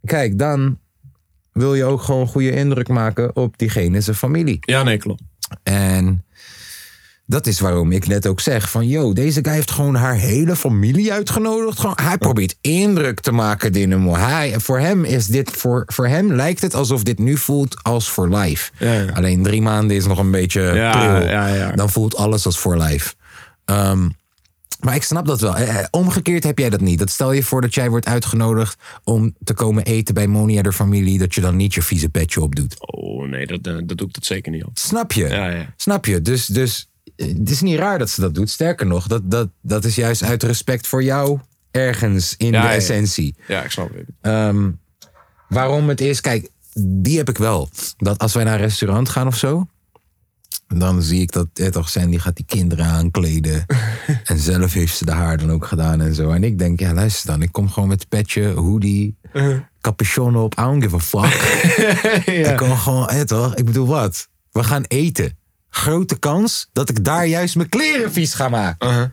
[SPEAKER 1] kijk, dan wil je ook gewoon een goede indruk maken op diegene zijn familie.
[SPEAKER 2] Ja, nee, klopt.
[SPEAKER 1] En dat is waarom ik net ook zeg van... yo, deze guy heeft gewoon haar hele familie uitgenodigd. Gewoon, hij probeert indruk te maken, Dynamo. Hij, voor, hem is dit, voor, voor hem lijkt het alsof dit nu voelt als voor life.
[SPEAKER 2] Ja, ja.
[SPEAKER 1] Alleen drie maanden is nog een beetje
[SPEAKER 2] Ja,
[SPEAKER 1] pril.
[SPEAKER 2] ja, ja.
[SPEAKER 1] Dan voelt alles als voor life. Ehm, maar ik snap dat wel. Eh, eh, Omgekeerd heb jij dat niet. Dat stel je voor dat jij wordt uitgenodigd om te komen eten bij Monia de familie. Dat je dan niet je vieze petje opdoet.
[SPEAKER 2] Oh nee, dat, eh, dat doe ik dat zeker niet op.
[SPEAKER 1] Snap je?
[SPEAKER 2] Ja, ja.
[SPEAKER 1] Snap je? Dus, dus eh, het is niet raar dat ze dat doet. Sterker nog, dat, dat, dat is juist uit respect voor jou ergens in
[SPEAKER 2] Ja,
[SPEAKER 1] de
[SPEAKER 2] ja.
[SPEAKER 1] essentie.
[SPEAKER 2] Ja, ik snap het.
[SPEAKER 1] Ehm, waarom het is, kijk, die heb ik wel. Dat als wij naar een restaurant gaan of zo, dan zie ik dat eh, toch Sandy gaat die kinderen
[SPEAKER 2] [laughs]
[SPEAKER 1] aankleden. en zelf heeft ze de haar dan ook gedaan en zo. En ik denk, ja, luister dan, ik kom gewoon met petje, hoodie,
[SPEAKER 2] Uh-huh.
[SPEAKER 1] capuchon op. I don't give a
[SPEAKER 2] [laughs]
[SPEAKER 1] fuck. Ik kan gewoon, eh, toch? Ik bedoel, wat? We gaan eten. Grote kans dat ik daar juist mijn kleren vies ga maken.
[SPEAKER 2] Uh-huh.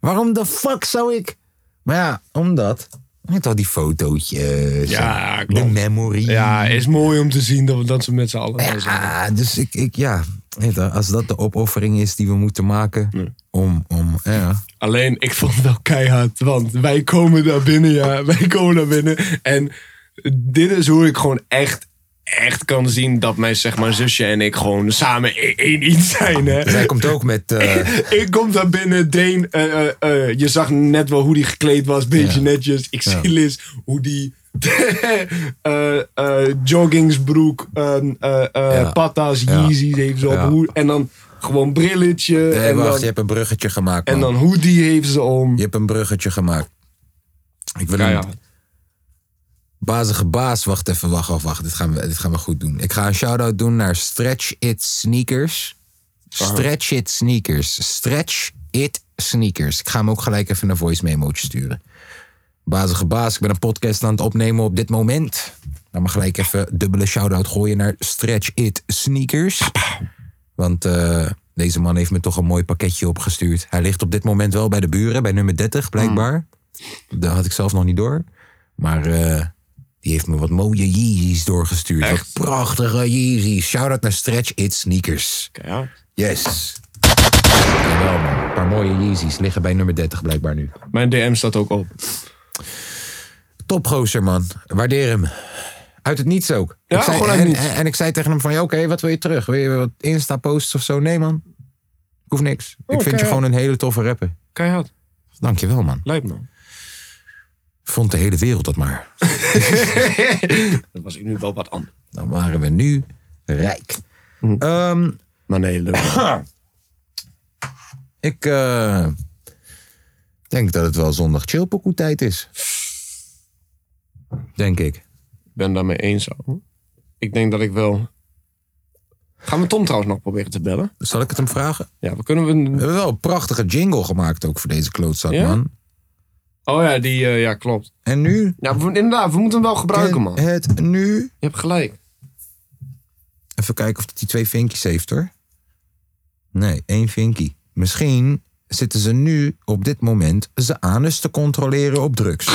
[SPEAKER 1] Waarom de fuck zou ik? Maar ja, omdat. Met al die fotootjes.
[SPEAKER 2] Ja,
[SPEAKER 1] en
[SPEAKER 2] klopt.
[SPEAKER 1] De memory.
[SPEAKER 2] Ja, is mooi om te zien dat we dat ze met z'n allen gaan zijn.
[SPEAKER 1] Ja, dus ik, ik ja. weet je, Als dat de opoffering is die we moeten maken. Om, om, ja.
[SPEAKER 2] Alleen, ik vond het wel keihard. Want wij komen daar binnen, ja. [laughs] Wij komen daar binnen. En dit is hoe ik gewoon echt, echt kan zien dat mijn zeg maar, zusje en ik gewoon samen e- één iets zijn. Hè.
[SPEAKER 1] Zij komt ook met.
[SPEAKER 2] [laughs]
[SPEAKER 1] eh,
[SPEAKER 2] Ik kom daar binnen, Deen. eh, eh, eh, je zag net wel hoe die gekleed was, beetje netjes. Ik zie Liz, hoe die [laughs] eh, eh, joggingsbroek, eh, eh, eh,
[SPEAKER 1] Ja.
[SPEAKER 2] patas,
[SPEAKER 1] Ja.
[SPEAKER 2] Yeezys heeft ze op.
[SPEAKER 1] Ja.
[SPEAKER 2] hoe- En dan gewoon brilletje.
[SPEAKER 1] hey,
[SPEAKER 2] en,
[SPEAKER 1] wacht,
[SPEAKER 2] dan,
[SPEAKER 1] je hebt een bruggetje gemaakt.
[SPEAKER 2] en
[SPEAKER 1] man.
[SPEAKER 2] dan hoodie heeft ze om.
[SPEAKER 1] Je hebt een bruggetje gemaakt. Ik wil
[SPEAKER 2] Ja,
[SPEAKER 1] een
[SPEAKER 2] ja.
[SPEAKER 1] bazige baas. Wacht even, wacht, wacht, wacht. Dit gaan we, dit gaan we goed doen. Ik ga een shout-out doen naar Stretch It Sneakers. Stretch It Sneakers. Stretch It Sneakers. Ik ga hem ook gelijk even een voice memootje sturen. Bazige baas, ik ben een podcast aan het opnemen op dit moment. Laat me gelijk even dubbele shout-out gooien naar Stretch It Sneakers. Want eh, deze man heeft me toch een mooi pakketje opgestuurd. Hij ligt op dit moment wel bij de buren, bij nummer 30 blijkbaar. Dat had ik zelf nog niet door. Maar eh, die heeft me wat mooie Yeezys doorgestuurd.
[SPEAKER 2] Echt?
[SPEAKER 1] Wat prachtige Yeezys. Shout-out naar Stretch It Sneakers.
[SPEAKER 2] Ja.
[SPEAKER 1] Yes. Jawel, man. Een paar mooie Yeezys liggen bij nummer 30 blijkbaar nu.
[SPEAKER 2] Mijn DM staat ook op.
[SPEAKER 1] Topgozer, man. Waardeer hem. Uit het niets ook.
[SPEAKER 2] Ja,
[SPEAKER 1] ik zei,
[SPEAKER 2] gewoon uit
[SPEAKER 1] en,
[SPEAKER 2] het niets.
[SPEAKER 1] en ik zei tegen hem van, ja, oké, wat wil je terug? Wil je wat Insta-posts of zo? Nee, man. Ik hoef niks. ik vind
[SPEAKER 2] oké.
[SPEAKER 1] je gewoon een hele toffe rapper.
[SPEAKER 2] Keihard.
[SPEAKER 1] Dankjewel, man.
[SPEAKER 2] Lijp man.
[SPEAKER 1] Vond de hele wereld dat maar.
[SPEAKER 2] Dat was ik nu wel wat anders.
[SPEAKER 1] Dan waren we nu rijk. Ehm,
[SPEAKER 2] Maar nee, leuk. [laughs]
[SPEAKER 1] ik eh, denk dat het wel zondag chillpokoe tijd is. Denk ik.
[SPEAKER 2] ben daarmee eens. ouwe. Ik denk dat ik wel. Gaan we Tom trouwens nog proberen te bellen?
[SPEAKER 1] Zal ik het hem vragen?
[SPEAKER 2] Ja, we kunnen
[SPEAKER 1] We
[SPEAKER 2] we.
[SPEAKER 1] hebben wel een prachtige jingle gemaakt ook voor deze klootzak,
[SPEAKER 2] Ja?
[SPEAKER 1] man.
[SPEAKER 2] Oh ja, die. eh, ja, klopt.
[SPEAKER 1] En nu? eh,
[SPEAKER 2] Ja, we, inderdaad, we moeten hem wel gebruiken, man. Je
[SPEAKER 1] Het nu.
[SPEAKER 2] hebt gelijk.
[SPEAKER 1] Even kijken of dat die twee vinkjes heeft hoor. Nee, één vinkie. Misschien zitten ze nu op dit moment ze anus te controleren op drugs.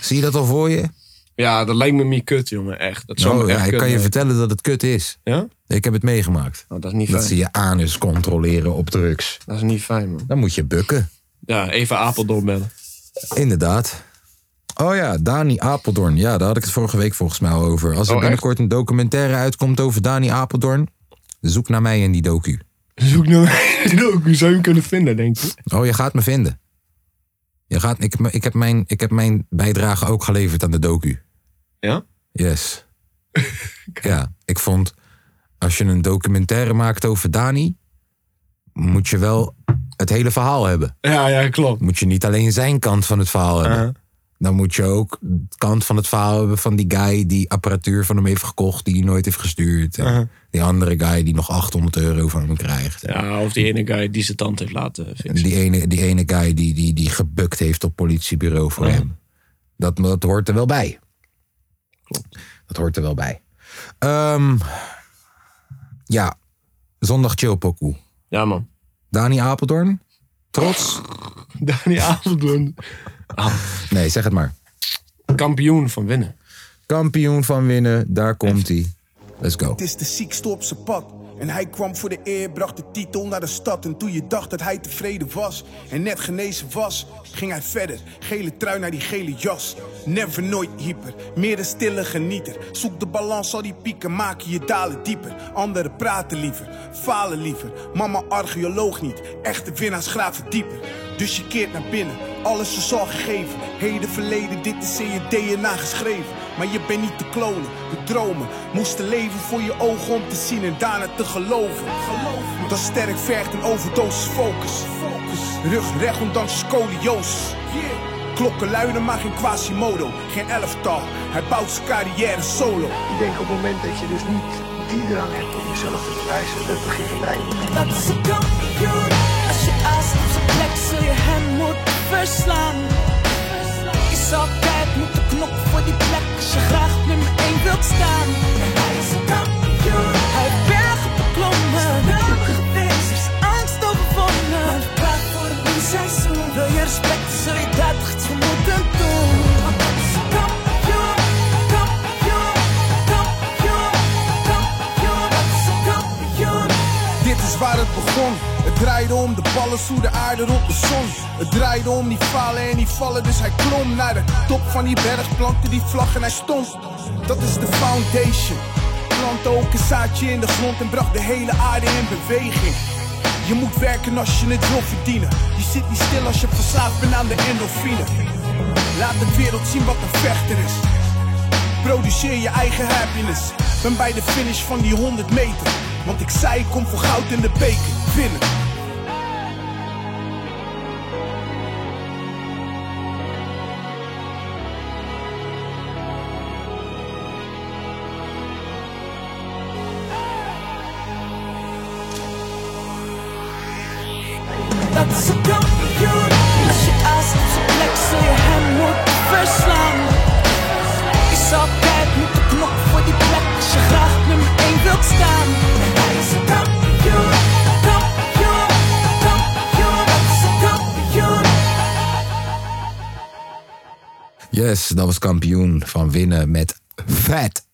[SPEAKER 1] Zie je dat al voor je?
[SPEAKER 2] Ja, dat lijkt me niet kut, jongen. Echt. Dat zou
[SPEAKER 1] Nou,
[SPEAKER 2] me echt
[SPEAKER 1] ja, ik
[SPEAKER 2] kut
[SPEAKER 1] kan je
[SPEAKER 2] lijken.
[SPEAKER 1] vertellen dat het kut is.
[SPEAKER 2] Ja?
[SPEAKER 1] Ik heb het meegemaakt.
[SPEAKER 2] Nou, dat is niet
[SPEAKER 1] Dat
[SPEAKER 2] fijn.
[SPEAKER 1] ze je anus controleren op drugs.
[SPEAKER 2] Dat is niet fijn, man.
[SPEAKER 1] Dan moet je bukken.
[SPEAKER 2] Ja, even Apeldoorn bellen. [laughs]
[SPEAKER 1] Inderdaad. Oh ja, Dani Apeldoorn. Ja, daar had ik het vorige week volgens mij al over. Als er
[SPEAKER 2] Oh,
[SPEAKER 1] binnenkort een documentaire uitkomt over Dani Apeldoorn, zoek naar mij in die docu.
[SPEAKER 2] [laughs] Zoek naar Hoe zou je hem kunnen vinden, denk je?
[SPEAKER 1] Oh, je gaat me vinden. Je gaat, ik, heb me- ik, heb mijn, ik heb mijn bijdrage ook geleverd aan de docu.
[SPEAKER 2] Ja? [laughs]
[SPEAKER 1] Yes. ja, ik vond als je een documentaire maakt over Dani, moet je wel het hele verhaal hebben.
[SPEAKER 2] Ja, ja, klopt.
[SPEAKER 1] Moet je niet alleen zijn kant van het verhaal hebben.
[SPEAKER 2] Uh-huh.
[SPEAKER 1] Dan moet je ook de kant van het verhaal hebben van die guy die apparatuur van hem heeft gekocht, die hij nooit heeft gestuurd. En Die andere guy die nog 800 euro van hem krijgt.
[SPEAKER 2] Ja, of die ene guy die zijn tand heeft laten
[SPEAKER 1] En
[SPEAKER 2] fixen.
[SPEAKER 1] die ene, die ene guy die, die, die gebukt heeft op politiebureau voor hem. Dat, dat hoort er wel bij. Klopt. Dat hoort er wel bij. Ehm, ja, zondag chillpokoe.
[SPEAKER 2] Ja, man.
[SPEAKER 1] Dani Apeldoorn, trots?
[SPEAKER 2] [laughs] Dani Apeldoorn.
[SPEAKER 1] Nee, zeg het maar.
[SPEAKER 2] Kampioen van winnen.
[SPEAKER 1] Kampioen van winnen, daar komt hij. Let's go.
[SPEAKER 7] Het is de ziekste op zijn pad. En hij kwam voor de eer, bracht de titel naar de stad. En toen je dacht dat hij tevreden was en net genezen was, ging hij verder. Gele trui naar die gele jas. Never nooit hyper, meer een stille genieter. Zoek de balans, al die pieken maken je dalen dieper. Anderen praten liever, falen liever. Mama archeoloog niet, echte winnaars graven dieper. Dus je keert naar binnen, alles is al gegeven. Heden, verleden, dit is in je DNA geschreven. Maar je bent niet te klonen, de dromen moesten leven voor je ogen om te zien en daarna te geloven. Dat sterk vergt een overdosis focus. Rug recht ondanks scoliosis. Klokken luiden, maar geen quasimodo, geen elftal. Hij bouwt zijn carrière solo.
[SPEAKER 8] Ik denk op het moment dat je dus niet die drang hebt om jezelf te bewijzen, dat begin je bij
[SPEAKER 5] Dat is een kampioen. Als je aas op zijn plek zul je hem moeten verslaan. Is altijd moeten knokken voor die plek als je graag nummer 1 wilt staan. Hij is een kampioen. Hij heeft bergen beklommen. Namen geweest, is angst overwonnen. Maar praat voor een nieuw seizoen. Wil je respect, zul je daar toch iets voor moeten doen. Want dat is een kampioen. Kampioen, kampioen, kampioen. Dat is een kampioen.
[SPEAKER 7] Dit is waar het begon. Het draaide om de ballen, hoe de aarde rond de zon. Het draaide om die falen en die vallen, dus hij klom naar de top van die berg. Plantte die vlag en hij stond. Dat is de foundation. Plantte ook een zaadje in de grond en bracht de hele aarde in beweging. Je moet werken als je het wil verdienen. Je zit niet stil als je verslaafd bent aan de endorfine. Laat de wereld zien wat een vechter is. Produceer je eigen happiness. Ben bij de finish van die 100 meter. Want ik zei, ik kom voor goud in de beker. Winnen.
[SPEAKER 5] Dat is een kampioen. Als je aas op zijn plek zul je hem moeten verslaan. Is altijd moeten knokken voor die plek als je graag nummer 1
[SPEAKER 7] staan. Hij is een kampioen, kampioen, kampioen, het is een kampioen.
[SPEAKER 1] Yes, dat was kampioen van winnen met vet.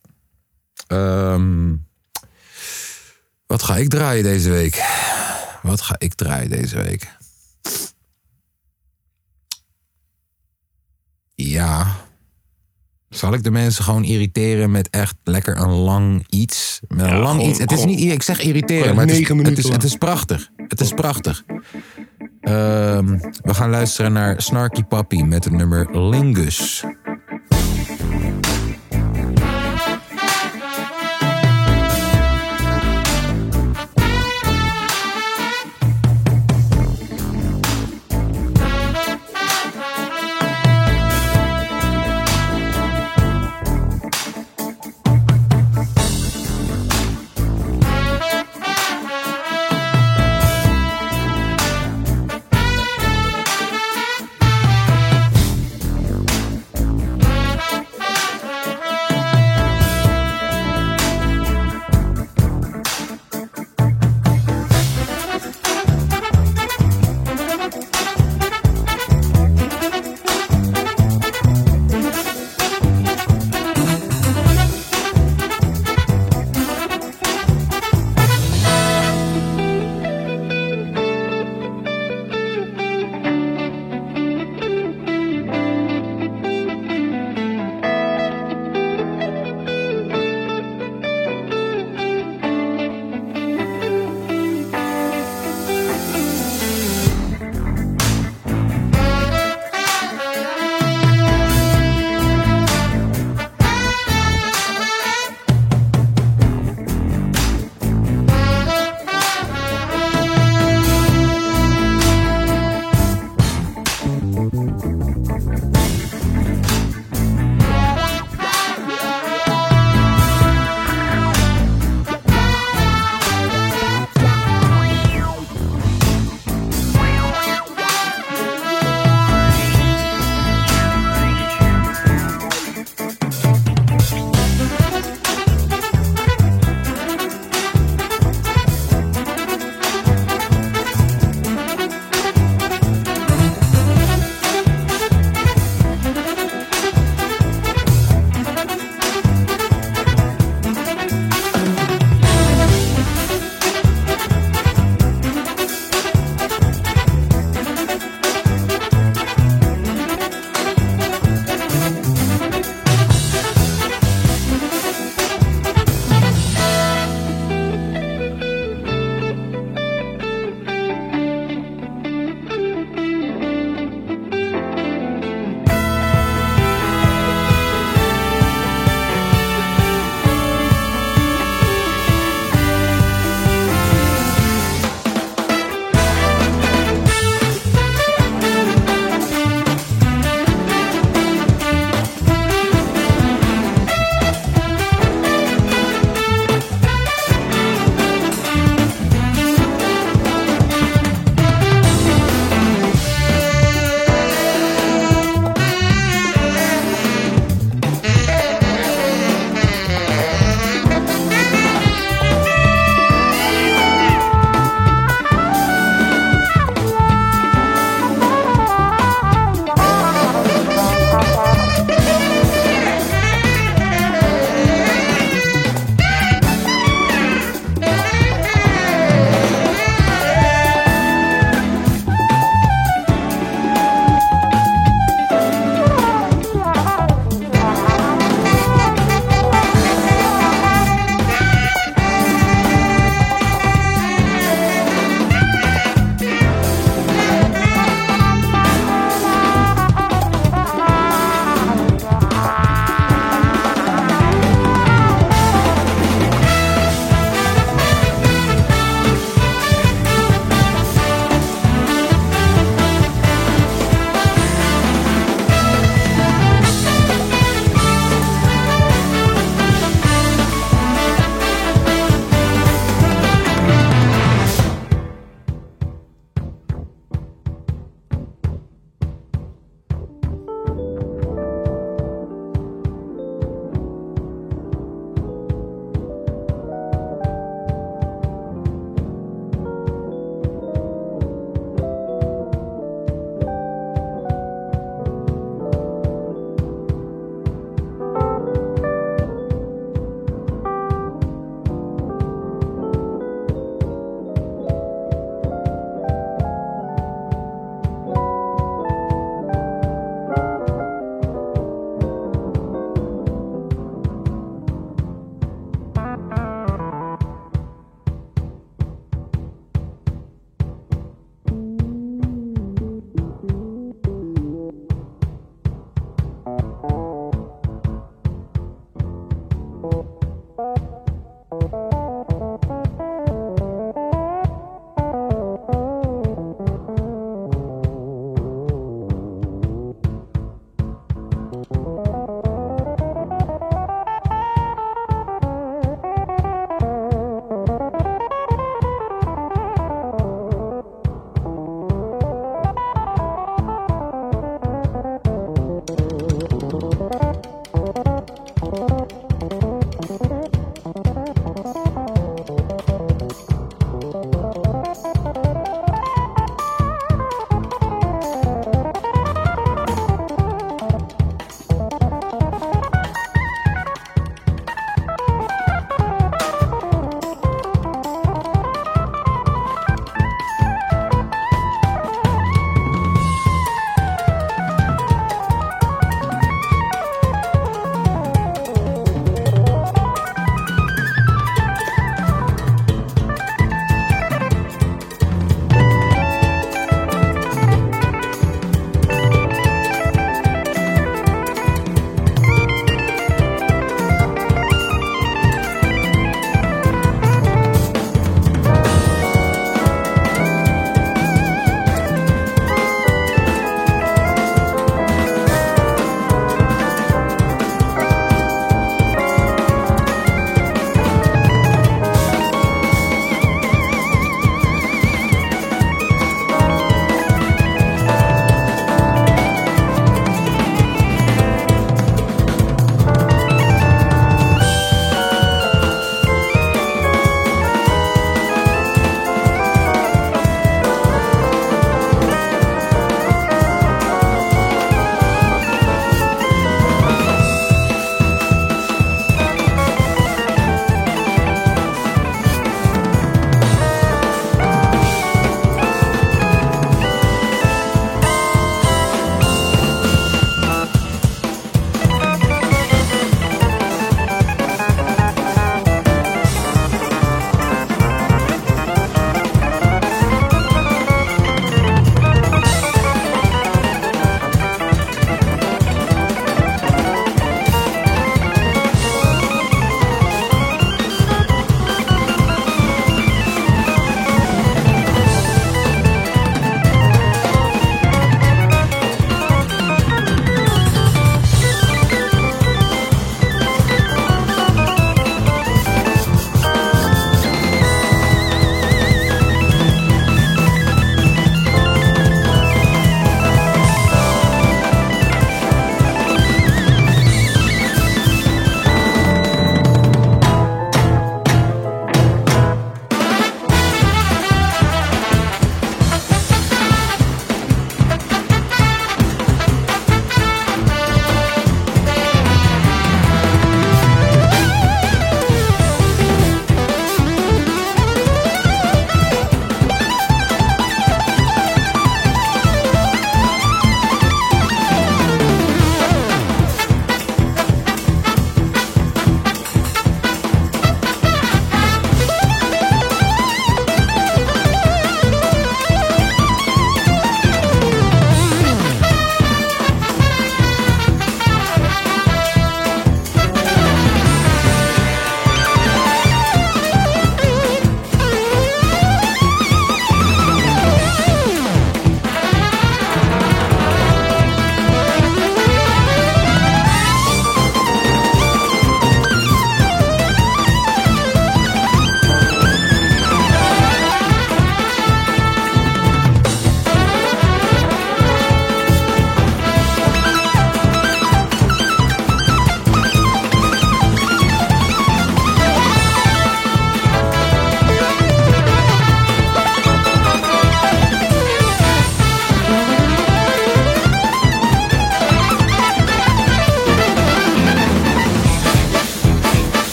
[SPEAKER 1] Ehm, wat ga ik draaien deze week? Wat ga ik draaien deze week? Ja. Zal ik de mensen gewoon irriteren met echt lekker een lang iets? Met een
[SPEAKER 2] Ja,
[SPEAKER 1] lang
[SPEAKER 2] gewoon-
[SPEAKER 1] iets. Het is
[SPEAKER 2] gewoon-
[SPEAKER 1] niet, ik zeg irriteren,
[SPEAKER 2] Gewoon
[SPEAKER 1] maar het is,
[SPEAKER 2] Eh, negen
[SPEAKER 1] het,
[SPEAKER 2] minuten
[SPEAKER 1] is,
[SPEAKER 2] lang.
[SPEAKER 1] het is prachtig. Het is prachtig. Ehm, we gaan luisteren naar Snarky Pappy met het nummer Lingus.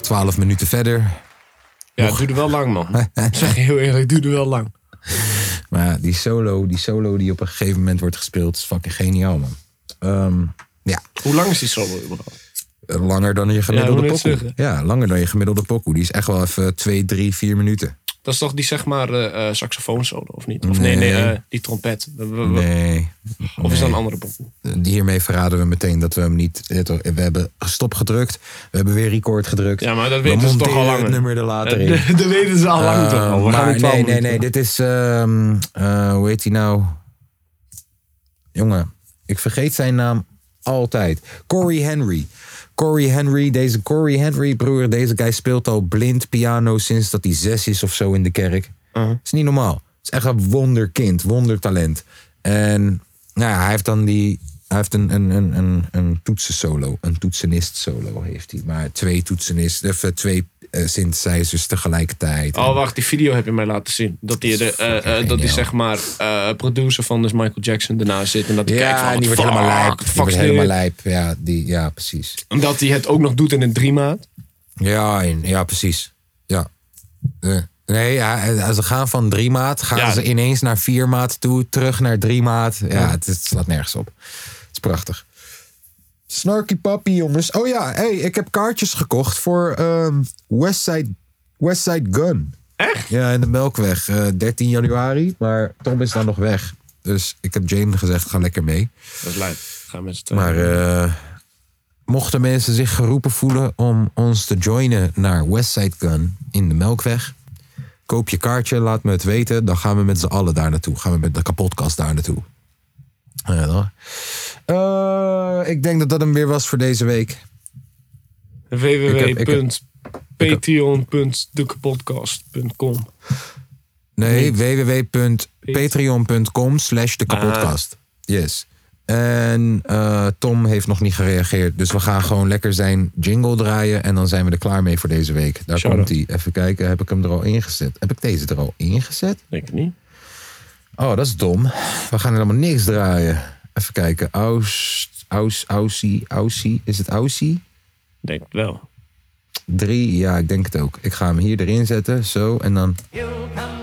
[SPEAKER 1] twaalf minuten verder.
[SPEAKER 2] Ja, het duurde wel
[SPEAKER 1] [laughs]
[SPEAKER 2] lang, man. Ik zeg je heel eerlijk, het duurde wel lang.
[SPEAKER 1] Maar ja, die solo, die solo die op een gegeven moment wordt gespeeld, is fucking geniaal, man. Ehm, ja.
[SPEAKER 2] Hoe lang is die solo überhaupt?
[SPEAKER 1] Langer dan je
[SPEAKER 2] Ja,
[SPEAKER 1] gemiddelde
[SPEAKER 2] ik wou net
[SPEAKER 1] pokoe. Ja, langer dan je gemiddelde pokoe. Die is echt wel even twee, drie, vier minuten.
[SPEAKER 2] Dat is toch die, zeg maar, eh eh, saxofoonsolo, of niet? Of nee, nee,
[SPEAKER 1] Nee.
[SPEAKER 2] eh, die trompet. We- we- we-
[SPEAKER 1] Nee.
[SPEAKER 2] Of is dat een
[SPEAKER 1] Nee.
[SPEAKER 2] andere pokoe?
[SPEAKER 1] Hiermee verraden we meteen dat we hem niet... We hebben stop gedrukt. We hebben weer record gedrukt.
[SPEAKER 2] Ja, maar dat weten
[SPEAKER 1] we
[SPEAKER 2] ze toch al
[SPEAKER 1] monteren
[SPEAKER 2] lang.
[SPEAKER 1] het nummer er later in.
[SPEAKER 2] [laughs] Dat weten ze al lang toch
[SPEAKER 1] Eh,
[SPEAKER 2] al. We gaan
[SPEAKER 1] maar
[SPEAKER 2] in 12
[SPEAKER 1] nee, nee,
[SPEAKER 2] minuten.
[SPEAKER 1] nee. Dit is... ehm, eh, hoe heet hij nou? Jongen, ik vergeet zijn naam altijd. Corey Henry. Corey Henry, deze Corey Henry, broer, deze guy speelt al blind piano sinds dat hij zes is of zo in de kerk. is niet normaal. Het is echt een wonderkind, wondertalent. En nou ja, hij heeft dan die. Hij heeft een, een, een, een, een toetsensolo, een toetsenist solo heeft hij. Maar twee toetsenisten, of eh, twee eh, synthesizers tegelijkertijd.
[SPEAKER 2] Oh, wacht, die video heb je mij laten zien. Dat die, de, eh, eh, dat die zeg maar, eh, producer van dus Michael Jackson ernaast zit. En dat die kijkt van,
[SPEAKER 1] ja, en die wordt
[SPEAKER 2] fuck,
[SPEAKER 1] helemaal lijp. Die
[SPEAKER 2] fuck
[SPEAKER 1] wordt
[SPEAKER 2] is
[SPEAKER 1] helemaal
[SPEAKER 2] dit?
[SPEAKER 1] lijp. Ja, die, ja, precies.
[SPEAKER 2] Omdat hij het ook nog doet in een drie maat.
[SPEAKER 1] Ja, in- ja precies. Ja. Eh, Nee, ja, eh, ze gaan van drie maat, gaan
[SPEAKER 2] Ja.
[SPEAKER 1] ze ineens naar vier maat toe, terug naar drie maat. Ja,
[SPEAKER 2] Ja.
[SPEAKER 1] Het, het slaat nergens op. Het is prachtig. Snarky Pappy, jongens. Oh ja, hey, ik heb kaartjes gekocht voor ehm, Westside, Westside Gun. Echt? Ja, in de Melkweg. eh, 13 januari, maar Tom is dan nog weg. Dus ik heb Jane gezegd, ga lekker mee.
[SPEAKER 2] Dat is lijp. Gaan mensen te...
[SPEAKER 1] Maar eh, mochten mensen zich geroepen voelen om ons te joinen naar Westside Gun in de Melkweg, koop je kaartje, laat me het weten. Dan gaan we met z'n allen daar naartoe. Gaan we met de kapotkast daar naartoe. Ja, toch? Eh, ik denk dat dat hem weer was voor deze week. Ik heb- ik heb-
[SPEAKER 2] www.patreon.dekepodcast.com
[SPEAKER 1] Nee, www.patreon.com slash de kapotkast. Yes. En eh, Tom heeft nog niet gereageerd. Dus we gaan gewoon lekker zijn jingle draaien. En dan zijn we er klaar mee voor deze week. Daar komt hij. Even kijken, heb ik hem er al ingezet? Heb ik deze er al ingezet?
[SPEAKER 2] Denk ik niet.
[SPEAKER 1] Oh, dat is dom. We gaan helemaal niks draaien. Even kijken. Aus, aus, ausie, ausie. Is het ausie?
[SPEAKER 2] Denk het wel.
[SPEAKER 1] Drie, ja, ik denk het ook. Ik ga hem hier erin zetten. Zo, en dan...
[SPEAKER 9] You come